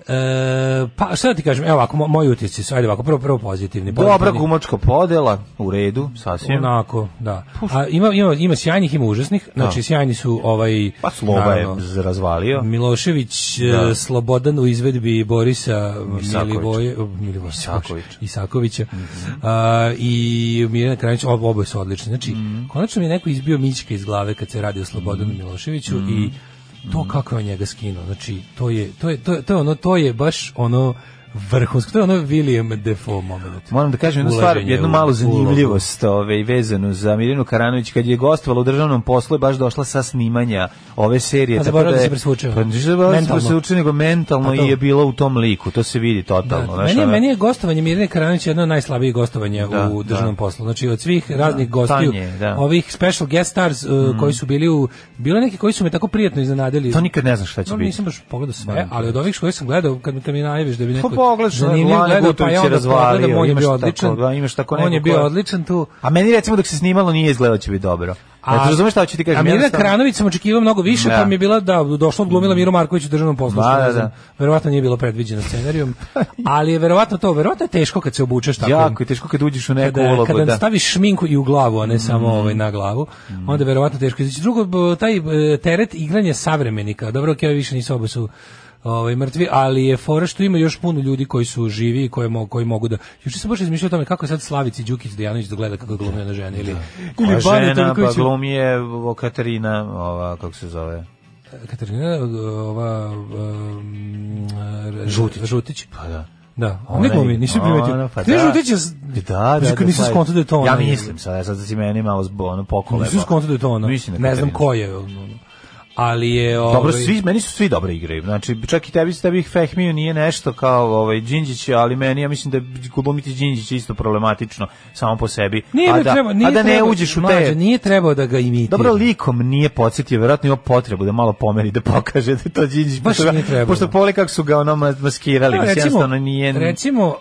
G: e, pa šta da ti kažem, evo ovako, mo- moji utisci su, ajde ovako, prvo, prvo pozitivni.
F: Dobra
G: pozitivni.
F: gumačka podela, u redu, sasvim.
G: Onako, da. A ima, ima, ima sjajnih, ima užasnih. Znači,
F: Da.
G: sjajni su ovaj...
F: Pa Sloba je
G: naravno,
F: z- razvalio.
G: Milošević, e,
F: Da.
G: Slobodan u izvedbi Borisa
F: Isaković.
G: Milivoje, Milivoje
F: Isaković.
G: Isakovića
F: Mhm.
G: A, i Mirjana Kranić, ob, oboje su odlični. Znači,
F: Mhm.
G: konačno mi je neko izbio mićke iz glave kad se radi o Slobodanu Miloševiću i
F: Mhm.
G: to kako je on njega skinuo. Znači, to je, to je, to je, to je ono, to je baš ono vrhunsko, to je ono William Defoe moment.
F: Moram da kažem jednu
G: Ulaženje
F: stvar, jednu
G: u-
F: malu
G: u ulogu.
F: zanimljivost ove, vezanu za Mirinu Karanović, kad je gostovala u državnom poslu je baš došla sa snimanja ove serije.
G: A
F: tako
G: zaboravila da
F: je-
G: se presvuče.
F: Pa ništa zaboravila da se
G: Mentalno.
F: presvuče, nego mentalno
G: Pa to.
F: i je bila u tom liku, to se vidi totalno.
G: Da,
F: znaš, ono,
G: meni, je,
F: ona-
G: meni je gostovanje Mirjane Karanović jedno od najslabijih gostovanja
F: Da,
G: u državnom
F: da.
G: poslu. Znači od svih raznih gostiju,
F: Tanje, da. Mm.
G: ovih special guest stars uh, koji su bili u bilo neki koji su me tako prijatno iznenadili.
F: To nikad ne znaš šta će
G: No,
F: biti.
G: nisam baš pogledao sve,
F: Da. Pa
G: ali od ovih koje sam gledao, kad mi kad mi najaviš da bi neko
F: pogledaš,
G: zanimljiv
F: Lana
G: gledao, pa
F: Gutović
G: ja
F: je
G: onda
F: razvalio,
G: pogledam, on je
F: imaš
G: bio
F: tako,
G: odličan.
F: da, imaš tako
G: On je
F: nekog
G: bio
F: ko-
G: odličan tu.
F: A meni recimo dok se snimalo nije izgledao će biti dobro. A,
G: A-
F: razumeš šta hoću ti kažem?
G: A Mirjana
F: Jednostavno-
G: Kranović sam očekivao mnogo više,
F: Da.
G: pa mi je bila da došla glumila Miro Marković u državnom poslu.
F: Da,
G: što ne
F: da,
G: znam.
F: da.
G: Verovatno nije bilo predviđeno
F: <laughs>
G: scenarijom, ali je verovatno to, verovatno je teško kad se obučeš tako.
F: Jako je teško kad uđeš u neku
G: kada,
F: ulogu.
G: kada
F: da. Mm.
G: staviš šminku i u glavu, a ne samo ovaj na glavu, onda je verovatno teško izaći. Drugo, b- taj e, teret igranja savremenika, dobro, ok, ovi više nisu oba su ovaj, mrtvi, ali je fora što ima još puno ljudi koji su živi i koji, mo, koji mogu da... Juče sam baš izmišljao o tome kako je sad Slavici Đukić Dejanović dogleda kako je glumio na žene ili...
F: Koja
G: ili Banu
F: žena, pa
G: Toljkoviću.
F: glumi je o, Katarina, ova, kako se zove?
G: Katarina, e, ova... um, e,
F: Žutić.
G: Žutić.
F: Pa da.
G: Da,
F: Ona
G: ona glumi,
F: i-
G: nisam
F: ona,
G: primetio.
F: pa
G: Ti
F: da.
G: Žutić je... s-
F: Da, da,
G: Mislim,
F: da,
G: nisam
F: pa-
G: skontao da je to ona.
F: Ja mislim, sad, sad si meni malo zbo, ono pokoleba.
G: Nisam skontao da je to ona.
F: Mislim da je
G: ne znam
F: Katarina.
G: ko je. ono. ali je ovaj
F: Dobro, svi, meni su svi dobre igre. Znači, čak i tebi, tebi Fehmiju nije nešto kao ovaj Đinđić, ali meni ja mislim da glumiti Đinđić je isto problematično samo po sebi.
G: Nije
F: a
G: mi
F: da,
G: trebao- nije
F: a da ne
G: trebao-
F: uđeš u te...
G: Mlađe, nije trebao da ga imitira.
F: Dobro, likom nije podsjetio, vjerojatno ima potrebu da malo pomeri, da pokaže da je to Đinđić.
G: Baš
F: pošto,
G: nije trebalo.
F: Pošto pole kako su ga ono mas- maskirali,
G: Evo,
F: mislim, jednostavno nije...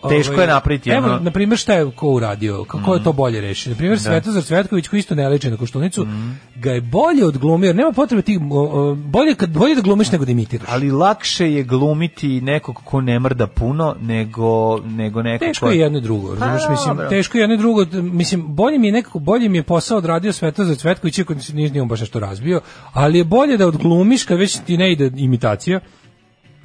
F: teško
G: ovaj,
F: je napraviti.
G: Evo,
F: ono-
G: na primjer, šta je ko uradio? Kako je to bolje rešio? Na primjer,
F: Da. Mm.
G: Svetozar Svetković, koji isto ne liče na Koštunicu, ga je bolje odglumio, jer nema potrebe ti... o, o, bolje, kad, bolje da glumiš nego da imitiraš.
F: Ali lakše je glumiti nekog ko ne mrda puno nego nego neko
G: Teško
F: ko-
G: je jedno i drugo,
F: Pa,
G: razumeš, mislim,
F: dobro.
G: teško je jedno i drugo, d- mislim, bolje mi je nekako, bolje mi je posao odradio Svetozar Cvetković, iako se nije, nije on baš nešto razbio, ali je bolje da odglumiš kad već ti ne ide imitacija,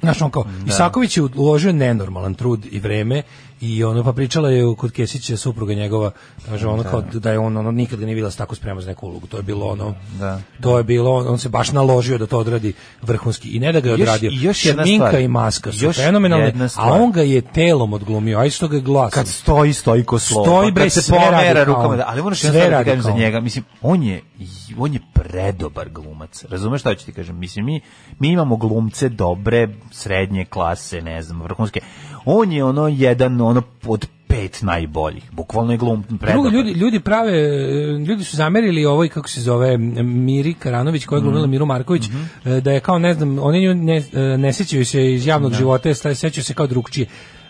G: Znaš, on kao, Isaković je uložio nenormalan trud i vreme i ono, pa pričala je kod Kesića supruga njegova, kaže, ono kao da je on ono, nikad ga nije bila tako spreman za neku ulogu, to je bilo ono,
F: Da.
G: to je bilo, on, on se baš naložio da to odradi vrhunski i ne da ga je
F: Još-
G: odradio.
F: još jedna
G: Šminka
F: stvar.
G: i maska su
F: Još jedna
G: fenomenalne, a
F: stvar.
G: on ga je telom odglumio, a isto ga je glasom. Kad
F: stoji, stoji ko slovo.
G: Stoji,
F: Pa
G: bre,
F: kad se
G: sve
F: pomera
G: radikalno.
F: rukama, da, ali ono što
G: Sve
F: ja sad kažem za
G: radikalno.
F: njega, mislim, on je, on je predobar glumac, razumeš šta ću ti kažem, mislim, mi, mi imamo glumce dobre, srednje klase, ne znam, vrhunske, on je ono jedan, ono, od pet najboljih, bukvalno je glum,
G: Drugo,
F: predobar.
G: ljudi, ljudi prave, e, ljudi su zamerili ovoj, kako se zove, Miri Karanović,
F: Mhm.
G: koja je glumila Miru Marković, e, da je kao, ne znam, oni nju ne, e, ne sjećaju se iz javnog života, sta- sjećaju se kao drugčije.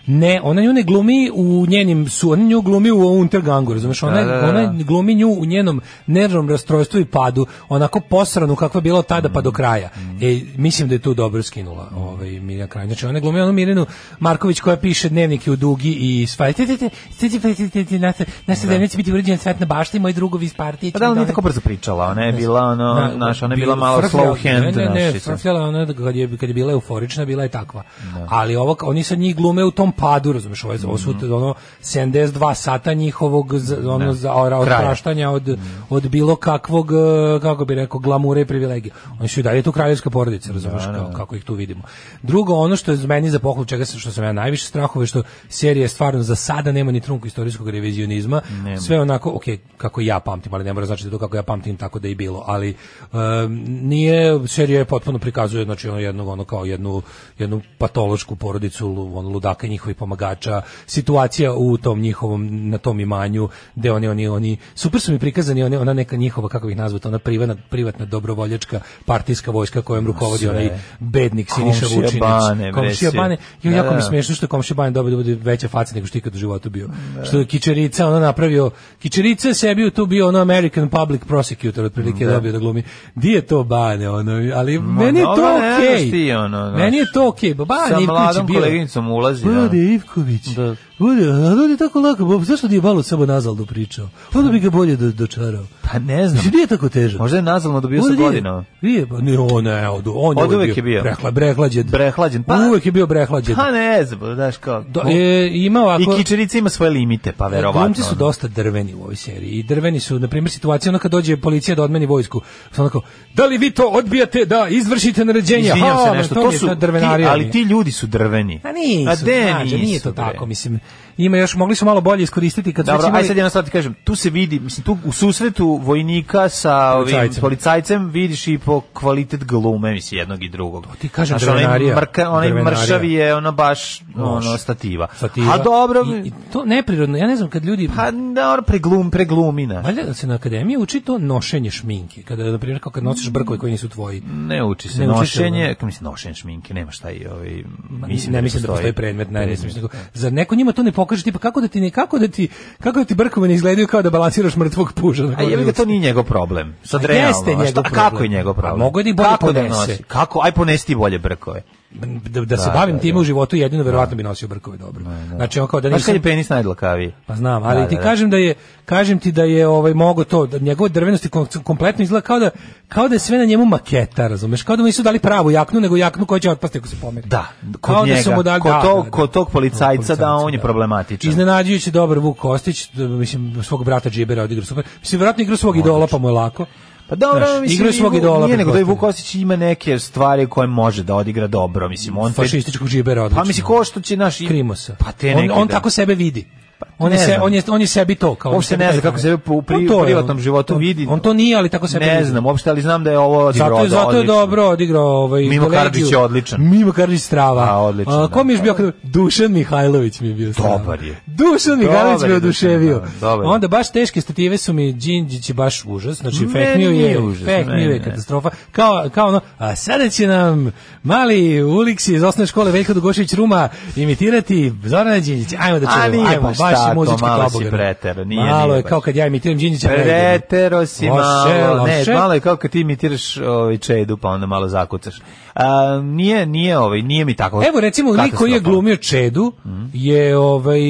G: Ne, ona nju ne glumi u njenim su, ona nju glumi u Untergangu, razumeš? Ona,
F: Da, da, da.
G: ona glumi nju u njenom nervnom rastrojstvu i padu, onako posranu kakva je bila od tada pa do kraja. E, mislim da je tu dobro skinula ovaj, Mirja Krajn. Znači, ona glumi onu Mirjanu Marković koja piše dnevnike u dugi i sva. Ti, ti, ti, ti, ti, ti, ti, ti, ti, Naša naša zemlja će biti uređena svetna bašta i moji drugovi iz partije. će
F: Pa da
G: mi
F: li nije
G: doneti-
F: tako brzo pričala, ona je bila, ono,
G: Da,
F: naš, ona je
G: bil-
F: bila malo
G: frfljala-
F: slow hand,
G: Ne, ne, ne,
F: znaš, i sad.
G: frfljala je ona kad je, kad je bila euforična, bila je takva. Ali ovo, ka- oni sad njih glume u tom padu, razumiješ, ovo, je- ovo su
F: Mhm.
G: ono 72 sata njihovog z- ono, za, ora- od
F: Kraja. Mhm.
G: praštanja, od, od bilo kakvog, e, kako bi rekao, glamure i privilegije. Oni su i dalje tu kraljevska porodica, razumiješ,
F: Da, da,
G: kao,
F: da.
G: kako ih tu vidimo. Drugo, ono što je za meni za pohvalu, čega sam, što sam ja najviše strahove, što serija stvarno za sada nema ni trunku istorijskog revizionizma,
F: Nema.
G: sve onako, ok, kako ja pamtim, ali ne mora znači da to kako ja pamtim tako da je i bilo, ali em, nije, serija je potpuno prikazuje, znači ono jednog, ono kao jednu, jednu patološku porodicu, lu- ono ludaka i njihovih pomagača, situacija u tom njihovom, na tom imanju, gde oni, oni, oni, super su mi prikazani, oni, ona neka njihova, kako bih nazvati, ona privatna, privatna dobrovoljačka partijska vojska kojom rukovodi
F: Sve.
G: onaj bednik Siniša
F: Komšija
G: Vučinić.
F: Bane, bre,
G: komšija
F: si.
G: Bane. Jo,
F: Da,
G: jako mi
F: da.
G: smiješno smešno što je komšija Bane dobio da bude veća faca nego što je ikad u životu bio. Što je Kičerica ono napravio, Kičerica je sebi tu bio ono American Public Prosecutor otprilike
F: Da.
G: dobio da glumi. Di je to Bane ono, ali meni je
F: dobro,
G: to
F: ne
G: okej.
F: znaš ti, ono, znaš.
G: meni je to okej, ba Bane
F: Sa
G: Ivković je
F: mladom
G: bio.
F: koleginicom ulazi, da.
G: Bane Ivković.
F: Da.
G: Bude, a on je tako lako, ba, zašto nije malo samo nazalno pričao? Onda bi ga bolje do, dočarao.
F: Pa ne znam.
G: Mislim, nije tako težak.
F: Možda je nazalno dobio sa
G: Ovdje
F: godinama.
G: Nije, nije, pa ne, on je, od, on je
F: Od uvek je bio.
G: Brehla, brehlađen.
F: Brehlađen, pa-
G: uvek je bio brehlađen.
F: Pa ne znam, znaš kao...
G: Do, e, ima ovako...
F: I kičerica ima svoje limite, pa verovatno.
G: Glumci su
F: ono.
G: dosta drveni u ovoj seriji. I drveni su, na primjer, situacija ono kad dođe policija da odmeni vojsku. Samo onako, da li vi to odbijate da izvršite naređenje?
F: Izvinjam
G: Ha,
F: se
G: ma,
F: nešto,
G: mi
F: to
G: je
F: su
G: ta
F: ti,
G: drvenarija mi
F: ali
G: je.
F: ti ljudi su drveni.
G: A Pa nisu,
F: A de,
G: znađe, nije
F: nisu,
G: to
F: bre.
G: tako, mislim. znači Ima još, mogli su malo bolje iskoristiti kad su već
F: Dobro, aj
G: imali-
F: sad jedno sad ti kažem, tu se vidi, mislim, tu u susretu vojnika sa ovim
G: Policajcem.
F: policajcem vidiš i po kvalitet glume, mislim, jednog i drugog.
G: ti kažem,
F: Znaš, onaj
G: drvenarija.
F: mrka- onaj
G: Drvenarija.
F: mršavi je ono baš
G: Loš.
F: ono, stativa.
G: Stativa.
F: A dobro,
G: I, i to neprirodno, ja ne znam kad ljudi...
F: pa dobro, preglum, preglumina.
G: Valjda da se na akademiji uči to nošenje šminke, kada na primjer kao kad nosiš brkove koji nisu tvoji.
F: Ne uči se
G: Ne uči se,
F: nošenje, kako mislim, nošenje šminke, nema šta i ovaj,
G: Ma,
F: mislim,
G: Pa ne mislim da postoji predmet, ne, ne mislim. Za neko njima to ne pokaže, tipa kako da ti ne, kako da ti kako da ti brkovi ne izgledaju kao da balansiraš mrtvog puža. na
F: A jebi Pa ga, to nije njegov problem. Sad
G: A
F: realno,
G: Pa jeste
F: a šta-
G: njegov
F: a kako je
G: problem?
F: njegov problem?
G: A mogu je da ih bolje Pa
F: Kako
G: ponese?
F: nosi? Kako? Aj ponesti bolje brkove.
G: da, da se
F: Da,
G: bavim
F: da,
G: time
F: da.
G: u životu jedino verovatno bi nosio brkove dobro. Znači on kao da
F: Znaš kad
G: nisam
F: je penis najdlakaviji?
G: Pa znam, ali
F: Da,
G: ti
F: da, da.
G: kažem da je kažem ti da je ovaj mogo to da njegova drvenost je kom- kompletno izgleda kao da kao da je sve na njemu maketa, razumeš? Kao da mu nisu dali pravu jaknu, nego jaknu koja će otpasti ako se pomeri.
F: Da, kod
G: Kao da
F: njega,
G: su mu dali-
F: kod,
G: da,
F: tog,
G: da, da.
F: kod tog policajca, da, on je
G: da.
F: problematičan.
G: Iznenađujući dobar Vuk Kostić, da, mislim svog brata Džibera odigrao super. Mislim verovatno igra svog idola pa mu je lako.
F: Pa dobro,
G: Znaš,
F: mislim,
G: igra svog
F: Vuk-
G: idola.
F: Nije nego da je
G: pretpostavljam.
F: Vuk Osjeć ima neke stvari koje može da odigra dobro, mislim, on te-
G: fašističkog Džibera odlično.
F: Pa mislim, ko što će naš...
G: Krimosa.
F: Pa te
G: on,
F: neke,
G: on
F: da. Pa
G: tako sebe vidi. on je,
F: Ne
G: se,
F: znam.
G: on je, on je sebi to. Kao
F: Uopšte
G: sebi
F: ne
G: taj
F: znam kako
G: komentar.
F: se u pri,
G: Pa to je
F: privatnom
G: on.
F: životu
G: To-
F: vidi.
G: On to nije, ali tako se
F: Ne znam uopšte, ali znam da je ovo odigrao
G: Zato je,
F: odlično.
G: zato je dobro odigrao ovaj
F: Mimo
G: kolegiju.
F: Karadžić je odličan.
G: Mimo Karadžić strava.
F: A, odličan,
G: A, ko
F: da,
G: mi je još bio kad- Dušan Mihajlović mi je bio strava.
F: Dobar je.
G: Dušan
F: Dobar
G: Mihajlović me
F: je Dušan,
G: oduševio.
F: da, dobar je.
G: Onda baš teške stative su mi Đinđić je baš užas. Znači
F: Meni
G: fake new
F: nije
G: je,
F: užas,
G: fake
F: ne,
G: new je
F: ne.
G: katastrofa. Kao kao ono, a sada će nam mali uliksi iz osnovne škole Veljko Dugošević Ruma imitirati Zorana Đinđića. Ajmo da
F: A
G: čujemo.
F: nije
G: Ajmo,
F: pa
G: baš
F: šta
G: je
F: to,
G: muzički
F: malo si
G: tobogana.
F: preterao, nije,
G: Malo
F: nije
G: je kao
F: baš.
G: kad ja imitiram Đinđića.
F: Pretero si
G: Loše,
F: malo, ne,
G: loše.
F: malo je kao kad ti imitiraš ovaj čedu, pa onda malo zakucaš. A, nije, nije, ovaj, nije mi tako.
G: Evo recimo lik koji je
F: katastrofalno.
G: glumio Čedu je ovaj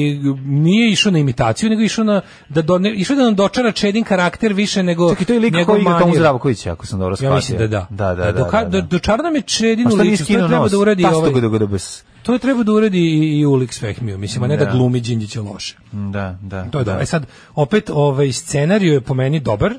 G: nije išao na imitaciju nego je išao na da do, ne, išao da nam dočara Čedin karakter više nego
F: Čekaj, to je lik
G: njegov
F: koji igra Tomu
G: manir.
F: Zdravkovića, ako sam dobro shvatio.
G: Ja mislim da da.
F: Da, da, da.
G: doka-
F: da, da.
G: dočara nam je Čedin
F: A
G: u
F: što nije
G: licu, to
F: skinuo
G: treba
F: nos?
G: da uradi
F: Tasto
G: ovaj.
F: ga da ga dobes.
G: To je treba da uradi i, i Ulik Svehmio, mislim, a ne da,
F: Da.
G: glumi Đinđića loše.
F: Da, da.
G: To je dobro.
F: da.
G: E sad, opet, ovaj scenariju je po meni dobar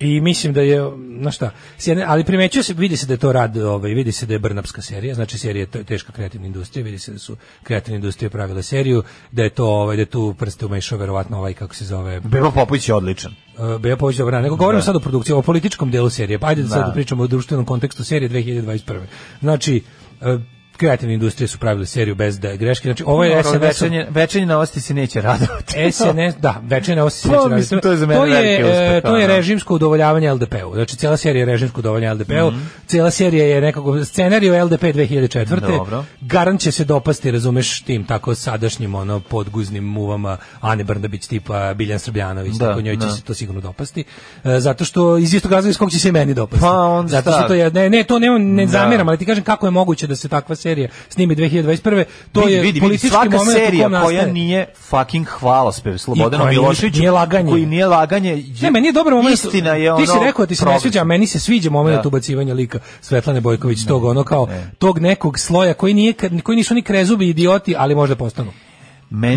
G: i mislim da je, znaš šta, s jedne- ali primećuje se, vidi se da je to rad, ovaj, vidi se da je Brnapska serija, znači serija je te- teška kreativna industrija, vidi se da su kreativne industrije pravile seriju, da je to, ovaj, da je tu prste umešao verovatno ovaj, kako se zove,
F: Bebo Popović je odličan.
G: E, Beja Popović dobro, nego govorimo
F: Da.
G: sad o produkciji, o političkom delu serije. Pa ajde da, sad
F: Da.
G: pričamo o društvenom kontekstu serije 2021. Znači, e, kreativne industrije su pravile seriju bez da je greške. Znači, ovo je SNS...
F: Dobro, Ono večernje- večernje novosti se neće radovati.
G: SNS, da, večerne ovo se
F: Pa,
G: neće raditi.
F: mislim, to je za mene
G: to je,
F: veliki uspeh,
G: e, to je
F: ono.
G: režimsko udovoljavanje LDP-u. Znači, cijela serija je režimsko udovoljavanje LDP-u.
F: Mhm.
G: Cijela serija je nekako scenariju LDP 2004.
F: Dobro.
G: Garant će se dopasti, razumeš, tim tako sadašnjim ono podguznim muvama Ane Brnabić tipa Biljan Srbljanović,
F: Da,
G: tako njoj će
F: da.
G: se to sigurno dopasti. E, zato što iz istog razloga iz kog će se i meni dopasti.
F: Pa, onda
G: zato što
F: šta?
G: to je ne, ne, to ne, ne
F: Da.
G: zameram, ali ti kažem kako je moguće da se takva serija snimi 2021. To
F: vidi,
G: je
F: vidi, vidi,
G: politički
F: svaka
G: moment u
F: serija
G: kom
F: koja
G: nastaje.
F: nije fucking hvalospev Slobodanu
G: koja nije-
F: Miloševiću,
G: nije laganje.
F: koji nije laganje.
G: Ne, meni je dobar moment.
F: Istina je ono.
G: Ti si rekao da ti se ne
F: progres.
G: sviđa, a meni se sviđa moment
F: Da.
G: ubacivanja lika Svetlane Bojković, tog ono kao tog nekog sloja koji nije koji nisu ni krezubi idioti, ali možda postanu.
F: Meni,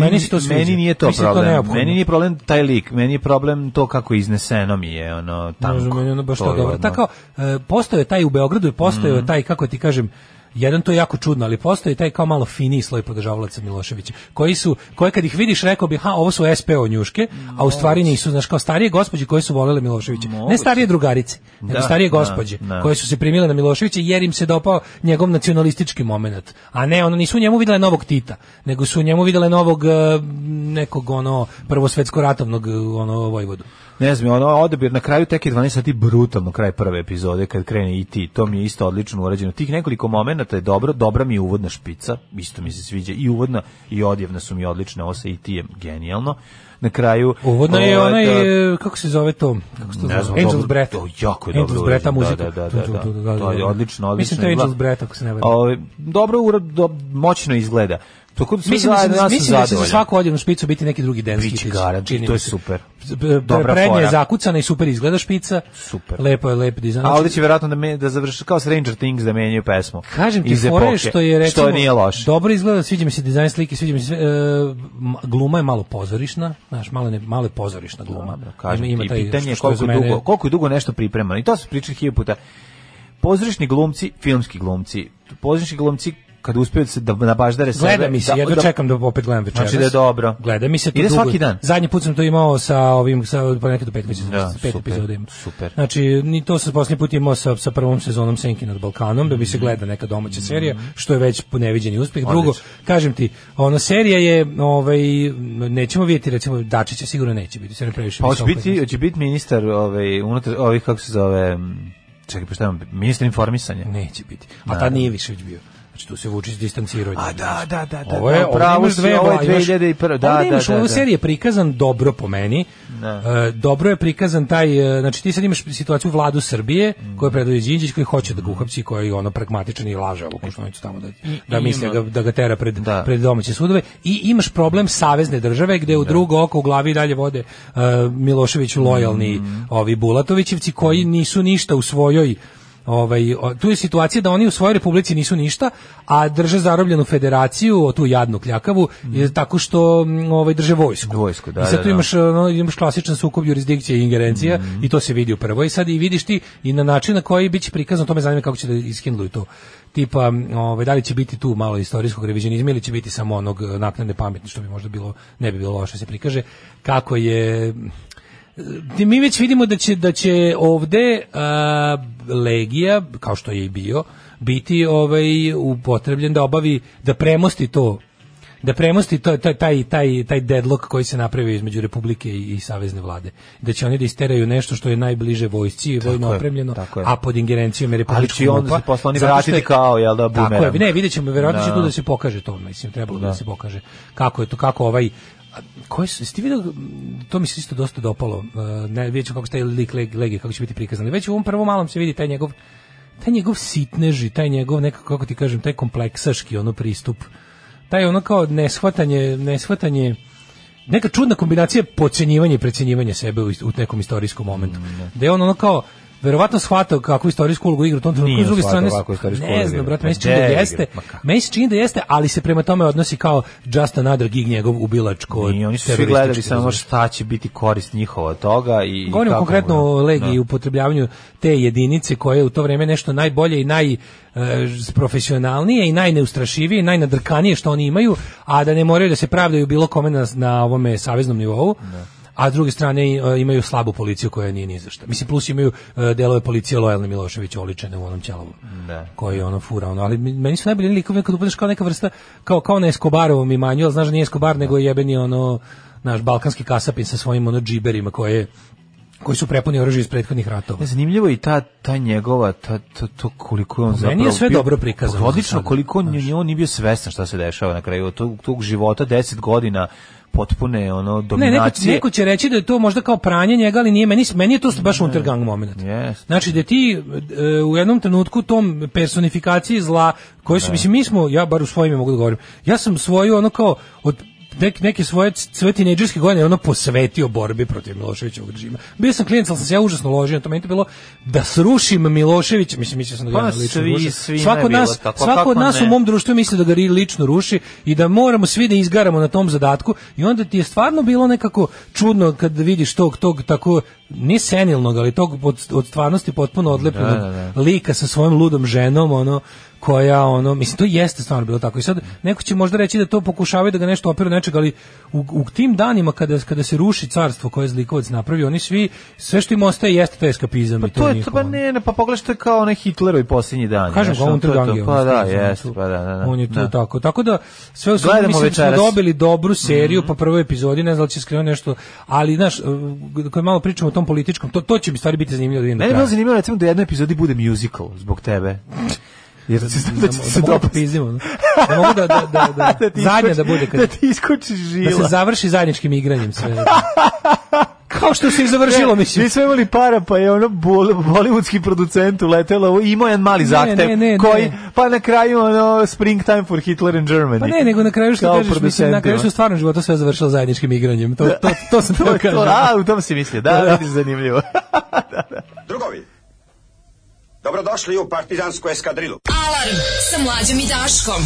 G: Meni
F: meni,
G: se to sviđa.
F: nije to
G: Mislim, to
F: problem.
G: neophodno.
F: meni nije problem taj lik, meni je problem to kako izneseno mi je ono
G: Ne
F: tanko.
G: znam, meni je ono baš
F: To
G: to
F: je
G: dobro.
F: ono-
G: Tako, e, postojao je taj u Beogradu i postojao je
F: Mhm.
G: taj, kako ti kažem, jedan to je jako čudno, ali postoji taj kao malo finiji sloj podržavalaca Miloševića, koji su, koje kad ih vidiš rekao bi, ha, ovo su SPO njuške, a u stvari nisu, znaš, kao starije gospođe koje su volele Miloševića. Ne starije drugarice, nego
F: Da,
G: starije
F: da,
G: gospođe,
F: da.
G: koje su se primile na Miloševića jer im se dopao njegov nacionalistički moment. A ne, ono, nisu u njemu videle novog Tita, nego su u njemu videle novog e, nekog, ono, prvosvetsko ratovnog, e, ono, Vojvodu.
F: Ne znam, ono odabir na kraju tek je 12 sati brutalno kraj prve epizode kad krene i ti. To mi je isto odlično urađeno. Tih nekoliko momenata je dobro, dobra mi je uvodna špica, isto mi se sviđa i uvodna i odjevna su mi odlične, ovo sa IT je genijalno. Na kraju
G: Uvodno je
F: ovaj,
G: onaj,
F: da-
G: e, kako se zove to? Kako se to
F: Ne
G: zove?
F: znam,
G: Angels
F: dobro-
G: Breath.
F: to jako je
G: Angels
F: dobro
G: Breath, ta
F: urađeno,
G: muzika.
F: Da, da, da,
G: Tu, tu, tu,
F: da. To je odlično, odlično.
G: Mislim to je
F: izgleda.
G: Angels Breath, ako se ne varam.
F: Ovaj, dobro, ura- do- moćno izgleda. Tako da sve
G: Mislim da, će-
F: zajedno ja sam
G: mislim da će za
F: zadovoljan.
G: svaku odjevnu špicu biti neki drugi denski
F: Biće
G: tić,
F: garant,
G: čini
F: to
G: mi
F: je
G: se.
F: super.
G: Z- b-
F: Dobra
G: Prednja je
F: fora.
G: zakucana i super izgleda špica.
F: Super.
G: Lepo je, lep dizajn.
F: A ovdje će vjerojatno da, me, da završi kao Stranger Things da menjaju pesmu.
G: Znači, Kažem ti,
F: Iz
G: fora je
F: epohe,
G: što je recimo,
F: Što nije loše.
G: Dobro izgleda, sviđa mi se dizajn slike, sviđa mi se sve, e, m- gluma je malo pozorišna, znaš, malo ne, malo je pozorišna gluma.
F: Kažem ti, pitanje
G: što-
F: je
G: što
F: koliko,
G: za mene-
F: dugo, koliko je dugo nešto pripremano. I to se priča hiljopu puta. Pozorišni glumci, filmski glumci, pozorišni glumci kad uspeju da se da nabaždare sebe.
G: Gleda mi se,
F: da-
G: jedno
F: da-
G: čekam da opet gledam večeras.
F: Znači da je dobro.
G: Gleda mi se to
F: Ide
G: dugo.
F: svaki dan.
G: Zadnji put sam to imao sa ovim sa pa nekad do pet mislim,
F: Da,
G: pet
F: super,
G: epizoda ima.
F: super.
G: Znači ni to sam posljednji put imao sa sa prvom sezonom Senki nad Balkanom da bi se gleda neka domaća serija što je već po neviđeni uspjeh. Drugo,
F: Mhm. Odlično.
G: kažem ti, ona serija je ovaj nećemo vidjeti recimo Dačića sigurno neće biti, se ne previše.
F: Pa hoće
G: visoko
F: biti, hoće biti ministar ovaj, unutar, ovih kako se zove, m, čekaj, pa šta imam, ministar informisanja.
G: Neće biti. A tad nije Višević bio. Znači tu se Vučić distancirao. od
F: A
G: njega.
F: da, da, da, da.
G: Ovo je,
F: da, upravo
G: ovo imaš
F: si,
G: dve,
F: ovo je
G: bla- imaš-
F: 2001. Da,
G: ovdje imaš,
F: da, da,
G: u ovoj
F: da.
G: seriji je prikazan dobro po meni. E, dobro je prikazan taj, e, znači ti sad imaš situaciju vladu Srbije, koju predvodi Đinđić, koji hoće da ga uhapsi, koji je ono pragmatičan i laže ovu Koštunicu tamo da, da misli da, ga- da ga tera pred, pred domaće sudove. I imaš problem savezne države, gde u drugo oko u glavi i dalje vode
F: Mhm.
G: e, Miloševiću lojalni ovi Bulatovićevci, koji nisu ništa u svojoj Ovaj, o- tu je situacija da oni u svojoj republici nisu ništa, a drže zarobljenu federaciju, o, tu jadnu kljakavu, i tako što mm, ovaj, drže vojsku.
F: Mhm. Vojsku, da,
G: I sad
F: da,
G: tu
F: da.
G: imaš, ono, imaš klasičan sukob jurisdikcije i ingerencija i to se vidi u prvoj. I sad i vidiš ti i na način na koji biće prikazano, to me zanima kako će da iskindluju to. Tipa, m, ovaj, da li će biti tu malo istorijskog revizionizma ili će biti samo onog e, naknadne pameti, što bi možda bilo, ne bi bilo loše da se prikaže, kako je Ti- mi već vidimo da će da će ovde a, legija kao što je i bio biti ovaj upotrebljen da obavi da premosti to da premosti to, taj, taj, taj, taj deadlock koji se napravio između Republike i, i Savezne vlade. Da će oni da isteraju nešto što je najbliže vojsci i vojno
F: je,
G: opremljeno,
F: tako je.
G: a pod ingerencijom je
F: Ali
G: Republička
F: će i onda
G: MUP-a,
F: se posle oni
G: zato što
F: vratiti kao, jel da,
G: Tako
F: bumerang.
G: je, ne, vidjet ćemo, verovatno će
F: Da.
G: tu da se pokaže to, mislim, trebalo da,
F: Da.
G: se pokaže. Kako je to, kako ovaj, a, koji su, jeste vidio, to mi se isto dosta dopalo, e, ne, vidjet ćemo kako se taj lik leg, lege, kako će biti prikazan. Već u ovom prvom malom se vidi taj njegov, taj njegov sitneži, taj njegov, nekako, kako ti kažem, taj kompleksaški ono pristup, taj ono kao neshvatanje, neshvatanje, neka čudna kombinacija podcenjivanja i precenjivanja sebe u, u nekom istorijskom momentu. da je on ono kao, verovatno shvatao kakvu istorijsku ulogu igra u tom trenutku,
F: Nije
G: s druge
F: shvatao
G: strane,
F: kakvu istorijsku
G: ne
F: ulogu
G: znam,
F: igra.
G: brate, meni se
F: Ma
G: čini da
F: gde igra?
G: jeste,
F: Ma
G: meni se čini da jeste, ali se prema tome odnosi kao just another gig njegov ubilačko.
F: I oni su svi
G: teroristički,
F: gledali samo
G: razumeš.
F: šta će biti korist njihova od toga i
G: Govorimo
F: kako
G: konkretno
F: mu-
G: o legiji i
F: Da.
G: upotrebljavanju te jedinice koja je u to vreme nešto najbolje i najprofesionalnije i najneustrašivije i najnadrkanije što oni imaju, a da ne moraju da se pravdaju bilo kome na, na ovome saveznom nivou. A s druge strane i, e, imaju slabu policiju koja nije ni za šta. Mislim, plus imaju e, delove policije lojalne Miloševića oličene u onom ćelovu
F: Da.
G: koji je ono fura ono, ali meni su najbolji likovi kad upadneš kao neka vrsta kao kao na Escobarovom imanju, ali znaš da nije Escobar nego je jebeni ono naš balkanski kasapin sa svojim ono džiberima koje koji su prepuni oružja iz prethodnih ratova.
F: Ne, Zanimljivo i ta, ta njegova, ta, to, to koliko je on zapravo...
G: je sve
F: bio-
G: dobro prikazano za
F: Odlično,
G: sada,
F: koliko on, je- on nije bio svestan šta se dešava na kraju. Od tog, tog života, deset godina potpune ono,
G: Ne, neko,
F: dominacije.
G: neko će reći da je to možda kao pranje njega, ali nije meni, meni je to baš Untergang moment.
F: Jeste.
G: Znači da ti e, u jednom trenutku tom personifikaciji zla, koje su, mislim, mi smo, ja bar u svojim mogu da govorim, ja sam svoju ono kao od nek- neke svoje c- sve tinejdžerske godine ono posvetio borbi protiv Miloševićevog režima. Bio sam klijent, ali sam se ja užasno ložio, na to meni je to bilo da srušim Miloševića, mislim, mislio sam da ga
F: Pa
G: ja lično
F: svi-
G: rušim.
F: svima
G: svako
F: je
G: od
F: bilo
G: nas,
F: tako, pa
G: svako od
F: kako
G: nas u
F: ne?
G: mom društvu misli da ga ri- lično ruši i da moramo svi da izgaramo na tom zadatku i onda ti je stvarno bilo nekako čudno kad vidiš tog tog tako ni senilnog, ali tog od, od stvarnosti potpuno odlepljenog
F: Da, da,
G: lika sa svojom ludom ženom, ono koja ono mislim to jeste stvarno bilo tako i sad neko će možda reći da to pokušavaju da ga nešto operu nečega ali u, u tim danima kada kada se ruši carstvo koje je zlikovac napravio oni svi sve što im ostaje jeste taj eskapizam i to,
F: To je to
G: njihovo,
F: pa
G: ono.
F: ne, ne, pa pogledaš to je kao onaj Hitlerovi posljednji dan.
G: Pa Kažem
F: znaš,
G: ga
F: ono, to je to.
G: Untergang je,
F: Pa
G: on
F: da,
G: stiže, on
F: jeste,
G: ono, tu-
F: pa da, da. da.
G: On je tu
F: da.
G: tako. Tako da sve u svemu
F: Gledamo
G: mislim da smo
F: večeras. Mhm.
G: dobili dobru seriju po prvoj epizodi, ne znam da li će skrenuti nešto, ali znaš, e, kad malo pričamo o tom političkom, to to će mi stvari biti zanimljivo da vidim. do
F: Mene je
G: kraja.
F: bilo zanimljivo recimo da u jednoj epizodi bude musical zbog
G: <laughs>
F: tebe. Jer se znam da će
G: Da
F: se
G: mogu da
F: dopasti.
G: popizdimo,
F: <laughs>
G: ono. Da mogu da, da, da, da,
F: Da ti
G: zadnja
F: iskoči-
G: da bude kad,
F: Da ti iskoči žila.
G: da se završi zajedničkim igranjem
F: <laughs>
G: sve. Kao što se i završilo,
F: Ne,
G: mislim.
F: Mi smo imali para, pa je ono bol, bolivudski producent uletelo, ovo, imao je jedan mali zahtev,
G: ne, ne,
F: koji,
G: ne.
F: pa na kraju ono, Springtime for Hitler and Germany.
G: Pa ne, nego na kraju što
F: Kao ono.
G: kažeš, mislim, na kraju
F: <laughs> producentima.
G: što stvarno života sve završilo zajedničkim igranjem. To, to, to sam
F: To
G: teo
F: je to,
G: kažem.
F: a, u tom si mislio, da,
G: <laughs> Da.
F: vidiš, <laughs> zanimljivo.
M: Drugovi, dobrodošli u partizansku eskadrilu.
E: Alarm sa mlađom i Daškom.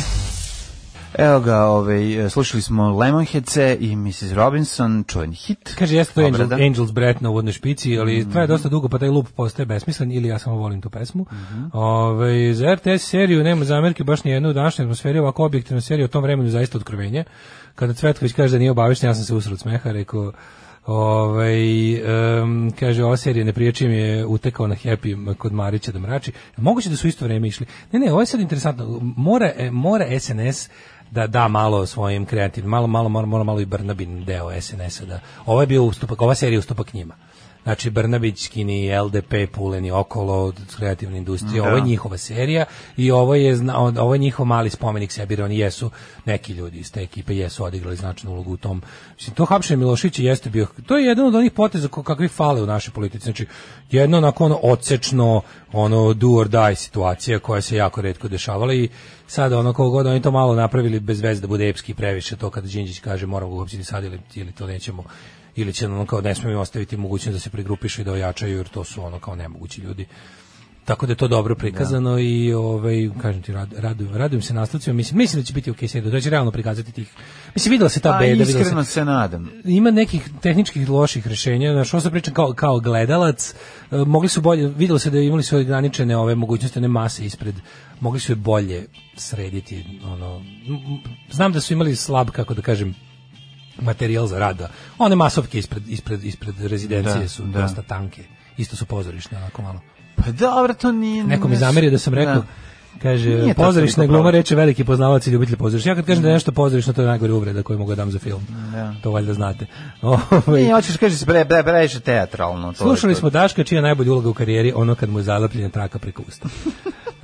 F: Evo ga, ovaj, slušali smo Lemonheadse i Mrs. Robinson, čuven hit.
G: Kaže, jeste to Angel,
F: Obrada.
G: Angels Breath na uvodnoj špici, ali traje dosta dugo, pa taj lup postaje besmislen, ili ja samo volim tu pesmu. Ovaj, za RTS seriju nema zamerke baš ni jednu u današnjoj atmosferi, ovako objektivna serija u tom vremenu zaista otkrovenje. Kada Cvetković kaže da nije obavišten, ja sam se usrao od smeha, rekao, ovaj, em, kaže, ova serija ne priječim je utekao na Happy kod Marića da mrači. Moguće da su isto vreme išli. Ne, ne, ovo je sad interesantno. Mora, e, mora SNS da da malo svojim kreativnim, malo, malo, malo, malo, malo i Brnabin deo SNS-a da, ovo je bio ustupak, ova serija je ustupak njima. Znači Brnabićkini, LDP, Puleni, Okolo, od kreativne industrije, ovo je njihova serija i ovo je, zna- ovo je njihov mali spomenik sebi, jer oni jesu, neki ljudi iz te ekipe jesu odigrali značajnu ulogu u tom. Mislim, to hapšenje Milošića jeste bio, to je jedan od onih poteza ko- kakvi fale u našoj politici, znači jedno onako ono odsečno, ono do or die situacija koja se jako redko dešavala i sad ono koliko god oni to malo napravili bez veze da bude epski previše to kad Đinđić kaže moramo ga uhapsiti sad ili, ili to nećemo ili će nam ono kao ne smemo im ostaviti mogućnost da se pregrupišu i da ojačaju jer to su ono kao nemogući ljudi Tako da je to dobro prikazano i ovaj kažem ti rad, radujem, radujem se nastavcima. Mislim mislim da će biti okej okay, da će realno prikazati tih. Mislim videla se ta
F: A,
G: beda, videla
F: Pa iskreno se nadam.
G: Ima nekih tehničkih loših rešenja, znači što se priča kao kao gledalac, e, mogli su bolje, videlo se da imali su ograničene ove mogućnosti ne mase ispred. Mogli su je bolje srediti ono m- m- znam da su imali slab kako da kažem materijal za rada. One masovke ispred ispred ispred rezidencije
F: Da,
G: su
F: da.
G: dosta tanke. Isto su pozorišne onako malo.
F: Pa dobro, to nije...
G: Neko mi zameri da sam rekao, kaže,
F: Nije to
G: pozorišna
F: toliko
G: gluma
F: problem.
G: reče veliki poznavac i ljubitelj pozorišta. Ja kad kažem da je nešto pozorišno, to je najgore uvreda koju mogu da dam za film.
F: Mm. Da.
G: To valjda znate. <laughs>
F: Nije,
G: Ovaj,
F: hoćeš kažeš bre, bre, previše teatralno. to je
G: Slušali
F: to.
G: smo Daška, čija je najbolja uloga u karijeri, ono kad mu je zalapljena traka preko
F: <laughs>
G: usta.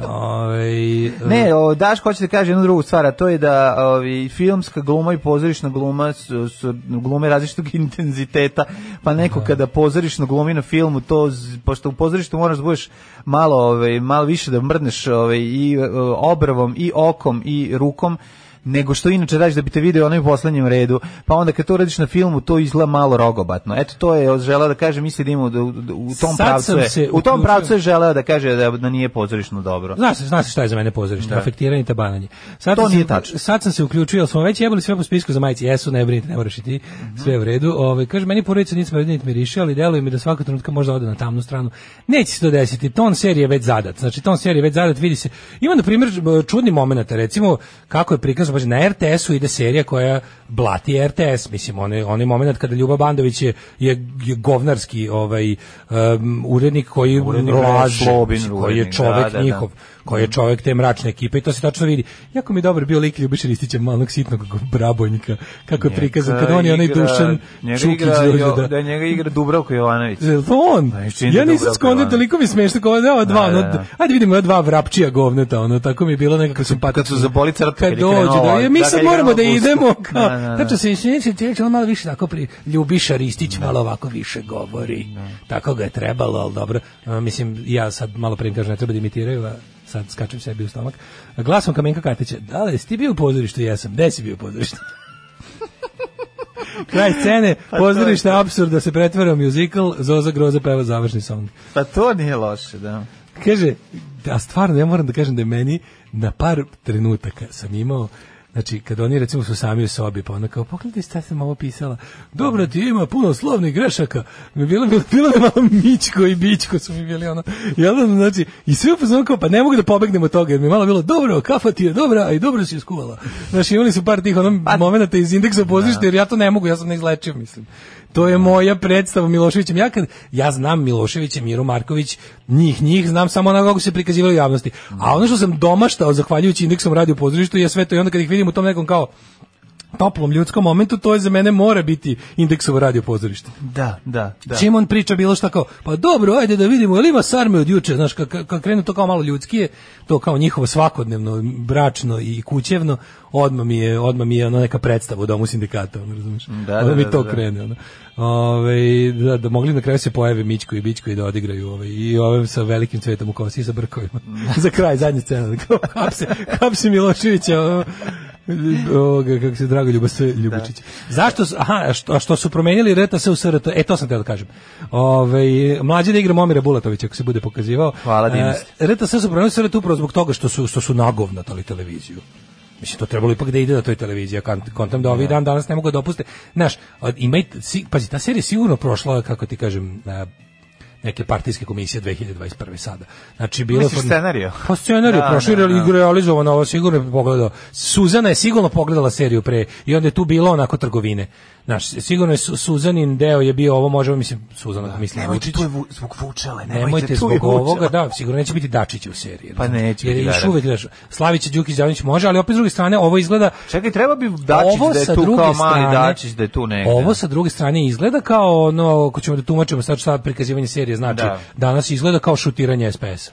G: Ovaj,
F: E, Ne, o, Daško hoće da kaže jednu drugu stvar, a to je da ovi, filmska gluma i pozorišna gluma su, su glume različitog <laughs> intenziteta, pa neko kada pozorišno glumi na filmu, to, z- pošto u pozorištu moraš da budeš malo, ovaj, malo više da mrdneš ovaj, i e, obravom, i okom, i rukom, nego što inače radiš da bi te video onaj u poslednjem redu, pa onda kad to radiš na filmu, to izgleda malo rogobatno. Eto, to je želeo da kaže, misli da ima u, u
G: Sad
F: tom pravcu
G: sam
F: je,
G: se
F: u tom
G: uključio.
F: pravcu je želeo da kaže da, da nije pozorišno dobro.
G: Znaš, znaš šta je za mene pozorište,
F: Da.
G: afektiranje i tabananje. Sad
F: To
G: sam se-
F: nije tačno.
G: Sad sam se uključio, jel smo već jebali sve po spisku za majice, jesu, ne brinite, ne moraš i ti,
F: Mhm.
G: sve je u redu. Ovaj kaže, meni porodica nisam vidio, niti miriše, ali deluje mi da svaka trenutka možda ode na tamnu stranu. Neće se to desiti, ton serije je već zadat, znači ton serije je već zadat, vidi se. Ima, na primjer, čudni moment, recimo, kako je prikazano, znači, na RTS-u ide serija koja blati RTS, mislim, onaj, onaj moment kada Ljuba Bandović je, je, je govnarski ovaj, um, urednik koji
F: Urednik,
G: laže,
F: Slobin
G: mislim, koji je
F: urednik, da,
G: čovek
F: da, da.
G: njihov koji je čovjek te mračne ekipe i to se tačno vidi. Jako mi je dobar bio lik Ljubiša Ristića, malog sitnog brabojnika, kako je prikazan, kad on je onaj
F: Njega igra-
G: Dušan
F: njega
G: Čukić
F: igra
G: dođe
F: Jo-
G: da...
F: da njega igra Dubravko Jovanović.
G: Jel to on?
F: Pa, čini
G: Ja
F: da
G: nisam
F: Dubravko
G: skondio,
F: Jovanović.
G: toliko mi je smiješno kao da ova dva,
F: Da, da,
G: ono,
F: da.
G: ajde vidimo ova dva vrapčija govneta, ono, tako mi je bilo nekako simpatično.
F: pa kad su zaboli crta, kad
G: Kad
F: je
G: dođe,
F: krenuo
G: da, je, mi
F: da, kad
G: sad
F: je
G: moramo da
F: krenuo gusto.
G: idemo,
F: Da,
G: kao,
F: da, da.
G: tačno se insinuira, čovjek on malo više tako pri Ljubiša Ristić malo ovako više govori. Tako ga je trebalo, ali dobro. A, mislim, ja sad malo pre im kažem, ne treba da imitiraju, a sad skačem sebi u stomak. Glasom Kamenka Katića, da li jesi ti bio u pozorištu? Jesam. Gde si bio u
F: <laughs>
G: pozorištu? Kraj scene,
F: Pa to je
G: pozorište
F: to.
G: apsurda se pretvara u musical, Zoza Groza peva završni song.
F: Pa to nije loše, da.
G: Kaže, a stvarno ja moram da kažem da je meni na par trenutaka sam imao Znači, kad oni recimo su sami u sobi, pa onda kao, pogledaj šta sam ovo pisala. Dobro, ti ima puno slovnih grešaka. Mi Bilo, bilo, bilo da malo mičko i bičko su mi bili ono. I onda, znači, i sve upoznam kao, pa ne mogu da pobegnem od toga, jer mi je malo bilo, dobro, kafa ti je dobra, a i dobro si je skuvala. Znači, imali su par tih ono momenata iz indeksa pozorišta, jer ja to ne mogu, ja sam neizlečio, mislim. To je moja predstava Miloševićem. Ja, kad, ja znam Miloševića, Miro Marković, njih, njih, znam samo onako kako se prikazivali u javnosti. A ono što sam domaštao, zahvaljujući indeksom radio pozorištu, je sve to i onda kad ih vidim u tom nekom kao toplom ljudskom momentu, to je za mene mora biti indeksovo radio pozorište.
F: Da, da, da.
G: Čim on priča bilo šta kao, pa dobro, ajde da vidimo, jel ima sarme od juče, znaš, kad, kad krenu to kao malo ljudskije, to kao njihovo svakodnevno, bračno i kućevno, odma mi je, odma mi je ono neka predstava u domu sindikata, ono, razumiješ?
F: da,
G: Onda mi
F: da,
G: to
F: da.
G: krene, ono. Ove, da, da mogli na kraju se pojave Mičko i Bičko i da odigraju ove, i ove sa velikim cvetom u kosi i sa brkovima. Za kraj, zadnja scena, kao, hapse, hapse Miloševića, ono, ovoga, kako se drago ljubo sve Ljubičić. Zašto, s- aha, a što, a što su promenili RTS u SRT, e to sam teo da kažem. Ove, mlađe da igra Momira Bulatovića, ako se bude pokazivao.
F: Hvala, divni ste.
G: E, RTS su promenili SRT upravo zbog toga što su, što su nagovnatali televiziju. Mislim, to trebalo ipak da ide na toj televiziji, a kont- kontam da ovi dan danas ne mogu da opuste. Znaš, od- ima, i- si- pazi, ta serija je sigurno prošla, kako ti kažem, e, neke partijske komisije 2021. sada. Znači, bilo
F: Misliš scenarijo?
G: Pa scenariju,
F: Da,
G: prošli
F: da, da.
G: igru realizovano, ovo sigurno je pogledao. Suzana je sigurno pogledala seriju pre i onda je tu bilo onako trgovine. Znaš, sigurno je Su- Suzanin deo je bio ovo, možemo, mislim, Suzana, mislim,
F: Nemojte,
G: Vučić.
F: to je vu- zbog vučale, nemojte,
G: Nemojte
F: to je
G: zbog
F: Vučale.
G: ovoga, da, sigurno neće biti Dačića u seriji.
F: Pa
G: razumiješ?
F: neće
G: Jer
F: biti,
G: je još
F: da, da.
G: uvek, znaš, Slavića Đukić Đanić može, ali opet s druge strane, ovo izgleda...
F: Čekaj, treba bi Dačić
G: Ovo
F: da je
G: sa
F: tu
G: druge
F: kao mali
G: strane-
F: Dačić da je tu negde.
G: Ovo sa druge strane izgleda kao ono, ako ćemo da tumačimo sad šta prikazivanje serije znači,
F: Da.
G: danas izgleda kao šutiranje SPS.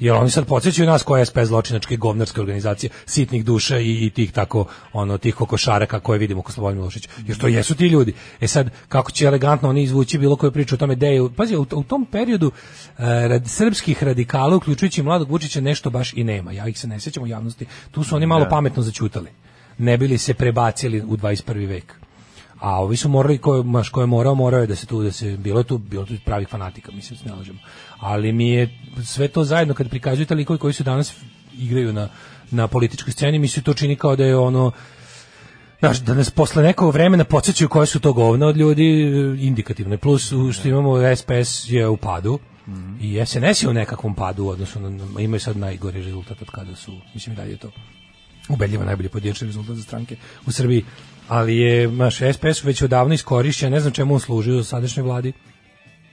G: Jer oni sad podsjećaju nas koja je SPS zločinačke govnarske organizacije, sitnih duša i, i tih tako, ono, tih kokošaraka koje vidimo ko Slobodan Milošić. Jer to jesu ti ljudi. E sad, kako će elegantno oni izvući bilo koju priču o tome gde je, pazi, u, u tom periodu e, rad, srpskih radikala, uključujući i mladog Vučića, nešto baš i nema. Ja ih se ne sjećam u javnosti. Tu su oni malo pametno zaćutali. Ne bili se prebacili u 21. vek a ovi su morali ko maš ko je morao morao je da se tu da se bilo je tu bilo tu pravih fanatika mislim se ne lažemo ali mi je sve to zajedno kad prikazuju te likove koji su danas igraju na na političkoj sceni mi se to čini kao da je ono Znaš, da nas posle nekog vremena podsjećaju koje su to govna od ljudi indikativne. Plus što imamo SPS je u padu
F: Mhm.
G: i SNS je u nekakvom padu u odnosu na, na- imaju sad najgori rezultat od kada su, mislim i dalje je to ubedljivo najbolji pojedinačni rezultat za stranke u Srbiji. Ali je, naš SPS već odavno iskorišćen, ne znam čemu on služi u sadašnjoj vladi.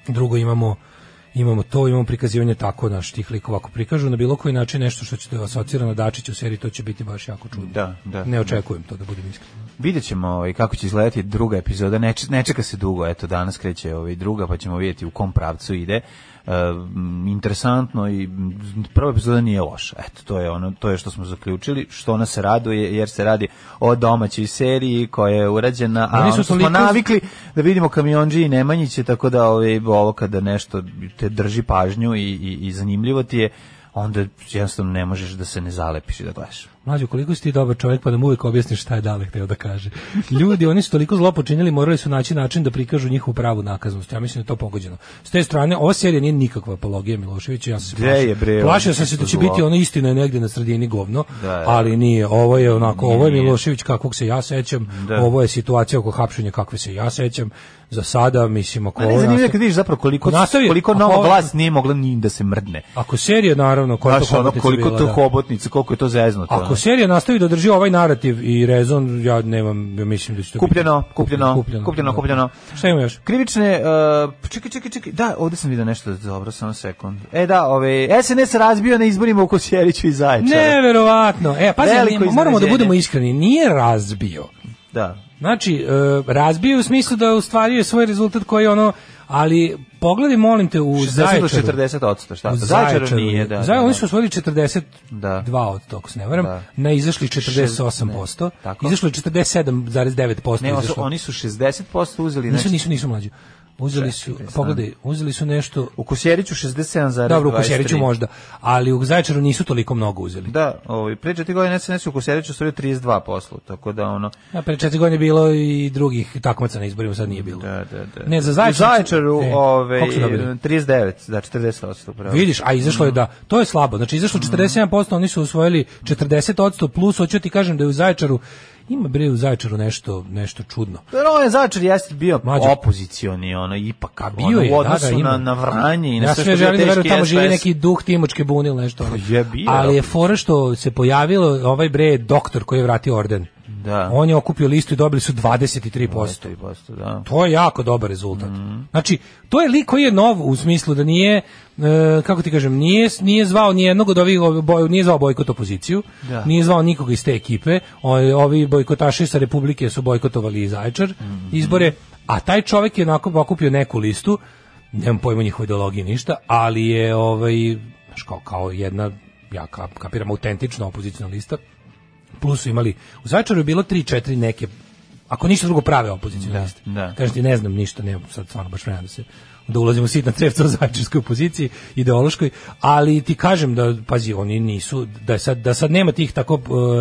G: Drugo imamo imamo to, imamo prikazivanje tako naš tih likova ako prikažu na bilo koji način nešto što će da asocira na Dačića u seriji, to će biti baš jako čudno.
F: Da, da.
G: Ne očekujem to da budem iskren.
F: Vidjet ćemo ovaj, kako će izgledati druga epizoda, ne, č- ne čeka se dugo, eto danas kreće ovaj, druga pa ćemo vidjeti u kom pravcu ide. E, m, interesantno i m, prva epizoda nije loša. Eto to je ono to je što smo zaključili, što nas raduje jer se radi o domaćoj seriji koja je urađena, a
G: Oni su
F: ono što smo
G: toliko-
F: navikli da vidimo kamionđi i Nemanjiće, tako da ovaj, ovo kada nešto te drži pažnju i, i, i zanimljivo ti je, onda jednostavno ne možeš da se ne zalepiš i da gledaš.
G: Mlađo, koliko si ti dobar čovjek pa da mu uvijek objasniš šta je Dale hteo da kaže. Ljudi, oni su toliko zlo počinili, morali su naći način da prikažu njihovu pravu nakaznost. Ja mislim da je to pogođeno. S te strane, ova serija nije nikakva apologija Miloševića. Ja sam se
F: Gde
G: plašio.
F: je, bre,
G: plašio
F: ono
G: sam se da će
F: zlo?
G: biti ona istina je negdje na sredini govno,
F: Da, da.
G: ali nije. Ovo je onako, ovo je
F: Nije.
G: Milošević kakvog se ja sećam,
F: Da.
G: ovo je situacija oko hapšenja kakve se ja sećam. Za sada, mislim, ako
F: Ma Pa ne,
G: ovo
F: zanimljivo je
G: nastavi-
F: kad vidiš zapravo koliko,
G: Ako nastavi-
F: koliko
G: ako
F: nova
G: ovo-
F: vlast nije mogla ni da se mrdne.
G: Ako serija, naravno, koja Pa je to
F: Znaš, ono,
G: hobotnica
F: koliko
G: bila,
F: to
G: da.
F: hobotnica, koliko je to zeznuto. ono.
G: Ako serija nastavi da drži ovaj narativ i rezon, ja nemam, ja mislim da će to
F: Kupljeno,
G: biti-
F: kupljeno, kupljeno,
G: da.
F: kupljeno.
G: Šta ima još?
F: Krivične, uh, čekaj, čekaj, čekaj, da, ovdje sam vidio nešto, dobro, samo sekund. E da, ove, SNS razbio na izborima u Kosjeriću i Zaječara.
G: Neverovatno. E, pazi,
F: Veliko
G: ne, moramo da
F: iznenađenje.
G: budemo iskreni, nije razbio.
F: Da.
G: Znači, e, razbio u smislu da ostvario je svoj rezultat koji ono, ali pogledaj, molim te, u
F: 60 do
G: Zaječaru.
F: 40%, šta?
G: U
F: Zaječaru nije, da.
G: Zaj-
F: da,
G: oni
F: da.
G: su osvojili 42
F: Da.
G: od toga, se ne varam.
F: Da.
G: Ne, izašli 48%.
F: tako.
G: izašlo je 47,9%.
F: Ne, oni su,
G: izašlo.
F: oni su 60% uzeli
G: Nisu,
F: nešto.
G: nisu, nisu mlađi. Uzeli su,
F: Znači- Čekaj, sad.
G: pogledaj, uzeli su nešto...
F: U Kosjeriću 67,23.
G: Dobro, u Košeriću možda, ali u Zaječaru nisu toliko mnogo uzeli.
F: Da, ovaj, pre četiri godine SNS u Kosjeriću stvorio 32%, tako da ono...
G: A pre četiri godine je bilo i drugih takmaca na izborima, sad nije bilo.
F: Da, da, da.
G: Ne, za
F: U
G: Zaječar-
F: Zaječaru,
G: E,
F: ovaj,
G: koliko su dobili?
F: 39, da, Mm. 40%. Pravo.
G: Vidiš, a izašlo je da, to je slabo. Znači, izašlo 47%, oni su usvojili 40%, plus, hoću ti kažem da je u Zaječaru, ima bre u Zaječaru nešto, nešto čudno.
F: Dobro, ovaj Zaječar jeste bio
G: Mlađo.
F: opozicioni, ono, ipak, a
G: Bio je,
F: u
G: da,
F: odnosu
G: da, ima.
F: na, na vranje i na
G: ja sve
F: sve što je
G: želim da
F: bio
G: verujem,
F: teški
G: tamo živi
F: SPS.
G: neki duh Timočke bune ili nešto. ono.
F: je bio.
G: Ali je fora što se pojavilo ovaj bre doktor koji je vratio orden.
F: Da.
G: On je okupio listu i dobili su 23%.
F: 23%, da.
G: To je jako dobar rezultat. Znači, to je lik koji je nov u smislu da nije, e, kako ti kažem, nije, nije zvao nijednog od ovih, ovi boj, nije zvao bojkot opoziciju,
F: Da.
G: nije zvao nikoga iz te ekipe, o- ovi bojkotaši sa Republike su bojkotovali i Zaječar izbore, a taj čovjek je onako okupio neku listu, nemam pojma o njihovoj ideologiji ništa, ali je ovaj, znaš, kao, kao jedna, ja ka- kapiram, autentična opozicijna lista, plus su imali, u Zaječaru je bilo 3-4 neke, ako ništa drugo prave opozicijne liste.
F: da.
G: Kažem ti, ne znam ništa, nemam sad stvarno baš vremena da se da ulazimo sitna trevca o zajčarskoj opoziciji, ideološkoj, ali ti kažem da, pazi, oni nisu, da je sad, da sad nema tih tako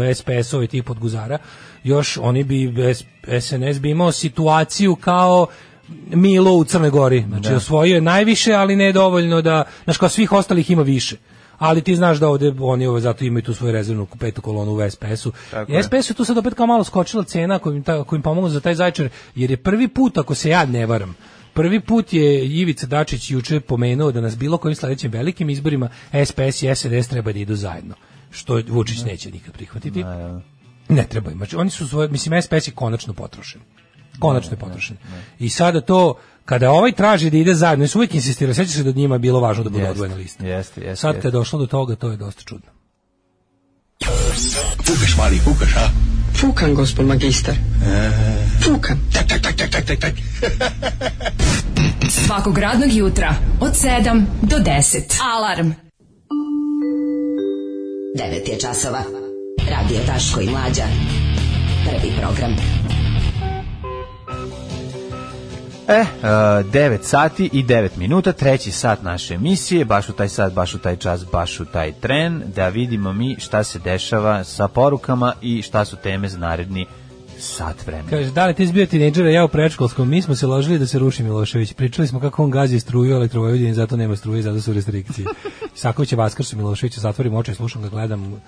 G: e, SPS-ova i tih podguzara, još oni bi, bez- SNS bi imao situaciju kao Milo u Crnoj Gori, znači osvojio je najviše, ali ne dovoljno da, znaš, kao svih ostalih ima više. Ali ti znaš da ovde oni ovo zato imaju tu svoju rezervnu petu kolonu u SPS-u.
F: Tako je.
G: I SPS je tu sad opet kao malo skočila cena kojim, ta, kojim pomogla za taj zajčar, jer je prvi put, ako se ja ne varam, prvi put je Ivica Dačić juče pomenuo da nas bilo kojim sledećim velikim izborima SPS i SNS treba da idu zajedno, što Vučić neće nikad prihvatiti. Ne treba im. Znači, oni su svoje, mislim, SPS je konačno potrošen. Konačno je potrošen. I sada to, kada ovaj traži da ide zajedno, oni su uvijek insistirali, sjećaš se da njima je bilo važno da bude
F: Jeste,
G: odvojena lista.
F: jeste, jeste,
G: Sad kad
F: jeste.
G: je došlo do toga, to je dosta čudno.
N: Fukaš, mali, fukaš, a?
O: Fukan, gospod magistar. Fukan.
N: Tak, tak, tak, tak, tak, tak, tak.
E: Svakog radnog jutra od 7 do 10. Alarm.
L: 9 je časova. Radio Daško i Mlađa. Prvi program.
F: E, e, 9 sati i 9 minuta, treći sat naše emisije, baš u taj sat, baš u taj čas, baš u taj tren, da vidimo mi šta se dešava sa porukama i šta su teme za naredni Sat vremena.
G: Kaže, da li ti izbio tinejdžera, ja u predškolskom, mi smo se ložili da se ruši Milošević. Pričali smo kako on gazi struju elektrovojvodini, zato nema struje, zato su
F: <laughs>
G: restrikcije. Isaković je vaskrsu Miloševića, zatvorim oči, slušam ga, gledam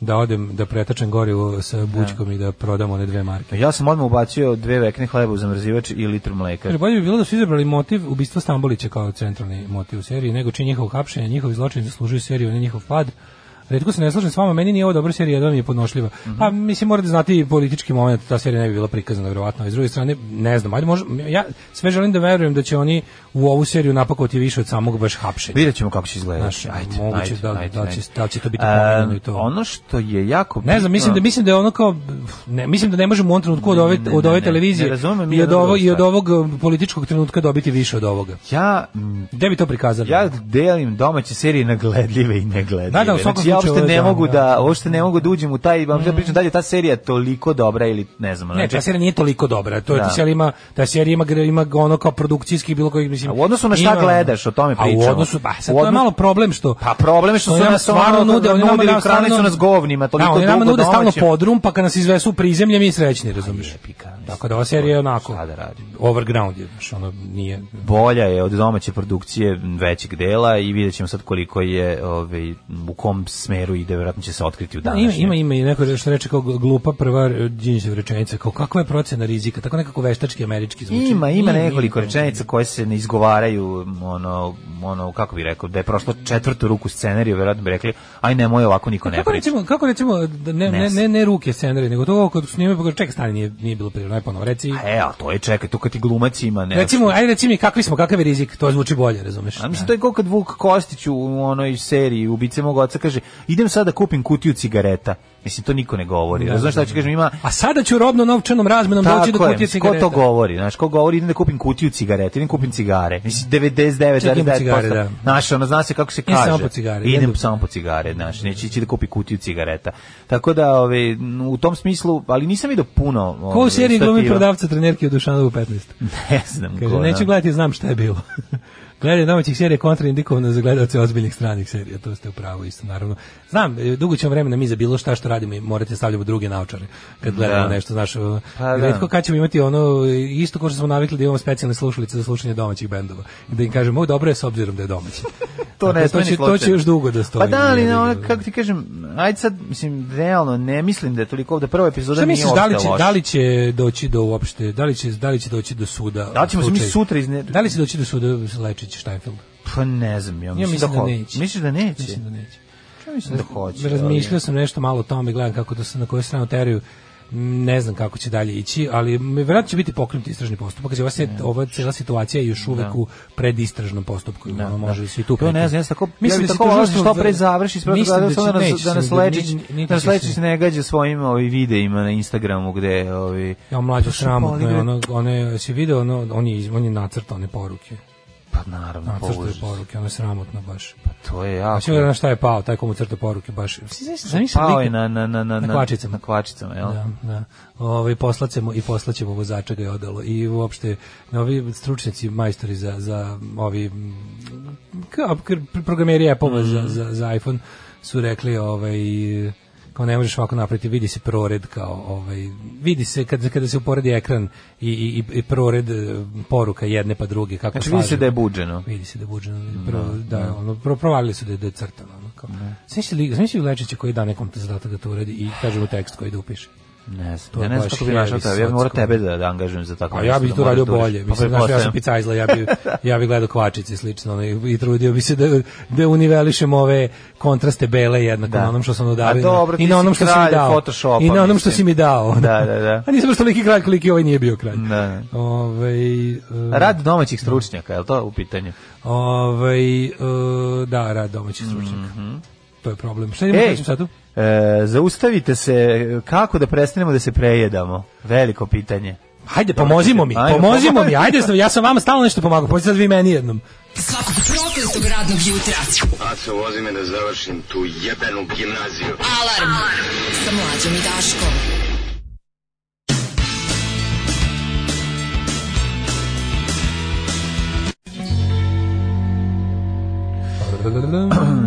G: da odem da pretačem gorivo sa bućkom i da prodam one dve marke.
F: Ja sam odmah ubacio dve vekne hleba u zamrzivač i litru mleka.
G: Kaže, bolje bi bilo da su izabrali motiv ubistva Stambolića kao centralni motiv u seriji, nego čini njihovo hapšenje, njihovi zločini zaslužuju seriju, a ne njihov pad. Redko se ne slažem s vama, meni nije ovo dobra serija, jedva mi je podnošljiva.
F: Mhm.
G: Pa mislim morate znati i politički moment, ta serija ne bi bila prikazana verovatno. S druge strane, ne znam, ajde možda, ja sve želim da verujem da će oni u ovu seriju napakovati više od samog baš hapšenja.
F: Vidjet ćemo kako će izgledati.
G: Znaš, moguće da, li- da, li će, da li će to biti pomenuto i to.
F: Ono što je jako
G: Ne znam, mislim da mislim da je ono kao ne, mislim da ne možemo u ovom trenutku od ove
F: Ne, ne,
G: od ove
F: ne,
G: televizije
F: ne razumem
G: i od
F: jednu
G: ovog i od
F: drugu
G: ovog eh, političkog trenutka dobiti više od ovoga.
F: Ja mm,
G: gde bi to prikazali?
F: Ja delim domaće serije na gledljive i negledljive.
G: Da, da, u svakom
F: znači, ja
G: slučaju
F: uopšte
G: ovo je
F: ne
G: da,
F: mogu
G: da.
F: da, uopšte ne mogu da uđem u taj, vam mm. pričam dalje, ta serija je toliko dobra ili ne znam.
G: Ne,
F: znači-
G: ta serija nije toliko dobra. To je
F: Da.
G: ta serija ima ta serija ima gre- ima ono kao produkcijski bilo koji mislim.
F: A u odnosu na šta
G: ima-
F: gledaš, o tome
G: A
F: pričamo.
G: u odnosu pa sad
F: U
G: to je
F: odnos-
G: malo problem što
F: Pa problem je što su
G: nama
F: nas ono nudili, hrani su nas govnima, toliko
G: da, oni nama
F: dugo
G: nude stalno
F: domaćim.
G: podrum, pa kad nas izvesu u prizemlje, mi srećni, razumiješ? Tako da ova serija je onako, overground je, znaš, ono nije...
F: bolja je od domaće produkcije većeg dela i vidjet ćemo sad koliko je ovaj, u kom smeru ide, vjerojatno će se otkriti u
G: Da,
F: današnjem.
G: ima, ima, ima i neko što reče kao glupa prva Đinđev rečenica, kao kakva je procena rizika, tako nekako veštački američki zvuči.
F: Ima, ima nekoliko rečenica koje se ne izgovaraju, ono, ono kako bi rekao, da je prošlo četvrtu ruku scenariju, vjerojatno bi rekli, aj nemoj ovako niko ne
G: Pa Kako
F: priča.
G: recimo, kako recimo da ne, ne, ne, ne ruke scenarije, nego to kad snimaju, pa kao, čekaj, stani, nije, nije bilo prirodno, aj ponovo, reci...
F: E, a to je čekaj, to kad ti glumac ima ne.
G: recimo, ajde reci mi kakvi smo, kakav je rizik, to zvuči bolje, razumeš?
F: A mislim, to je kao kad Vuk Kostić u onoj seriji Ubice mog oca kaže, idem sad da kupim kutiju cigareta. Mislim, to niko ne govori.
G: Da,
F: Razumeš šta
G: da,
F: ću
G: da.
F: kažem, ima...
G: A sada ću robno novčanom razmenom
F: Tako
G: doći do
F: je,
G: kutije
F: mislim, ko
G: cigareta.
F: to govori? Znaš, ko govori, idem da kupim kutiju cigareta, idem kupim cigare. Mislim,
G: Idem po cigare,
F: 99,9%.
G: da.
F: Znaš, ono, zna se kako se
G: Idem
F: kaže.
G: samo po cigare,
F: Idem
G: idem do-
F: samo po cigare, znaš, neće ići da kupi kutiju cigareta. Tako da, ove, u tom smislu, ali nisam vidio puno...
G: Ko u
F: ove,
G: seriji glumi
F: stativa.
G: prodavca trenerke u Dušanovu 15?
F: <laughs> Ne znam
G: Kaže,
F: ko, da.
G: neću gledati, znam šta je bilo. <laughs> Gledanje domaćih serija je kontraindikovano za gledalce ozbiljnih stranih serija, to ste u pravu isto, naravno. Znam, e, dugo ćemo vremena mi za bilo šta što radimo i morate stavljamo druge naučare kad gledamo
F: Da.
G: nešto, znaš, o,
F: Pa da.
G: retko kad ćemo imati ono, e, isto kao što smo navikli da imamo specijalne slušalice za slušanje domaćih bendova, da im kažemo, o, dobro je s obzirom da je
F: <laughs>
G: domaći.
F: Pa to
G: Dakle,
F: ne sme
G: će-
F: ni
G: to će
F: slučajno.
G: još dugo da stoji.
F: Pa da, ali
G: jebi
F: na
G: ga.
F: ono, kako ti kažem, ajde sad, mislim, realno, ne mislim da je toliko da prva epizoda
G: Šta
F: nije
G: misliš da li
F: uopšte
G: će
F: loša.
G: da li će doći do uopšte da li će da li će doći do suda?
F: Da li ćemo se mi
G: slučaj?
F: sutra izne-
G: Da li će doći do suda Lečić Steinfeld?
F: Pa ne znam, ja
G: Ja
F: mislim,
G: mislim da
F: ho-
G: neće.
F: Misliš da neće?
G: Mislim da neće.
F: Ja mislim da hoće.
G: Razmišljao sam nešto malo o tome, gledam kako da se na koju stranu teraju. Mm, Ne znam kako će dalje ići, ali m, verovatno će biti pokrenut istražni postupak. Znači, ova, se, ova cela situacija je još uvek
F: Da.
G: u predistražnom postupku. i ono može se i tu.
F: To ne
G: preti.
F: znam, ja sam tako,
G: Mislim
F: ja
G: da
F: bi
G: se
F: tako volao da se
G: tužilaštvo-
F: što pre završi, sve
G: Mislim
F: da, da,
G: će-
F: nas,
G: neće
F: da nas
G: se, ni-
F: Lečić,
G: ni- niti
F: da nas
G: će se-
F: Lečić ne gađa svojim ovi videima na Instagramu gde ovi...
G: Ja mlađo
F: Pa što
G: sramotno je
F: boli,
G: ono, ono je, si video, ono, on je, iz- on je nacrtao one poruke.
F: Pa naravno,
G: Nacrtao je
F: použas.
G: poruke, ono je sramotno baš.
F: To je
G: A
F: jako...
G: sigurno na šta je pao, taj komu crta poruke baš. Zamislim
F: Pao
G: lika-
F: je na, na, na, na,
G: na kvačicama.
F: Na kvačicama, jel?
G: Da, da. Ovaj poslaćemo i poslaćemo vozača ga je odalo i uopšte ovi stručnjaci majstori za za ovi mm, ka- k- programeri Apple
F: Mhm.
G: za, za, za iPhone su rekli ovaj kao ne možeš ovako napraviti, vidi se prored kao ovaj vidi se kada kada se uporedi ekran i i i- i prored eh, poruka jedne pa druge kako
F: Znači vidi se
G: slažu.
F: da je buđeno.
G: Vidi se da je buđeno. Prvo, da, ono, prvo provalili su da je, da je crtano. Ono, kao. Znaš li, znaš li Lečića koji da nekom zadatak da to uradi i kaže mu tekst koji da upiše?
F: Ne
G: To
F: znam,
G: je
F: ja ne znam
G: baš
F: kako bi našao
G: heavy
F: tebe, ja bi morao
G: socko.
F: tebe da, da angažujem za tako
G: A Pa ja bih
F: da
G: to
F: moraš
G: radio
F: da uradiš.
G: bolje.
F: Pa
G: Mislim, znaš, ja sam
F: pretpostavljam.
G: picajzla, ja bi,
F: <laughs>
G: ja bi gledao kvačice i slično ono, i, i trudio bi se da, da univelišem ove kontraste bele jednako
F: Da.
G: na onom što sam
F: A
G: odavio.
F: dobro,
G: I
F: ti
G: na
F: si
G: onom što si mi
F: kralj
G: dao.
F: Photoshopa,
G: I na onom što
F: mislim.
G: si mi dao.
F: Da, da, da.
G: <laughs> A nisam baš toliki kralj koliki ovaj nije bio kralj.
F: Da.
G: Ovaj, um,
F: Rad domaćih stručnjaka, je li to u pitanju?
G: Ovaj, e, da, rad domaćih stručnjaka. To je problem. Šta idemo
F: Mhm. Ej,
G: u trećem satu?
F: E, zaustavite se, kako da prestanemo da se prejedamo? Veliko pitanje.
G: Hajde, pomozimo mi,
F: Ajde,
G: pomozimo mi,
F: pomozimo.
G: ajde, ja sam vama stalno nešto pomagao, pođe sad vi meni
F: <clears throat>
G: jednom.
E: Svakog prokletog radnog jutra.
M: Aco, vozi me da završim tu jebenu gimnaziju.
E: Alarm. Sa mlađom i Daškom.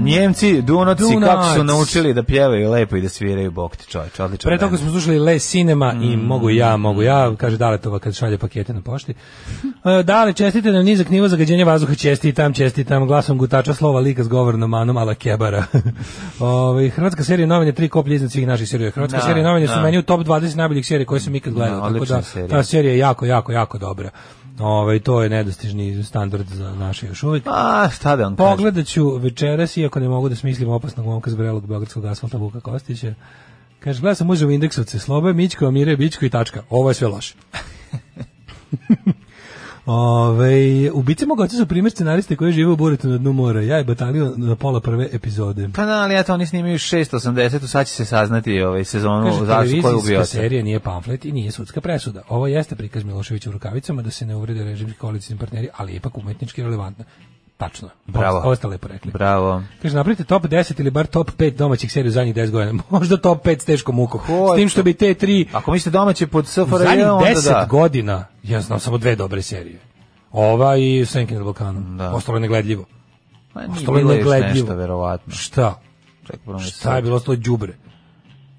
F: Nije Njemci, Dunoci,
G: Dunac.
F: kako su naučili da pjevaju lepo i da sviraju bok ti čovječ, odličan
G: Pre toga
F: bend.
G: smo slušali Le Cinema
F: Mm.
G: i Mogu ja, mogu ja, kaže Daletova kad šalje pakete na pošti. <laughs> E, Dale, čestite nam nizak nivo zagađenja vazduha, čestitam, čestitam, glasom gutača slova lika s govornom manom ala kebara. <laughs> Ove, hrvatska serija novine, tri koplje iznad svih naših serija. Hrvatska
F: Da,
G: serija novine su
F: da.
G: meni u top 20 najboljih serija koje sam ikad gledao.
F: Da,
G: tako
F: odlična
G: da,
F: serija.
G: ta serija je jako, jako, jako dobra. Ove, to je nedostižni standard za naše još uvijek.
F: A, šta da on kaže?
G: Pogledat ću večeras, iako ne mogu da smislim opasnog momka zbrelog Beogradskog asfalta Vuka Kostića. Kaže, gledao sam muže u indeksovce, Slobe, Mićko, Mire, Bićko i tačka. Ovo je sve
F: <laughs>
G: loše. Ove, ubice mog oca su primjer scenariste koji žive u Buretu na dnu mora. Ja je batalio na pola prve epizode.
F: Pa da, ali eto, oni snimaju 680, sad će se saznati ovaj sezonu
G: Kaže,
F: zašto koju ubio
G: televizijska
F: se.
G: serija nije pamflet i nije sudska presuda. Ovo jeste prikaz Miloševića u rukavicama da se ne uvrede režimski koalicijni partneri, ali je ipak umetnički relevantno. Tačno. je.
F: Bravo.
G: Ovo ste lepo rekli.
F: Bravo.
G: Kaže, napravite top 10 ili bar top 5 domaćih serija u zadnjih 10 godina. <laughs> Možda top 5 s teškom mukom. S tim što bi te tri...
F: Ako mislite domaće pod
G: U
F: SFRJ,
G: zadnjih
F: pa onda
G: 10
F: da.
G: godina ja znam samo dve dobre serije. Ova i Senkin nad Balkanom. Ostalo je negledljivo.
F: Ma nije
G: Ostalo je
F: bilo još
G: negledljivo.
F: nešto, verovatno.
G: Šta?
F: Čekaj, moram da se
G: Šta je bilo ostalo je đubre?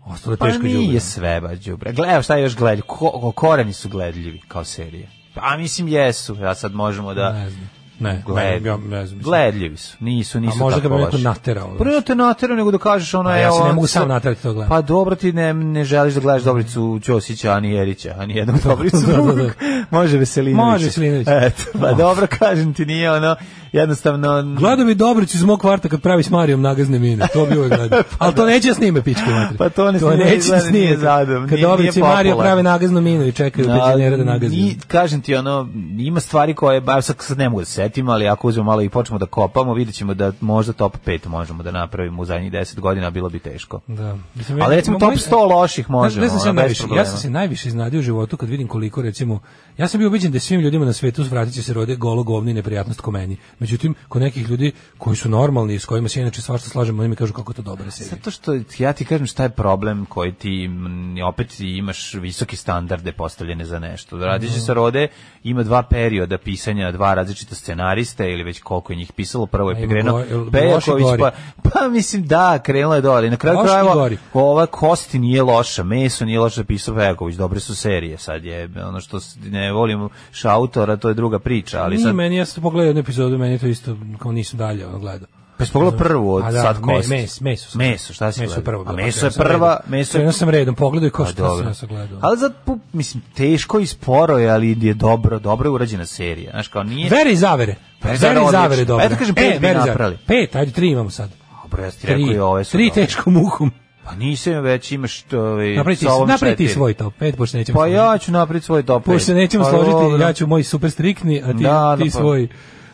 G: Ostalo je
F: Pa
G: teško đubre.
F: nije sve baš đubre. Gle, evo šta je još gledljivo? Ko, koreni su gledljivi kao serije. A mislim jesu, ja sad možemo da...
G: Ne znam. Ne,
F: Gled-
G: ne, ja ne znam, mislim.
F: Gledljivi su, nisu, nisu
G: A možda
F: tako
G: ga bi neko
F: loši.
G: naterao, znaš.
F: Prvo da te naterao, nego da kažeš ono...
G: A ja
F: evo,
G: se ne
F: on
G: mogu sam
F: sad-
G: naterati to da gledam.
F: Pa dobro ti ne, ne želiš da gledaš Dobricu Ćosića, ani Jerića, ani jednu Dobricu
G: <laughs> Da, da, da.
F: drugog. Može Veselinović.
G: Može Veselinović.
F: Eto, pa dobro kažem ti, nije ono, jednostavno...
G: Gledao bi Dobrić iz mog kvarta kad pravi s Marijom nagazne mine, to bi uvek
F: <laughs>
G: gledao. Ali to neće da snime pičke matri.
F: Pa to ne snime,
G: neće da
F: izgleda, nije
G: snime.
F: zadom,
G: Kad
F: nije-
G: Dobrić i
F: nije
G: Mario
F: popularno.
G: prave nagaznu minu i čekaju
F: Ali
G: pečenjera da nagazne.
F: ni- kažem ti ono, ima stvari koje, ba, sad, sad ne mogu da se setim, ali ako uzmemo malo i počnemo da kopamo, vidjet ćemo da možda top 5 možemo da napravimo u zadnjih 10 godina, bilo bi teško.
G: Da. Mislim,
F: Ali
G: ja-
F: recimo
G: mo-
F: top
G: moj-
F: 100 loših možemo,
G: Znaš, gde sam se
F: ono, bez
G: najviše-
F: problema.
G: ja sam se najviše iznadio u životu kad vidim koliko recimo ja sam bio ubeđen da je svim ljudima na svetu svratit će se rode golo govno i neprijatnost ko meni. Međutim, kod nekih ljudi koji su normalni i s kojima se ja inače svašta slažemo, oni mi kažu kako je to dobro se.
F: Zato što ja ti kažem šta je problem koji ti m, opet ti imaš visoke standarde postavljene za nešto. Radić
G: Mhm.
F: se rode ima dva perioda pisanja, dva različita scenariste ili već koliko je njih pisalo, prvo
G: A
F: je
G: ima
F: krenuo
G: go- jel- loši
F: Pejaković
G: gori?
F: pa pa mislim da krenulo je dole. Na kraju
G: Loši
F: krajeva
G: gori.
F: ova kosti nije loša, meso nije loše pisao Pejaković, dobre su serije sad je ono što s- ne volim šautora, to je druga priča, ali
G: Nije
F: sad
G: meni, ja sam pogledao jednu epizodu, meni je to isto, kao nisam dalje ono gledao.
F: Pa si pogledao prvu od
G: A
F: sad kosti?
G: Me, mes, meso sam.
F: Meso, šta si
G: Meso je
F: gledao?
G: prvo.
F: A
G: bilo,
F: meso je
G: krenuo sam
F: prva,
G: redom.
F: meso je-
G: Krenuo sam redom, pogledao i ko
F: Pa
G: šta
F: dobro.
G: sam ja sad gledao.
F: Ali za, pu- mislim, teško i sporo je, ali je dobro, dobro je urađena serija. Znaš, kao nije...
G: Veri i zavere.
F: Pa je
G: Veri i
F: odlično.
G: zavere, dobro.
F: Pa eto kažem,
G: E,
F: pet bi
G: Veri i zavere.
F: napravili.
G: Pet, ajde, tri imamo sad.
F: Dobro, ja ti
G: Tri.
F: rekao i ove su
G: Tri
F: dobre.
G: teškom ukom.
F: Pa nisam već, imaš... to, Ovaj,
G: Napravi ti,
F: sa ovom
G: napravi ti
F: četiri.
G: svoj top 5, pošto nećemo
F: Pa
G: složiti.
F: ja ću napraviti svoj top pet.
G: Pošto se nećemo
F: Pa dobro.
G: složiti, ja ću moj super strikni, a ti,
F: Da,
G: ti
F: da, pa-
G: svoj...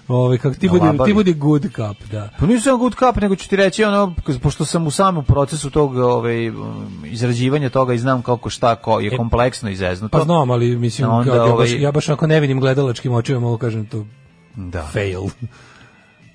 G: Ovaj kako ti
F: Na
G: budi
F: labavi.
G: ti budi good cup, da.
F: Pa nisam good cup, nego ću ti reći ono, pošto sam u samom procesu tog ovaj, um, izrađivanja toga i znam kako šta ko je kompleksno i zeznuto.
G: E, Pa znam, ali mislim
F: A onda,
G: ja, ja, baš,
F: ovaj-
G: ja baš ako ne vidim gledalačkim očima, mogu kažem to
F: Da.
G: fail.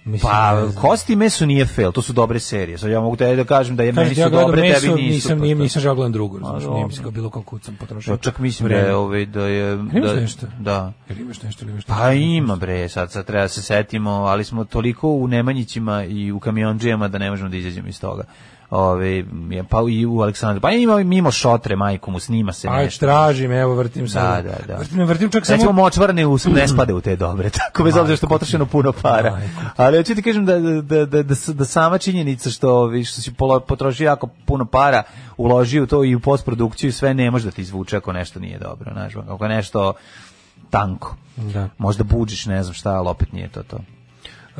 G: Mislim, ne
F: Pa,
G: znam.
F: kosti i meso nije fail, to su dobre serije. Sad ja mogu tebi da kažem da je meni
G: Kažem ti,
F: su
G: ja gledam
F: dobre,
G: meso,
F: tebi nisu.
G: nisam,
F: pa
G: nije,
F: šta?
G: nisam žao gledam drugo, znaš,
F: dobro.
G: nije mi se kao bilo kako sam potrošio.
F: Ja čak mislim
G: Pa vreme.
F: da je ovaj da je
G: Jel imaš
F: da,
G: nešto?
F: da.
G: Jel imaš nešto, ili imaš nešto?
F: Pa ima bre, sad sad treba se setimo, ali smo toliko u Nemanjićima i u kamiondžijama da ne možemo da izađemo iz toga. Ove, je, pa i u Aleksandru. Pa ima mimo šotre majku mu snima se
G: Aj,
F: nešto.
G: tražim, evo, vrtim
F: Da,
G: sad.
F: da, da.
G: Vrtim, vrtim čak
F: Recimo
G: samo...
F: močvarne us
G: <clears throat>
F: ne spade u te dobre, <laughs> tako bez obzira što je potrošeno puno para. Ali hoću ti kažem da, da, da, da, s- da sama činjenica što, ovi, što si polo- potrošio jako puno para, uložio u to i u postprodukciju, sve ne može da ti izvuče ako nešto nije dobro, znaš, ako je nešto tanko.
G: Da.
F: Možda buđiš, ne znam šta, ali opet nije to to.
G: E,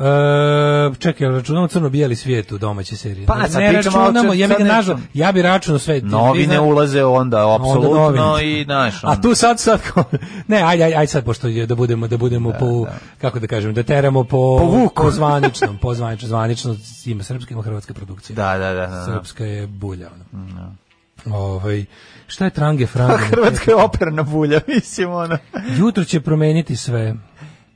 G: čekaj, jel računamo crno-bijeli svijet u domaće serije.
F: Pa,
G: ne,
F: sad
G: ne
F: pričamo,
G: računamo,
F: ali
G: ja bih
F: sad ne-
G: nažal, ja bi računao sve.
F: Novi ne ulaze onda, apsolutno, i znaš, ono.
G: A tu sad sad kao- ne, ajde, ajde, ajde sad pošto je da budemo da budemo po kako da kažem, da teramo po
F: Po vuku.
G: po zvaničnom, po zvanično, zvanično ima srpska ima hrvatska produkcija.
F: Da, da, da. Mm, da, da.
G: Srpska je bulja. Ono. Ovaj, šta je trange
F: <laughs>
G: frange?
F: Hrvatska je operna bulja, <laughs> mislim, ono.
G: Jutro će promeniti sve.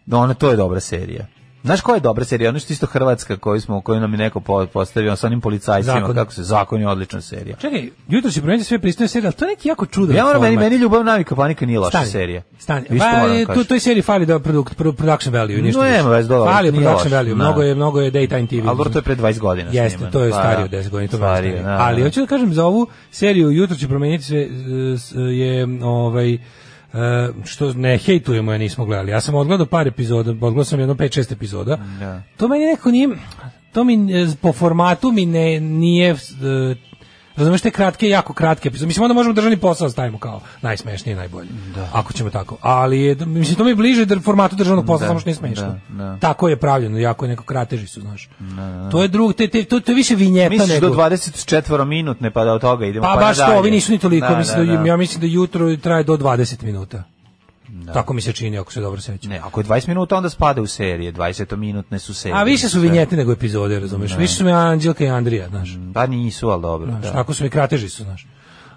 F: Da, ona, to je ono, dobra serija. Znaš koja je dobra serija? Ono što isto Hrvatska koju smo, koju nam je neko po- postavio ono, sa onim policajcima,
G: Zakon.
F: kako se zakon je odlična serija.
G: Čekaj, jutro će promeniti sve pristojne serije, ali to je neki jako čudan
F: Ja moram, meni,
G: format.
F: meni ljubav navika panika nije loša
G: Stani,
F: serija.
G: Stani.
F: Isto
G: Pa,
F: moram da
G: tu
F: kažem.
G: toj seriji fali da produkt, pro- production value, ništa.
F: No,
G: više.
F: nema veze, dobro,
G: Fali
F: nije
G: production
F: loše,
G: value,
F: da.
G: mnogo je mnogo je daytime TV.
F: Ali dobro, to je pre 20 godina
G: Jeste,
F: snimano.
G: to je
F: Pa,
G: starije od
F: da.
G: 10 godina, to je
F: Starije,
G: starije.
F: da,
G: Ali
F: da.
G: hoću da kažem za ovu seriju jutro će promeniti sve e, s- je ovaj e, što ne hejtujemo, ja nismo gledali. Ja sam odgledao par epizoda, odgledao sam jedno 5-6 epizoda.
F: Da.
G: To meni neko nije, to mi e, po formatu mi ne, nije, e, razumeš te kratke, jako kratke epizode. Mislim, onda možemo državni posao stavimo kao najsmešnije, najbolje. Ako ćemo tako. Ali, je, mislim, to mi je bliže dr- formatu državnog posla,
F: Da,
G: samo što nije smešno.
F: da, da.
G: Tako je pravljeno, jako je neko krateži su, znaš.
F: Da, da, da.
G: To je drug, te, te, to, to je više vinjeta
F: Misliš
G: nego...
F: do 24 minutne pa da od toga idemo
G: pa,
F: pa,
G: baš to,
F: nadalje?
G: ovi nisu ni toliko,
F: Da,
G: mislim
F: da,
G: da,
F: da.
G: ja mislim da jutro traje do 20 minuta. Tako mi se čini, ako se dobro sećam.
F: Ne, ako je 20 minuta onda spada u serije, 20 minutne su serije.
G: A više su vinjete nego epizode, razumeš?
F: Da.
G: Više su mi Anđelka i Andrija, znaš.
F: Pa nisu, ali dobro.
G: Znaš,
F: da.
G: Tako su mi krateži su, znaš.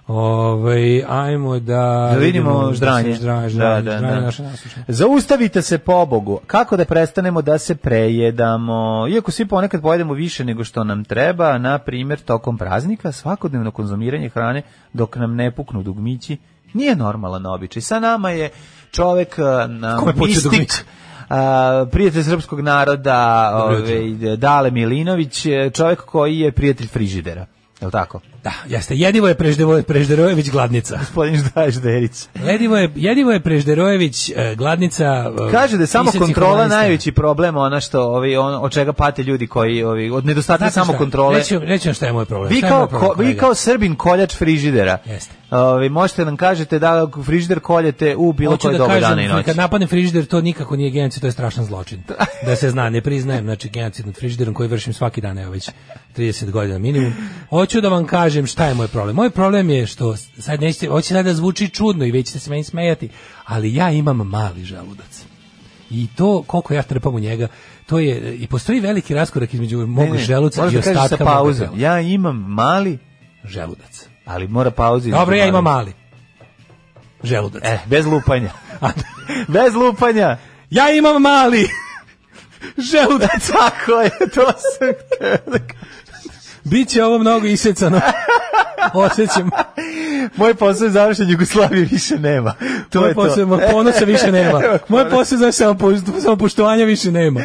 G: Ovaj ajmo da,
F: Da vidimo
G: da
F: ždranje.
G: se ždranje, ždranje, ždranje naše naslušne.
F: Zaustavite se pobogu. Kako da prestanemo da se prejedamo? Iako svi ponekad pojedemo više nego što nam treba, na primjer tokom praznika, svakodnevno konzumiranje hrane dok nam ne puknu dugmići nije normalan običaj. Sa nama je čovek eh, na
G: Kome pucaju dugmići?
F: mistik, a, prijatelj srpskog naroda,
G: Dobro
F: ovaj, Dale Milinović, eh, čovek koji je prijatelj frižidera. Je li tako?
G: Da, jeste, jedivo je Preždevo, Prežderojević
F: <laughs>
G: gladnica.
F: Gospodin Žderić.
G: Jedivo je, jedivo je Prežderojević eh, gladnica. eh,
F: Kaže da je samo
G: pisac i
F: kontrola
G: humanista.
F: najveći problem, ona što ovi on od čega pate ljudi koji ovi od nedostatka
G: Znate
F: samo
G: šta,
F: kontrole.
G: Reći, vam- reći vam šta je moj problem.
F: Vi
G: šta je
F: kao,
G: moj problem,
F: ko- vi
G: kolega?
F: kao Srbin koljač frižidera.
G: Jeste.
F: Ovi, možete nam kažete da frižider koljete u bilo
G: Hoću
F: koje
G: da
F: doba
G: kažem,
F: dana i noći.
G: kad napadne frižider, to nikako nije genocid, to je strašan
F: <laughs>
G: zločin. Da se zna, ne priznajem, znači genocid nad frižiderom koji vršim svaki dan, evo već 30 godina minimum. Hoću da vam kažem šta je moj problem. Moj problem je što, sad nećete, hoće sad da zvuči čudno i vi ćete se meni smejati, ali ja imam mali želudac. I to, koliko ja trpam u njega, to je, i postoji veliki raskorak između
F: Ne, ne,
G: mog želuca
F: možeš
G: i
F: da kažeš
G: ostatka
F: sa
G: moga
F: pauzom.
G: tela.
F: Ja imam mali
G: želudac.
F: Ali mora pauzi.
G: Dobro, ja imam mali. Želudac.
F: E, bez lupanja. bez lupanja.
G: Ja imam
F: E.
G: mali <laughs> želudac.
F: <laughs> Tako je, to sam hteo da
G: Biće ovo mnogo
F: <laughs>
G: isecano. Osjećam.
F: Moj posao je završen, Jugoslavije više nema. To
G: Moj
F: je to.
G: posao, moj ponosa
F: <laughs>
G: više nema. Moj posao za samopoštovanja više nema.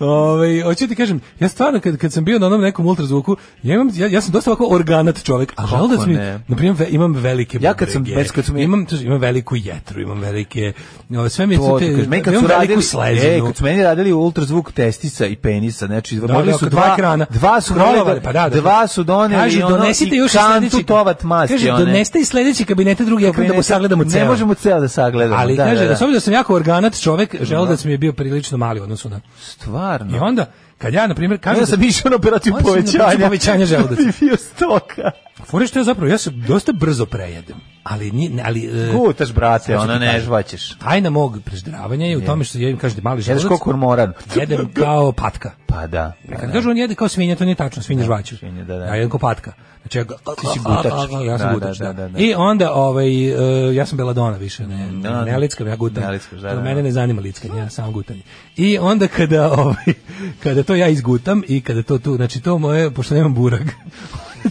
G: Ove, hoću ti kažem, ja stvarno kad, kad sam bio na onom nekom ultrazvuku, ja, imam, ja, ja sam dosta ovako organat čovjek, a
F: Kako
G: želudac mi,
F: ne?
G: na primjer, ve- imam velike
F: Ja kad sam-
G: bubrege,
F: već kad sam-
G: imam, to- imam veliku jetru, imam velike, o, sve mi je
F: To,
G: te,
F: to kažeš, meni kad
G: imam
F: su radili,
G: veliku
F: ej,
G: slezinu.
F: kad su meni radili ultrazvuk testica i penisa, znači da,
G: Da,
F: morali
G: da,
F: su
G: oko
F: dva,
G: dva ekrana.
F: Dva su morali,
G: Prolovali,
F: pa
G: pa da, da.
F: dva su doneli
G: Kaže,
F: ono,
G: donesite
F: i
G: još iz
F: kantu
G: sledećeg-
F: tovat masti.
G: Kaže,
F: one.
G: donesite iz sledećeg kabineta drugi ekran da mu
F: Kabineta-
G: sagledamo ceo.
F: Ne možemo ceo da sagledamo.
G: Ali
F: da,
G: kaže,
F: da, da.
G: s obzirom da sam jako organat čovek, želudac mi je bio prilično mali u odnosu na...
F: Stvarno.
G: I onda, kad ja, na primjer, kažem...
F: Ja sam
G: da-
F: išao na operaciju
G: Onda sam
F: povećanja.
G: na povećanje
F: <laughs>
G: želudaca.
F: I bio stoka.
G: Fore što ja zapravo, ja se dosta brzo prejedem. Ali, nije, ne- ali... e,
F: Gutaš, brate,
G: sad ću ti
F: ona ne
G: kažem.
F: žvaćeš.
G: Tajna mog preždravanja je u tome što jedem, kažete, mali želudac.
F: Jedeš ko kormoran.
G: Jedem kao patka.
F: Pa da.
G: Kad kažu on jede kao svinja, to nije tačno, svinja žvaću.
F: svinja, da, da.
G: Ja jedem kao patka. Znači, ja, ga-
F: Ti si gutač.
G: Ja sam
F: Da,
G: gutač, da,
F: da, da, da.
G: I onda, ovaj, e, ja sam Beladona više, ne,
F: da.
G: ne, ne lickam, ja gutam.
F: Ne lickaš, da,
G: To
F: da, da.
G: Mene ne zanima lickanje, ja samo gutanje. I onda kada, ovaj, <laughs> kada to ja izgutam i kada to tu, znači to moje, pošto nemam burak, <laughs>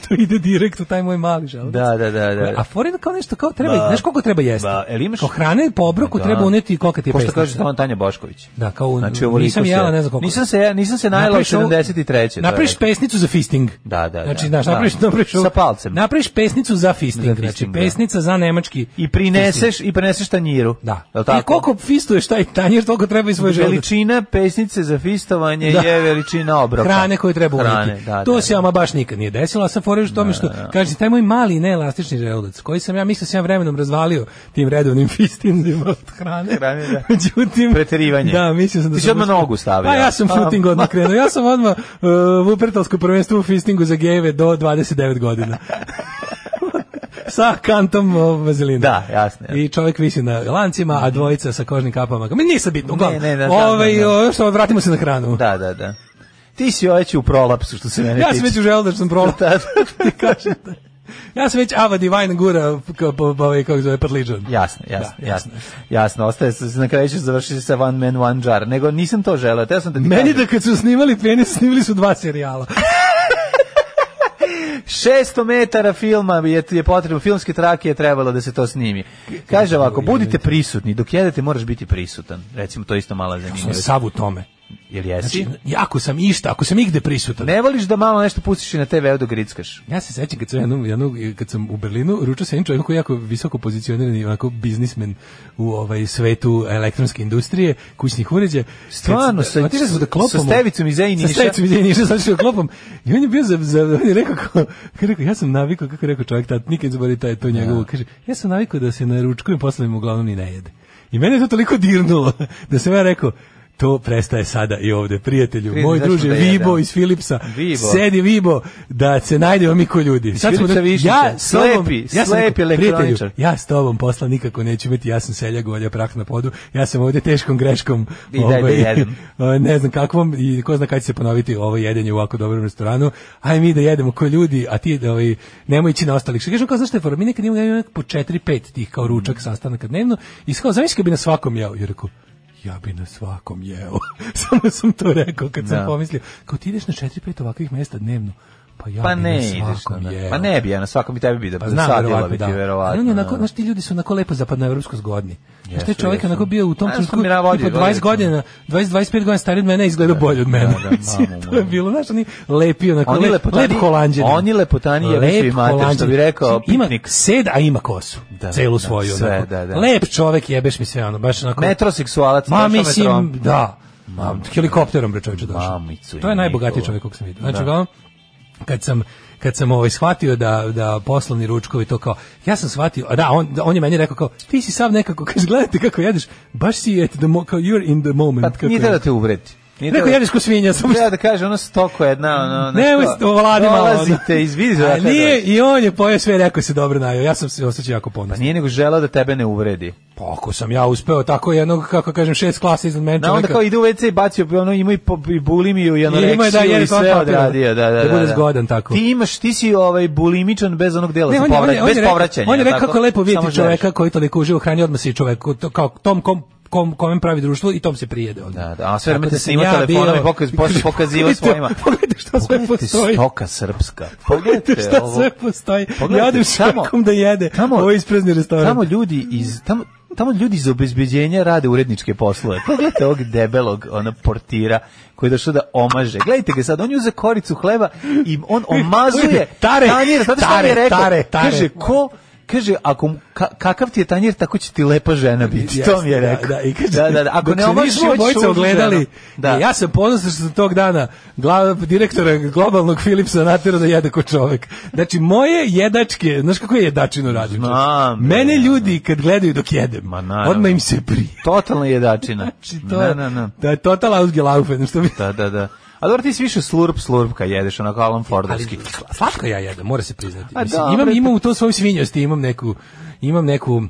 G: to ide direkt u taj moj mali želudac.
F: Da, da, da, da.
G: A forina kao nešto, kao treba,
F: Ba,
G: znaš koliko treba jesti?
F: ba, jel imaš-
G: Kao hrane po obroku
F: Da.
G: treba uneti koliko ti je
F: Pošto
G: pesnica.
F: kaže tamo Tanja Bošković.
G: Da, kao
F: Znači,
G: znači,
F: ovoliko
G: nisam
F: se-
G: jela, ne znam koliko.
F: Nisam se, nisam se najela u
G: Napraviš ovu-
F: 73.
G: Napraviš pesnicu za fisting.
F: Da, da,
G: Znači,
F: da.
G: znaš,
F: Da.
G: napraviš, napraviš ovu-
F: Sa palcem.
G: Napraviš pesnicu za fisting,
F: Za
G: znači
F: fisting, da.
G: pesnica za nemački.
F: I prineseš i prineseš tanjiru.
G: Da.
F: Je li tako?
G: I koliko fistuješ taj tanjir, toliko treba i svoj želudac.
F: Veličina pesnice za fistovanje
G: Da.
F: je veličina obroka.
G: Hrane koju treba
F: pa. Hrane,
G: uneti.
F: da,
G: to
F: da.
G: se ama baš nikad nije desilo, a sam fore u tome što, kaže, taj moj mali neelastični želudac, koji sam ja mislio sam ja vremenom razvalio tim redovnim <laughs> fistinzima od hrane.
F: Hrane, da.
G: Međutim,
F: Preterivanje.
G: Da, mislio sam da
F: Ti si
G: sam
F: odmah
G: baš-
F: nogu stavio.
G: Pa ja sam
F: A,
G: footing odmah
F: ma-
G: krenuo. Ja sam odmah uh, Vupertalsko prvenstvo u fistingu za gejeve do 29 godina. <laughs> sa kantom uh, vazelina.
F: Da, jasno, jasno.
G: I čovjek visi na lancima, a dvojica sa kožnim kapama. Ma nisam bitno, uglavnom.
F: Ne, ne, da, da,
G: ovaj,
F: da, da.
G: ovaj, što, vratimo se na hranu.
F: Da, da, da. Ti si oveć u prolapsu što se mene
G: Ja
F: tiče. <laughs>
G: sam već u želodar sam prolao.
F: Da, da, da.
G: Kažete. Ja sam već Ava Divine gura kao po po ovaj kako zove Perliđan.
F: Jasno, jasno, jasno. Jasno, ostaje se na kraju će završiti sa One Man One Jar, nego nisam to želeo. Ja sam da ti
G: Meni
F: kažem.
G: da kad su snimali penis, snimili su dva serijala.
F: 600 metara filma je, je potrebno, filmske trake je trebalo da se to snimi. Kaže ovako, budite prisutni, dok jedete moraš biti prisutan. Recimo, to je isto mala zanimljivost.
G: sam sav u tome.
F: Jel jesi?
G: Znači, ako sam išta, ako sam igde prisutan.
F: Ne voliš da malo nešto pustiš i na TV-u da grickaš?
G: Ja se sećam kad sam, jednom, jednom- kad sam u Berlinu, ručao sam jednim čovjekom koji je jako visoko pozicionirani, onako biznismen u ovaj svetu elektronske industrije, kućnih uređaja. Kad
F: Stvarno,
G: sam-
F: sa-
G: otišao sam da klopamo-
F: sa Stevicom iz Ej Niša.
G: Sa Stevicom iz Ej Niša, sad ću da klopam. I on je bio za, za on je rekao, kao, kako je rekao, ja sam navikao, kako je rekao čovjek tad, nikad zbori taj to njegovo, kaže, ja sam navikao da se naručkujem, posle me uglavnom ni ne jede. I mene je to toliko dirnulo, <laughs> da sam ja rekao, to prestaje sada i ovde, prijatelju.
F: Prijatelju,
G: Moj
F: zašto
G: druže,
F: da jedem?
G: Vibo iz Philipsa,
F: Vibo.
G: sedi Vibo, da se najdemo mi ko ljudi.
F: Filipsa Višnjića,
G: ja s tobom-
F: slepi,
G: ja sam
F: slepi
G: rekao, prijatelju,
F: elektroničar.
G: Ja s tobom posla nikako neću imati, ja sam selja golja prah na podu, ja sam ovde teškom greškom.
F: I dalje
G: <laughs>
F: jedem.
G: o, ne znam kakvom i ko zna kada će se ponoviti ovo jedenje u ovako dobrom restoranu. Aj mi da jedemo ko ljudi, a ti da, ovaj, nemoj ići na ostalih. Što kažem kao, znaš šta je fora, mi nekad imamo imamo po 4-5 tih kao
F: Mm.
G: ručak sastanaka dnevno i kao, zamisli kad bi na svakom jeo. I rekao, ja bi na svakom jeo. <laughs> Samo sam to rekao kad sam
F: Da.
G: pomislio. Kao ti ideš na 4-5 ovakvih mesta dnevno. Pa ja
F: pa
G: bi
F: ne,
G: na
F: ideš
G: svakom
F: na-
G: jeo.
F: Pa ne bi ja na svakom i tebi bi da
G: Pa
F: pa
G: znam,
F: sadila
G: verovatno,
F: bi ti
G: da. Ali
F: verovatno. ono.
G: on je onako, znaš, ti ljudi su onako lepo zapadnoevropsko zgodni. Znaš, taj
F: Jesu,
G: čovjek
F: jesu.
G: onako bio u tom
F: A,
G: trenutku,
F: smo mi navodili,
G: tipa 20
F: vodili smo.
G: godina, 20-25 godina stariji od mene, izgleda bolje od mene.
F: da, da,
G: <laughs> Mislim,
F: mamu
G: to je bilo, znaš, oni lepi, onako,
F: Oni
G: lep,
F: lepotani-
G: lep holandjanin.
F: oni lepotani jebi
G: Lep
F: svi mater, što bi
G: Holanđanin. Znači,
F: rekao
G: Ima
F: Pipnik.
G: sed, a ima kosu.
F: Da,
G: celu
F: da,
G: svoju.
F: sve,
G: onako.
F: da, da.
G: Lep čovjek, jebeš mi sve, ono, baš onako...
F: Metroseksualac, ono
G: Ma,
F: došao
G: mislim,
F: metrom.
G: da. Ma, helikopterom, bre, čovječe, došao.
F: Mamicu
G: To je
F: i
G: najbogatiji
F: Nikola.
G: čovjek kog sam vidio. Znači,
F: Da.
G: uglavnom, kad sam kad sam ovaj shvatio da da poslovni ručkovi to kao ja sam shvatio a da on da, on je meni rekao kao ti si sav nekako <laughs> kaže gledajte kako jedeš baš si at the mo, kao you're in the moment
F: Pa
G: kako
F: nije
G: je.
F: treba da te uvreti.
G: Rekao, jedeš ko svinja, samo
F: Ja da kaže, ono stoko jedna, ono...
G: <laughs> ne,
F: nešto,
G: ovo vladi malo. ono.
F: Dolazite, izvidi
G: A
F: za dakle,
G: Nije, i on je pojeo sve, rekao se dobro najo. Ja sam se osjećao jako ponosno.
F: Pa nije nego želeo da tebe ne uvredi.
G: Pa ako sam ja uspeo tako jednog, kako kažem, šest klasa iznad mene
F: Da, onda
G: čoveka-
F: kao ide u WC i bacio, ono, ima i, po, i bulimiju i anoreksiju
G: Ima, da, jede
F: i sve
G: kontra papira.
F: odradio. Da, da,
G: Da
F: da,
G: bude
F: da.
G: zgodan tako.
F: Ti imaš, ti si ovaj, bulimičan bez onog dela,
G: Ne,
F: za
G: on je- on je- on je
F: povraćaj, bez
G: rekao-
F: povraćanja.
G: On je rekao
F: tako?
G: kako je lepo
F: Samo
G: vidjeti
F: želiš.
G: čoveka koji toliko uživa u hrani, odmah si čovek, to kao tom kom kom kome pravi društvo i tom se prijede odmah.
F: Da, da, a sve vreme
G: Tako
F: te
G: sam
F: snima telefonom
G: bio-
F: i pokaz- posle pokazivao svojima.
G: Pogledajte šta Pa sve
F: Pogledajte
G: postoji. <laughs>
F: stoka srpska.
G: Pogledajte
F: Pogledajte
G: šta
F: ovo.
G: sve postoji.
F: Pogledajte,
G: Ja odem
F: tamo-
G: šakom da jede.
F: tamo-
G: Ovo je isprezni restoran.
F: Tamo ljudi iz tamo tamo ljudi iz obezbeđenja rade uredničke poslove. Pogledajte ovog debelog ona portira koji je došao da omaže. Gledajte ga sad, on je uzeo koricu hleba i on omazuje
G: <laughs> Tare,
F: tanjir. Znate šta
G: tare,
F: mi je rekao?
G: tare, tare.
F: Kaže, ko kaže ako mu- ka- kakav ti je tanjir tako će ti lepa žena biti
G: Jeste,
F: to mi je
G: da,
F: rekao
G: Da, i kaže,
F: da, da, da. ako
G: dok
F: ne
G: se
F: omažiš
G: nismo
F: hoćeš
G: obojica
F: tuđu
G: ogledali,
F: ženu. da.
G: i ja sam ponosan što sam tog dana glav, direktora globalnog Philipsa natjerao da jede ko čovek. Znači, moje jedačke, znaš kako je jedačinu radim?
F: Znam, bre,
G: Mene ljudi kad gledaju dok jedem,
F: naravno.
G: odmah im se prije.
F: totalna jedačina
G: Znači, to je,
F: Na, na, na.
G: da je total ausgelaufen, što bi...
F: da da da a dobro ti si više slurp slurp kad jedeš onako Alan
G: E, Ali
F: Fordovski
G: sla- slatko ja jedem, mora se priznati.
F: A
G: Mislim,
F: dobro,
G: imam,
F: to-
G: imam u Pa to svoju svinjosti, imam neku, imam neku,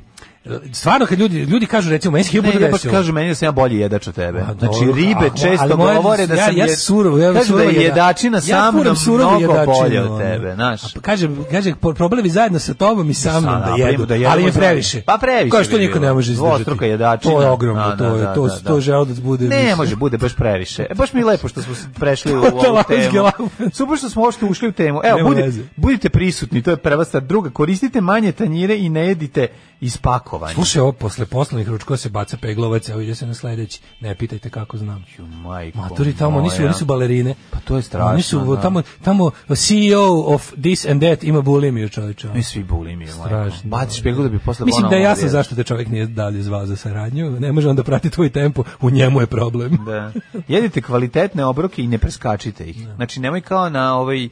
G: stvarno kad ljudi, ljudi kažu recimo, meni se hiljadu
F: Ne,
G: puta
F: ja baš
G: desilo.
F: kažu meni da sam ja bolji jedač od tebe.
G: Pa
F: znači
G: dobro,
F: ribe
G: a- ali
F: često
G: moja-
F: govore da
G: ja,
F: sam
G: ja
F: jed-
G: surovo, ja
F: kažu da
G: surovo
F: je
G: jeda-
F: jedačina
G: ja
F: sa mnom
G: furam surovu
F: mnogo
G: jedačinu,
F: bolje od
G: ono.
F: tebe, znaš.
G: A pa kaže, kaže po- problem je zajedno sa tobom i sa mnom
F: Sa-
G: da
F: a,
G: jedu,
F: da jedemo
G: ali je
F: zajedno.
G: previše.
F: Pa previše.
G: Kao što
F: bi
G: niko
F: bilo.
G: ne može izdržati.
F: Dvostruka jedačina.
G: To je ogromno,
F: Da,
G: to
F: da,
G: je
F: da,
G: to
F: da, da.
G: to želudac bude.
F: Ne
G: mislim.
F: može, bude baš previše. E, baš mi je lepo što smo se
G: <laughs>
F: prešli u ovu
G: Totalno
F: temu.
G: uzgelaufen.
F: Super što smo uopšte ušli u temu. Evo,
G: Nema
F: budi-
G: veze.
F: budite prisutni, to je prva stvar. Druga, koristite manje tanjire i ne jedite iz pakovanja.
G: Slušaj, ovo posle poslovnih ručkova se baca peglovac, evo ide se na sledeći. Ne pitajte kako znam.
F: Ju, majko
G: Maturi tamo nisu,
F: moja.
G: oni su balerine.
F: Pa to je strašno,
G: Oni su
F: da.
G: tamo tamo CEO of this and that ima bulimiju, ono. čoveče.
F: Mi svi bulimije, majko.
G: Strašno.
F: Baciš peglu da bi posle
G: Mislim da
F: ponovo
G: je jasno
F: jedeš.
G: zašto te čovjek nije dalje zvao za saradnju. Ne može on da prati tvoj tempo, u njemu je problem.
F: Da. Jedite kvalitetne obroke i ne preskačite ih. Znači nemoj kao na ovaj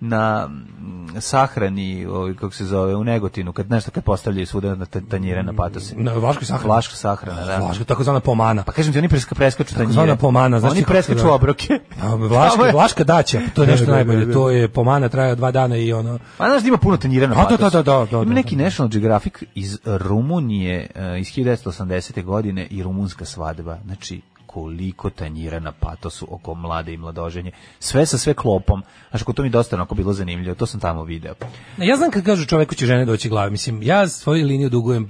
F: na mm, sahrani, ovaj, kako se zove, u Negotinu, kad nešto kad postavljaju svuda na ta- tanjire na patose.
G: Na Vlaškoj sahrani.
F: Vlaška sahrana, da.
G: Vlaška takozvana pomana.
F: Pa kažem ti, oni preska, preskaču tanjire.
G: Takozvana pomana, znači
F: Oni
G: kako
F: preskaču
G: da-
F: obroke.
G: A,
F: <laughs>
G: Vlaška, vlaška daća, to je nešto najbolje. To je pomana traja dva dana i ono
F: A znaš da ima puno tanjira na
G: A, da,
F: patosu.
G: da, da, da, da,
F: Ima neki
G: da.
F: National Geographic e, iz Rumunije eh, iz 1980. godine i rumunska svadba. Znači, koliko tanjira na patosu oko mlade i mladoženje. Sve sa sve klopom. Znaš, ako to mi dosta onako bilo zanimljivo, to sam tamo video.
G: Ne, Ja znam kad kažu čoveku će žene doći glave, mislim, ja svoju liniju dugujem e,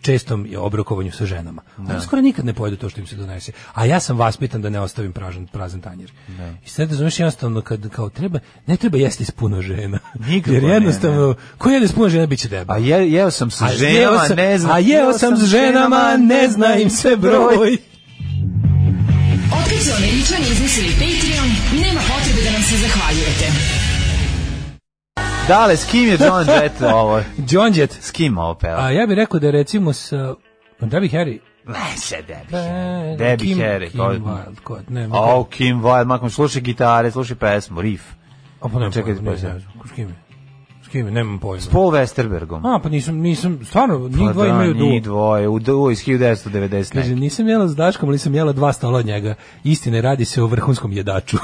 G: čestom obrokovanju sa ženama. Oni
F: Da.
G: skoro nikad ne pojedu to što im se donese. A ja sam vaspitan da ne ostavim pražan, prazan tanjir.
F: Da.
G: I sad razumeš jednostavno kad kao treba, ne treba jesti s puno žena.
F: Nikako
G: Jer
F: ne,
G: jednostavno, ko jede s puno žena bit će debel.
F: A je, jeo sam sa
G: A jeo
F: ženama,
G: sam-
F: ne znam.
G: a jeo sam s ženama, ne zna im se broj.
E: Otkad su američani izmislili Patreon, nema potrebe da nam se zahvaljujete.
F: Dale, s kim je
G: <laughs>
F: John Jett ovo?
G: John Jett.
F: S kim ovo peva?
G: A ja bih rekao da je recimo sa Debbie Harry.
F: Ne, se Debbie
G: Harry. pa-
F: Debbie
G: Kim,
F: Harry.
G: Kim
F: to je-
G: Wilde, ko- ne,
F: Au, Kim Wilde, makom, slušaj gitare, slušaj pesmu, riff.
G: A pa nemam
F: Čekaj,
G: pojma, ne
F: pa-
G: znam, s kime? S kime, nemam pojma.
F: S Paul Westerbergom.
G: A, pa nisam, nisam, stvarno, njih
F: Pa
G: dvoje
F: da,
G: imaju duo.
F: Njih dvoje, u duo iz 1990.
G: Kaže, Znači, nisam jela s Daškom, ali sam jela dva stola od njega. Istine, radi se o vrhunskom
F: <laughs>
G: jedaču.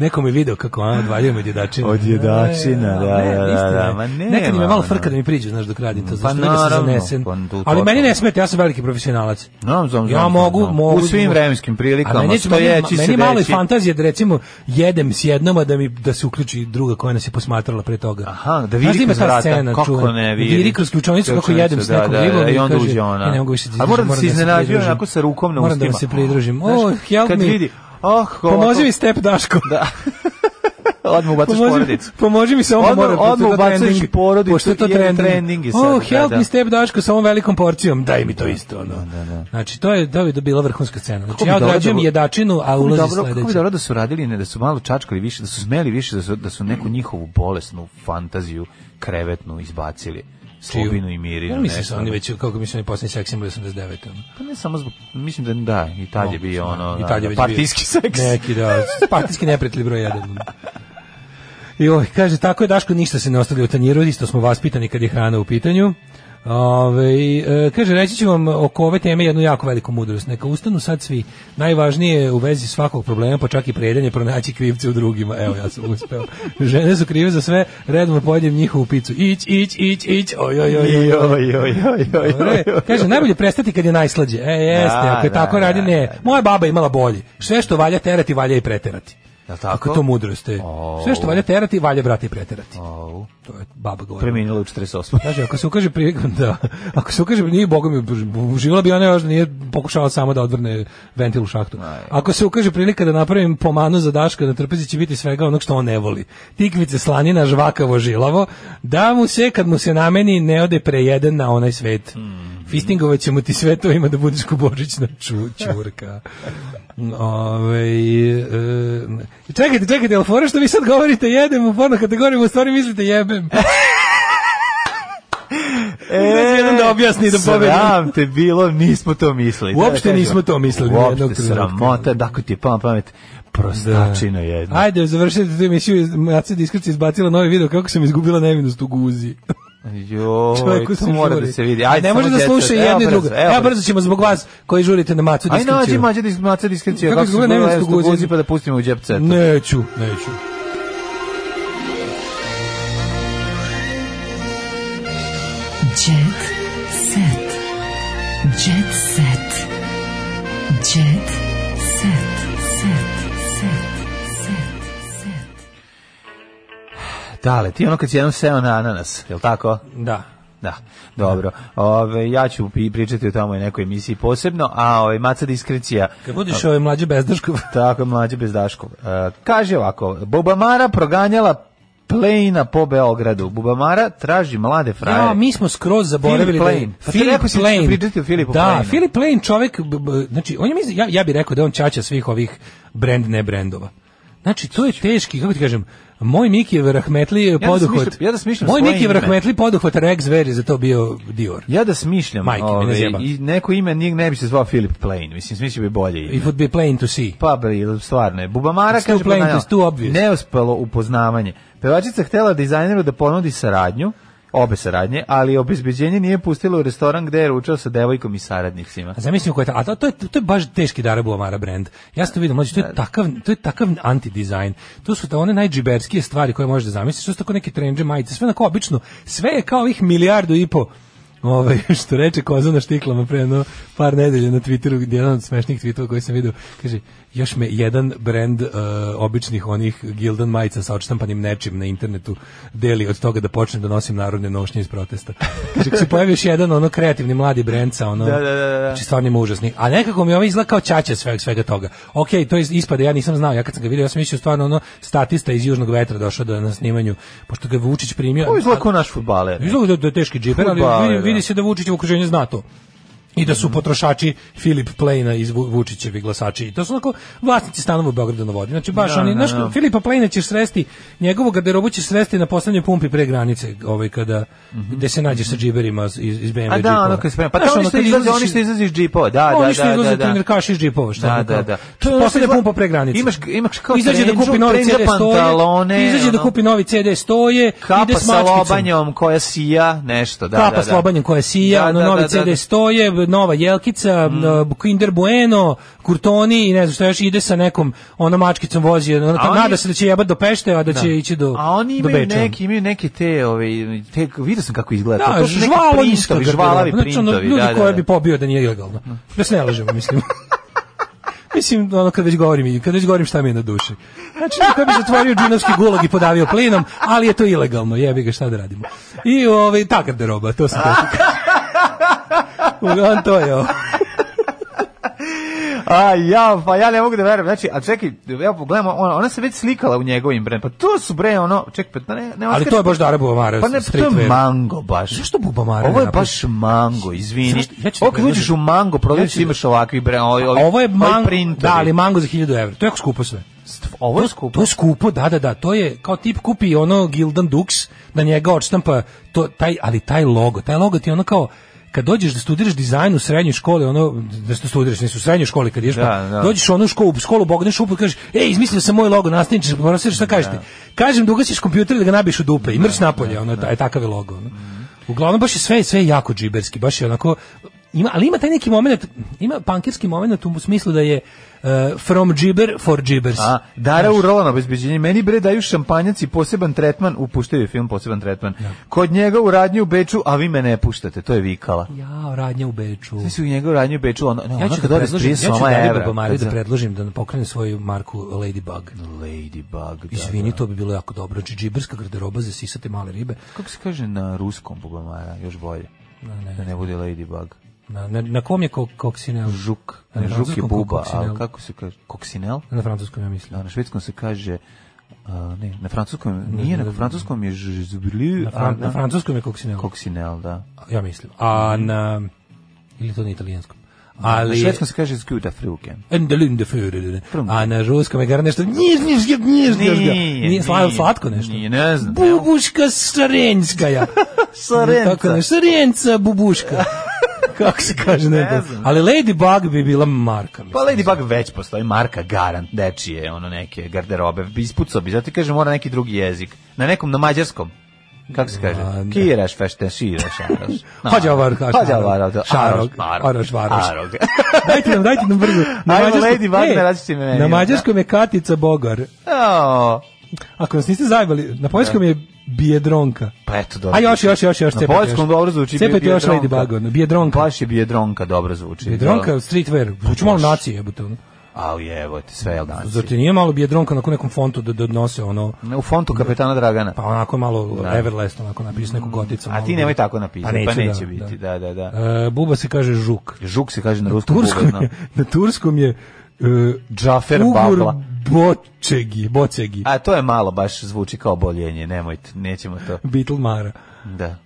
G: Neko mi je video kako on odvaljuje od jedačina.
F: Od jedačina,
G: E,
F: da,
G: ne,
F: da,
G: istina
F: da,
G: je.
F: ma nema,
G: Nekad mi je malo
F: ono.
G: frka da mi priđe, znaš, dok radim to.
F: Pa
G: Zašto da se
F: naravno,
G: zanesen.
F: pa tu
G: Ali
F: totalno.
G: meni ne smeta, ja sam veliki profesionalac.
F: Znam, znam,
G: ja
F: znam,
G: mogu,
F: znam.
G: mogu.
F: U svim vremenskim prilikama,
G: A meni, meni,
F: stojeći,
G: meni malo i
F: sedeći.
G: fantazija da recimo jedem s jednom, a da, mi, da se uključi druga koja nas je posmatrala pre toga.
F: Aha, da vidi kroz
G: ta
F: vrata.
G: scena,
F: Kako
G: čuvena?
F: ne vidi?
G: Vidi kroz ključanicu kako
F: Ključanicu,
G: jedem s
F: da,
G: nekom
F: da, da,
G: drugom.
F: i onda
G: kaže,
F: uđe ona.
G: "E, Ne mogu više da
F: A
G: izađem,
F: moram da se
G: moram se
F: iznenađuje
G: pridružim."
F: onako sa rukom na
G: Moram da
F: ustima.
G: vam se pridružim.
F: Znaš,
G: O, help
F: kad
G: me.
F: vidi, oh,
G: Pomozi mi step Daško.
F: Da. Odmah ubacaš
G: Pomozi-
F: porodicu.
G: Pomozi mi samo
F: Odmah-
G: moram. pošto je
F: odmah
G: to
F: ubacuješ
G: trending.
F: i porodicu
G: Pošto je to
F: i jedan
G: trending.
F: trending je sad,
G: O,
F: da,
G: help
F: da.
G: me step Daško sa ovom velikom porcijom. Daj mi to isto. Ono. Znači, to je, da bi bila vrhunska scena. Znači,
F: bi
G: ja
F: dobro
G: odrađujem
F: da-
G: jedačinu, a
F: Kako bi
G: ulazi
F: dobro, Kako bi
G: sledeća.
F: dobro da su radili, ne, da su malo čačkali više, da su smeli više, da su, da su neku njihovu bolesnu fantaziju krevetnu izbacili.
G: Čiju?
F: Slobinu i mirinu.
G: Ja mislim
F: nešto.
G: se oni već, kako mi se oni posljednji seks imali 89. Ono.
F: Pa ne samo zbog, mislim da da, i tad je bio ono,
G: I tad je
F: da,
G: već bio-
F: partijski seks.
G: Neki, da, partijski neprijatelj broj 1. Joj, kaže, tako je Daško, ništa se ne ostavlja u tanjiru, isto smo vaspitani kad je hrana u pitanju. Ove, e, kaže, reći ću vam oko ove teme jednu jako veliku mudrost. Neka ustanu sad svi. Najvažnije je u vezi svakog problema, pa čak i predanje, pronaći krivce u drugima. Evo, ja sam uspeo. Žene su krive za sve, redom pojedem njihovu picu. Ić, ić, ić, ić, oj, oj, oj, oj, oj.
F: Joj, joj, joj, joj, <laughs>
G: Dobre.
F: joj, joj.
G: e, Kaže, najbolje prestati kad je najslađe. E, jeste,
F: Da,
G: ako je
F: da,
G: tako
F: da,
G: radi,
F: da,
G: ne.
F: da.
G: Moja baba je imala bolje. Sve što valja terati, valja i preterati.
F: Jel tako?
G: Ako je to mudrost. e. Sve što valja terati, valja brati i preterati.
F: Au.
G: To je baba govorila.
F: Preminula u 48.
G: Kaže, ako se ukaže prilika, <laughs> da, ako se ukaže, nije Boga mi, živjela bi ona još da nije pokušala samo da odvrne ventil u šahtu. Ako se ukaže prilika da napravim pomanu za Daška, na trpezi će biti svega onog što on ne voli. Tikvice, slanina, žvakavo, žilavo, da mu se, kad mu se nameni, ne ode prejedan na onaj svet. Fistingovat ćemo ti sve to ima da budeš ko božićna ču, čurka. Ove, e, čekajte, čekajte, jel fora što vi sad govorite jedem u porno kategorijama, u stvari mislite jebem. Znači, jedan da objasni, da pobedi.
F: Sram te bilo, nismo to mislili.
G: Uopšte
F: Da, da,
G: nismo to mislili, ni jednog
F: Uopšte
G: trenutka.
F: sramota, dakle ti je pala pamet, prostačina jedna.
G: Ajde, završite tu emisiju, Maca Diskrci izbacila novi video kako sam izgubila nevinost u guzi. <laughs>
F: Joj,
G: Čovjeku
F: to
G: se
F: mora
G: žuri.
F: da se vidi.
G: A ne
F: samo
G: može da
F: djeca,
G: sluša i
F: evo
G: jedno i
F: brzo,
G: drugo.
F: evo
G: Evo brzo ćemo zbog vas koji žurite na Macu
F: Aj
G: Diskrciju.
F: nađi mađa dis, maca diskrecija,
G: Kako
F: kako se
G: izgleda
F: zove
G: nevinost u
F: nevinost u
G: guzi?
F: guzi pa da pustimo u džep ceta.
G: Neću, neću.
E: Jet set. Jet set. Jet set. Set. Set. Set. Set.
F: Dale, ti ono kad si jednom seo na ananas, je li tako?
G: Da.
F: Da, dobro. Ove, ja ću pi- pričati o tamo i nekoj emisiji posebno, a ove, maca diskrecija...
G: Kad budiš ovaj mlađi bezdaškov.
F: <laughs> Tako, mlađe bez Daškov. E, kaže ovako, Bubamara proganjala plejna po Beogradu. Bubamara traži mlade frajere.
G: Ja, mi smo skroz zaboravili
F: Philip
G: da je-
F: Lane. Pa ti rekao si da ćeš pričati o Philipu
G: da,
F: Laneu.
G: Philip Lane čovek, b- b- znači, on je, mislim- ja, ja bih rekao da je on čača svih ovih brand ne brendova. Znači, to je teški, kako ti kažem, moj Mikijev Rahmetli je
F: da
G: poduhvat.
F: smišljam- ja da smišljam
G: moj
F: svoje
G: Mikijev
F: ime.
G: Rahmetli poduhvat Rex Ver je za to bio Dior.
F: Ja da smišljam,
G: Majke mi, ne
F: ove,
G: zjebam.
F: i neko ime njeg ne bi se zvao Filip Plain, mislim, smislio bi bolje ime.
G: If would be plain to see.
F: Pa, bre, stvarno je. Bubamara
G: It's too
F: kaže,
G: plain,
F: proganjala,
G: it's too obvious.
F: neuspelo upoznavanje. Pevačica htela dizajneru da ponudi saradnju, obe saradnje, ali obezbeđenje nije pustilo u restoran gde je ručao sa devojkom i saradnicima.
G: A zamislim ko je ta, a to, to, je, to je baš teški Dara Buamara brand. Ja sam to vidio, mlađe, to je takav, to je takav antidizajn. To su ta one najdžiberskije stvari koje možeš da zamisliš, to su tako neke trendže majice, sve onako obično, sve je kao ovih milijardu i po ovaj, <laughs> što reče koza na štiklama pre jedno par nedelja na Twitteru, gdje jedan od smešnih tweetova koji sam vidio, kaže, još me jedan brend uh, običnih onih Gildan majica sa odštampanim nečim na internetu deli od toga da počnem da nosim narodne nošnje iz protesta. Kaže, ako se pojavi još jedan ono kreativni mladi brend sa ono,
F: Da, da, da, da.
G: znači stvarno ima užasni. A nekako mi ovo izgleda kao čače svega, svega toga. Ok, to je ispada, ja nisam znao, ja kad sam ga vidio, ja sam mislio stvarno ono statista iz Južnog vetra došao da na snimanju, pošto ga je Vučić primio.
F: Ovo izgleda kao naš futbaler.
G: Izgleda da- da je teški džiper, ali
F: Fudbaler,
G: vidi,
F: da.
G: vidi se da Vučić u okruženju zna to. I da su potrošači Filip Plejna iz Vu- Vučićevi glasači. I to su onako vlasnici stanova u Beogradu na vodi. Znači baš
F: Da,
G: oni,
F: da,
G: znaš,
F: da.
G: Filipa Plejna ćeš sresti, njegovu garderobu ćeš sresti na poslednjoj pumpi pre granice, ovaj, kada, gde se nađeš sa džiberima iz, iz BMW
F: Mhm. A da,
G: džipova.
F: ono kad se sprema. Pa
G: Znaš,
F: to oni
G: ono,
F: što
G: kad
F: izlaze,
G: izlaziš
F: oni
G: iz- Ono
F: što izlaze iz džipova. Da, da, da.
G: oni što izlaze
F: da, da.
G: trenirkaši iz džipova, šta
F: Da,
G: bi
F: da,
G: kao.
F: da.
G: To je poslednja
F: izgleda-
G: pumpa pre granice.
F: Imaš, imaš kao
G: izađe da
F: trendžu-
G: kupi novi
F: trendža
G: CD stoje,
F: pantalone,
G: izađe da
F: ono.
G: kupi novi CD stoje, ide
F: Kapa
G: s
F: sa
G: mačkicom.
F: lobanjom koja sija, nešto, da,
G: Kapa
F: da, da.
G: s lobanjem koja sija,
F: Da,
G: ono,
F: da,
G: novi
F: da,
G: CD
F: da, da.
G: stoje, nova jelkica, mm. Kinder Bueno, Kurtoni i ne znam šta još, ide sa nekom ona mačkicom vozi, ona,
F: A oni-
G: nada se da će jebat do Pešte, a da će ići do,
F: A oni
G: do
F: imaju
G: Beča.
F: neki, imaju neke te, ove, te, vidio sam kako izgleda. to,
G: Da,
F: to su neki
G: žvalo
F: printovi,
G: isto.
F: žvalavi
G: Znači, ono,
F: printovi,
G: ljudi
F: da, da,
G: koje
F: da.
G: bi pobio da nije ilegalno. Da se ne lažemo, mislim.
F: <laughs>
G: Mislim, ono, kad već govorim, i kad već govorim šta mi je na duši. Znači, neko bi zatvorio džinovski gulag i podavio plinom, ali je to ilegalno, jebi ga, šta da radimo. I, ovaj, ta garderoba, to sam
F: <laughs>
G: teško. Uglavnom, <laughs> to je ovo.
F: A ja, pa ja ne mogu da verujem. Znači, a čekaj, evo pogledamo, ona, ona se već slikala u njegovim brend. Pa to su bre ono, čekaj, pa ne, ne
G: Ali to je baš Dara Bubamara,
F: Pa ne, pa to je
G: streetwear.
F: mango baš.
G: Zašto Bubamara?
F: Ovo je
G: ne
F: baš mango, izvini.
G: Zašto? Ja ću ti
F: Ovo kad
G: predložiti.
F: uđeš u mango,
G: Ja
F: prodavci
G: ću-
F: imaš ovakvi bre, ovi, ovi,
G: A ovo je
F: ovi
G: mango,
F: printovi.
G: da, ali mango za 1000 evra. To je jako skupo sve.
F: ovo je
G: To-
F: skupo.
G: To je skupo, da, da, da. To je kao tip kupi ono Gildan Dux, da njega odštampa, to, taj, ali taj logo, taj logo ti je ono kao, kad dođeš da studiraš dizajn u srednjoj školi, ono, da što studiraš, nisu u srednjoj školi, kad ideš,
F: Da,
G: pa,
F: da.
G: dođeš u onu školu, u školu bogneš upu i kažeš, ej, izmislio sam moj logo, nastavniče, profesor, šta kažete? Kažem da ugasiš kompjuter i da ga nabiješ u dupe i mrš napolje, ono, taj, takav je logo. Ono. Uglavnom, baš je sve, sve je jako džiberski, baš je onako, ima, ali ima taj neki moment, ima pankirski moment u smislu da je uh, from džiber for džibers.
F: A, Dara u rolano obezbeđenje. Meni bre daju šampanjac i poseban tretman, upuštaju film poseban tretman. Kod njega u radnju u Beču, a vi me ne puštate, to je vikala.
G: Ja, radnja u Beču.
F: Svi su u njegovu radnju u Beču, ono, ne,
G: ja
F: ono
G: ću
F: kad
G: da
F: ode s
G: predložim, ja
F: 30
G: ću
F: soma
G: Dariju
F: evra,
G: Bubamari
F: kad
G: da
F: za-
G: predložim da pokrene svoju marku Ladybug.
F: Ladybug, da,
G: Izvini, to bi bilo jako dobro. Znači, džiberska garderoba za sisate male ribe.
F: Kako se kaže na ruskom bubamara, još bolje?
G: ne.
F: Da ne bude ladybug.
G: Na, na, na kom je ko, koksinel?
F: Žuk,
G: Na
F: ne, žuk je
G: francuskom ko
F: buba,
G: koksinel?
F: ali kako se kaže? Koksinel?
G: Na francuskom, ja mislim.
F: Da, na švedskom se kaže... a, ne, na francuskom,
G: Ne,
F: nije,
G: ne,
F: na
G: ne.
F: francuskom je žzubli...
G: Na, fran, na francuskom je koksinel.
F: Koksinel, da.
G: Ja mislim. A na... Ili to na italijanskom. Ali...
F: na švedskom se kaže zguda fruke.
G: Endelinde Führer. A na ruskom je gara nešto nježnješka, nježnješka.
F: Nije,
G: Nije sla-
F: nije.
G: slatko nešto.
F: Nije, ne znam.
G: Bubuška sarenjskaja.
F: Sarenca.
G: Tako ne, sarenca
F: <laughs>
G: bubuška. Kako se kaže, ne,
F: Ne
G: znam.
F: znam.
G: Ali Ladybug bi bila marka.
F: Pa Ladybug već postoji, marka Garant, dečije, ono neke garderobe, ispucao bi, zato ti kažem mora neki drugi jezik, na nekom, na mađarskom, kako se kaže,
G: Ma, da.
F: kiraš, fešteširaš,
G: <laughs>
F: araš.
G: Hođa ovar,
F: hođa ovar,
G: šarog, aroš, varoš.
F: arog.
G: dajte nam, dajte nam brzo.
F: Pa- Ajmo,
G: mađarskom-
F: Ladybug
G: E,
F: na različitim imenima,
G: Na mađarskom je Katica Bogar.
F: Ao.
G: Ako nas niste zajebali, na poljskom je Bijedronka.
F: <laughs> Pa eto, dobro.
G: A još, još, još, još.
F: Na
G: cepajte
F: poljskom dobro zvuči.
G: Cepajte još
F: Bijedronka.
G: Ladybug. ono, Bijedronka.
F: Baš je bijedronka dobro zvuči.
G: Bijedronka, streetwear. Zvuči malo nacije, jebote. ono.
F: A evo ti sve je danas.
G: Zar ti nije malo bijedronka na nekom fontu da, da nose ono,
F: U fontu kapetana Dragana.
G: pa onako malo
F: Da. Mm.
G: Everlast, onako napisao neku goticu.
F: A ti nemoj tako napisati, pa,
G: neću,
F: neće
G: da,
F: biti.
G: da.
F: Da, da, da.
G: E, buba se kaže žuk.
F: Žuk se kaže na
G: Na
F: ruskom
G: turskom
F: bubu,
G: je, <laughs> na turskom je e,
F: Džafer
G: Ugur
F: Babla.
G: Bočegi, Bocegi,
F: A to je malo baš zvuči kao boljenje, nemojte, nećemo
G: <laughs>
F: to.
G: Beatle Mara.
F: Da.
G: E,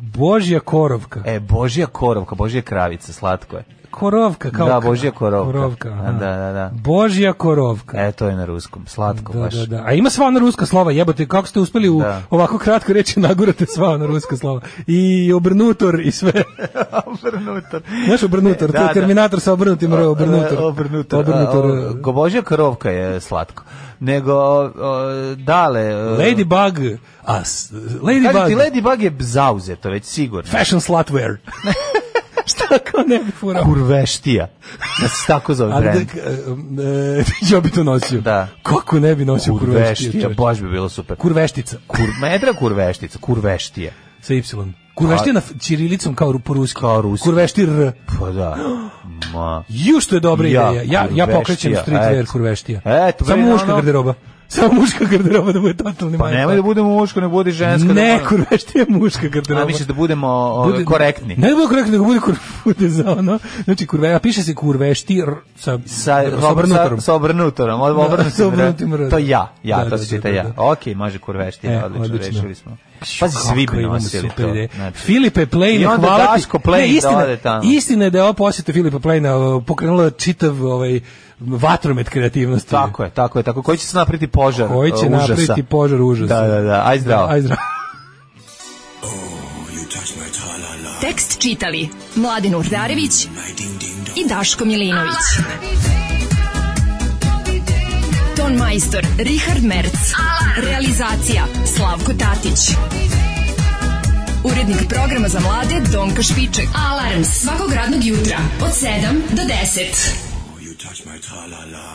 G: Božja korovka.
F: E, Božja korovka, Božja kravica, slatko je.
G: Korovka kao
F: da,
G: kra-
F: Božja korovka.
G: korovka,
F: A,
G: aha.
F: da, da, da.
G: Božja korovka.
F: E, to je na ruskom, slatko
G: Da,
F: baš.
G: da, da. A ima sva ona ruska slova, jebote, kako ste uspeli u
F: Da.
G: ovako kratko reći nagurate sva ona ruska slova. I obrnutor i
F: <laughs>
G: sve.
F: obrnutor.
G: Znaš obrnutor, to je Terminator sa obrnutim R, obrnutor.
F: E, Obrnutor.
G: Obrnutor, e,
F: A, o, go- Božja korovka je slatko. Nego, o, dale... e,
G: Ladybug, a s-
F: Kažem ti,
G: Ladybug,
F: Ladybug je zauzeto, već sigurno.
G: fashion slatware. <laughs> Šta kao ne bi furao?
F: Kurveštija. Da se tako zove
G: Ali da,
F: brend.
G: e, <laughs> e, ja bi to nosio.
F: Da.
G: Kako ne bi nosio kurveštije?
F: Kurveštija,
G: čoveče?
F: baš bi bilo super.
G: Kurveštica
F: Kur, metra kurveštica, kurveštije.
G: sa Y. Kurvešti na f- čirilicom kao ru- po ruski.
F: Kao ruski.
G: Kurvešti r.
F: Pa
G: <gasps>
F: da. Ma.
G: Ju što je dobra
F: Ja,
G: ideja. Ja, ja
F: kurveštija,
G: pokrećem streetwear
F: eto.
G: kurveštija.
F: Eto, bre,
G: Samo muška
F: ono-
G: garderoba. Samo muška garderoba da bude totalni
F: Pa nemoj da budemo muško, ne budi žensko.
G: Ne, kurveštija je muška garderoba.
F: A misliš da budemo ove,
G: Bude-
F: korektni?
G: Ne da bude korektni, nego bude, kur, <laughs> bude za ono. Znači, kurve, a piše se kurvešti r, sa,
F: Sa, sa
G: obrnutorom.
F: obrnutorom. Sa obrnutorom. od-
G: Da,
F: obrnutim
G: sa obrnutim
F: re-
G: redom.
F: To ja, ja,
G: Da,
F: to
G: da,
F: se čita
G: da, da,
F: ja.
G: da.
F: Okej, može kurvešti,
G: E,
F: odlično,
G: odlično.
F: rešili smo. Pa
G: Pa
F: svi bi nosili to. znači.
G: Filipe Plejne,
F: I onda
G: hvala ti.
F: Daško Plejn
G: Ne,
F: da
G: istina,
F: ode tamo.
G: Istina je da je ova posjeta Filipa Plejna o, pokrenula je čitav ovaj, vatromet kreativnosti.
F: Tako je, tako je, tako. Koji će se napriti požar
G: Koji će
F: e, užasa?
G: napraviti požar užasa.
F: Da, da, da. Aj zdravo.
G: Aj zdravo.
E: Tekst čitali Mladin Urdarević i Daško Milinović. Ton majstor Richard Merc. Realizacija Slavko Tatić. Urednik programa za mlade Donka Špiček. Alarms svakog radnog jutra od 7 do 10.
N: You touch my tra-la-la.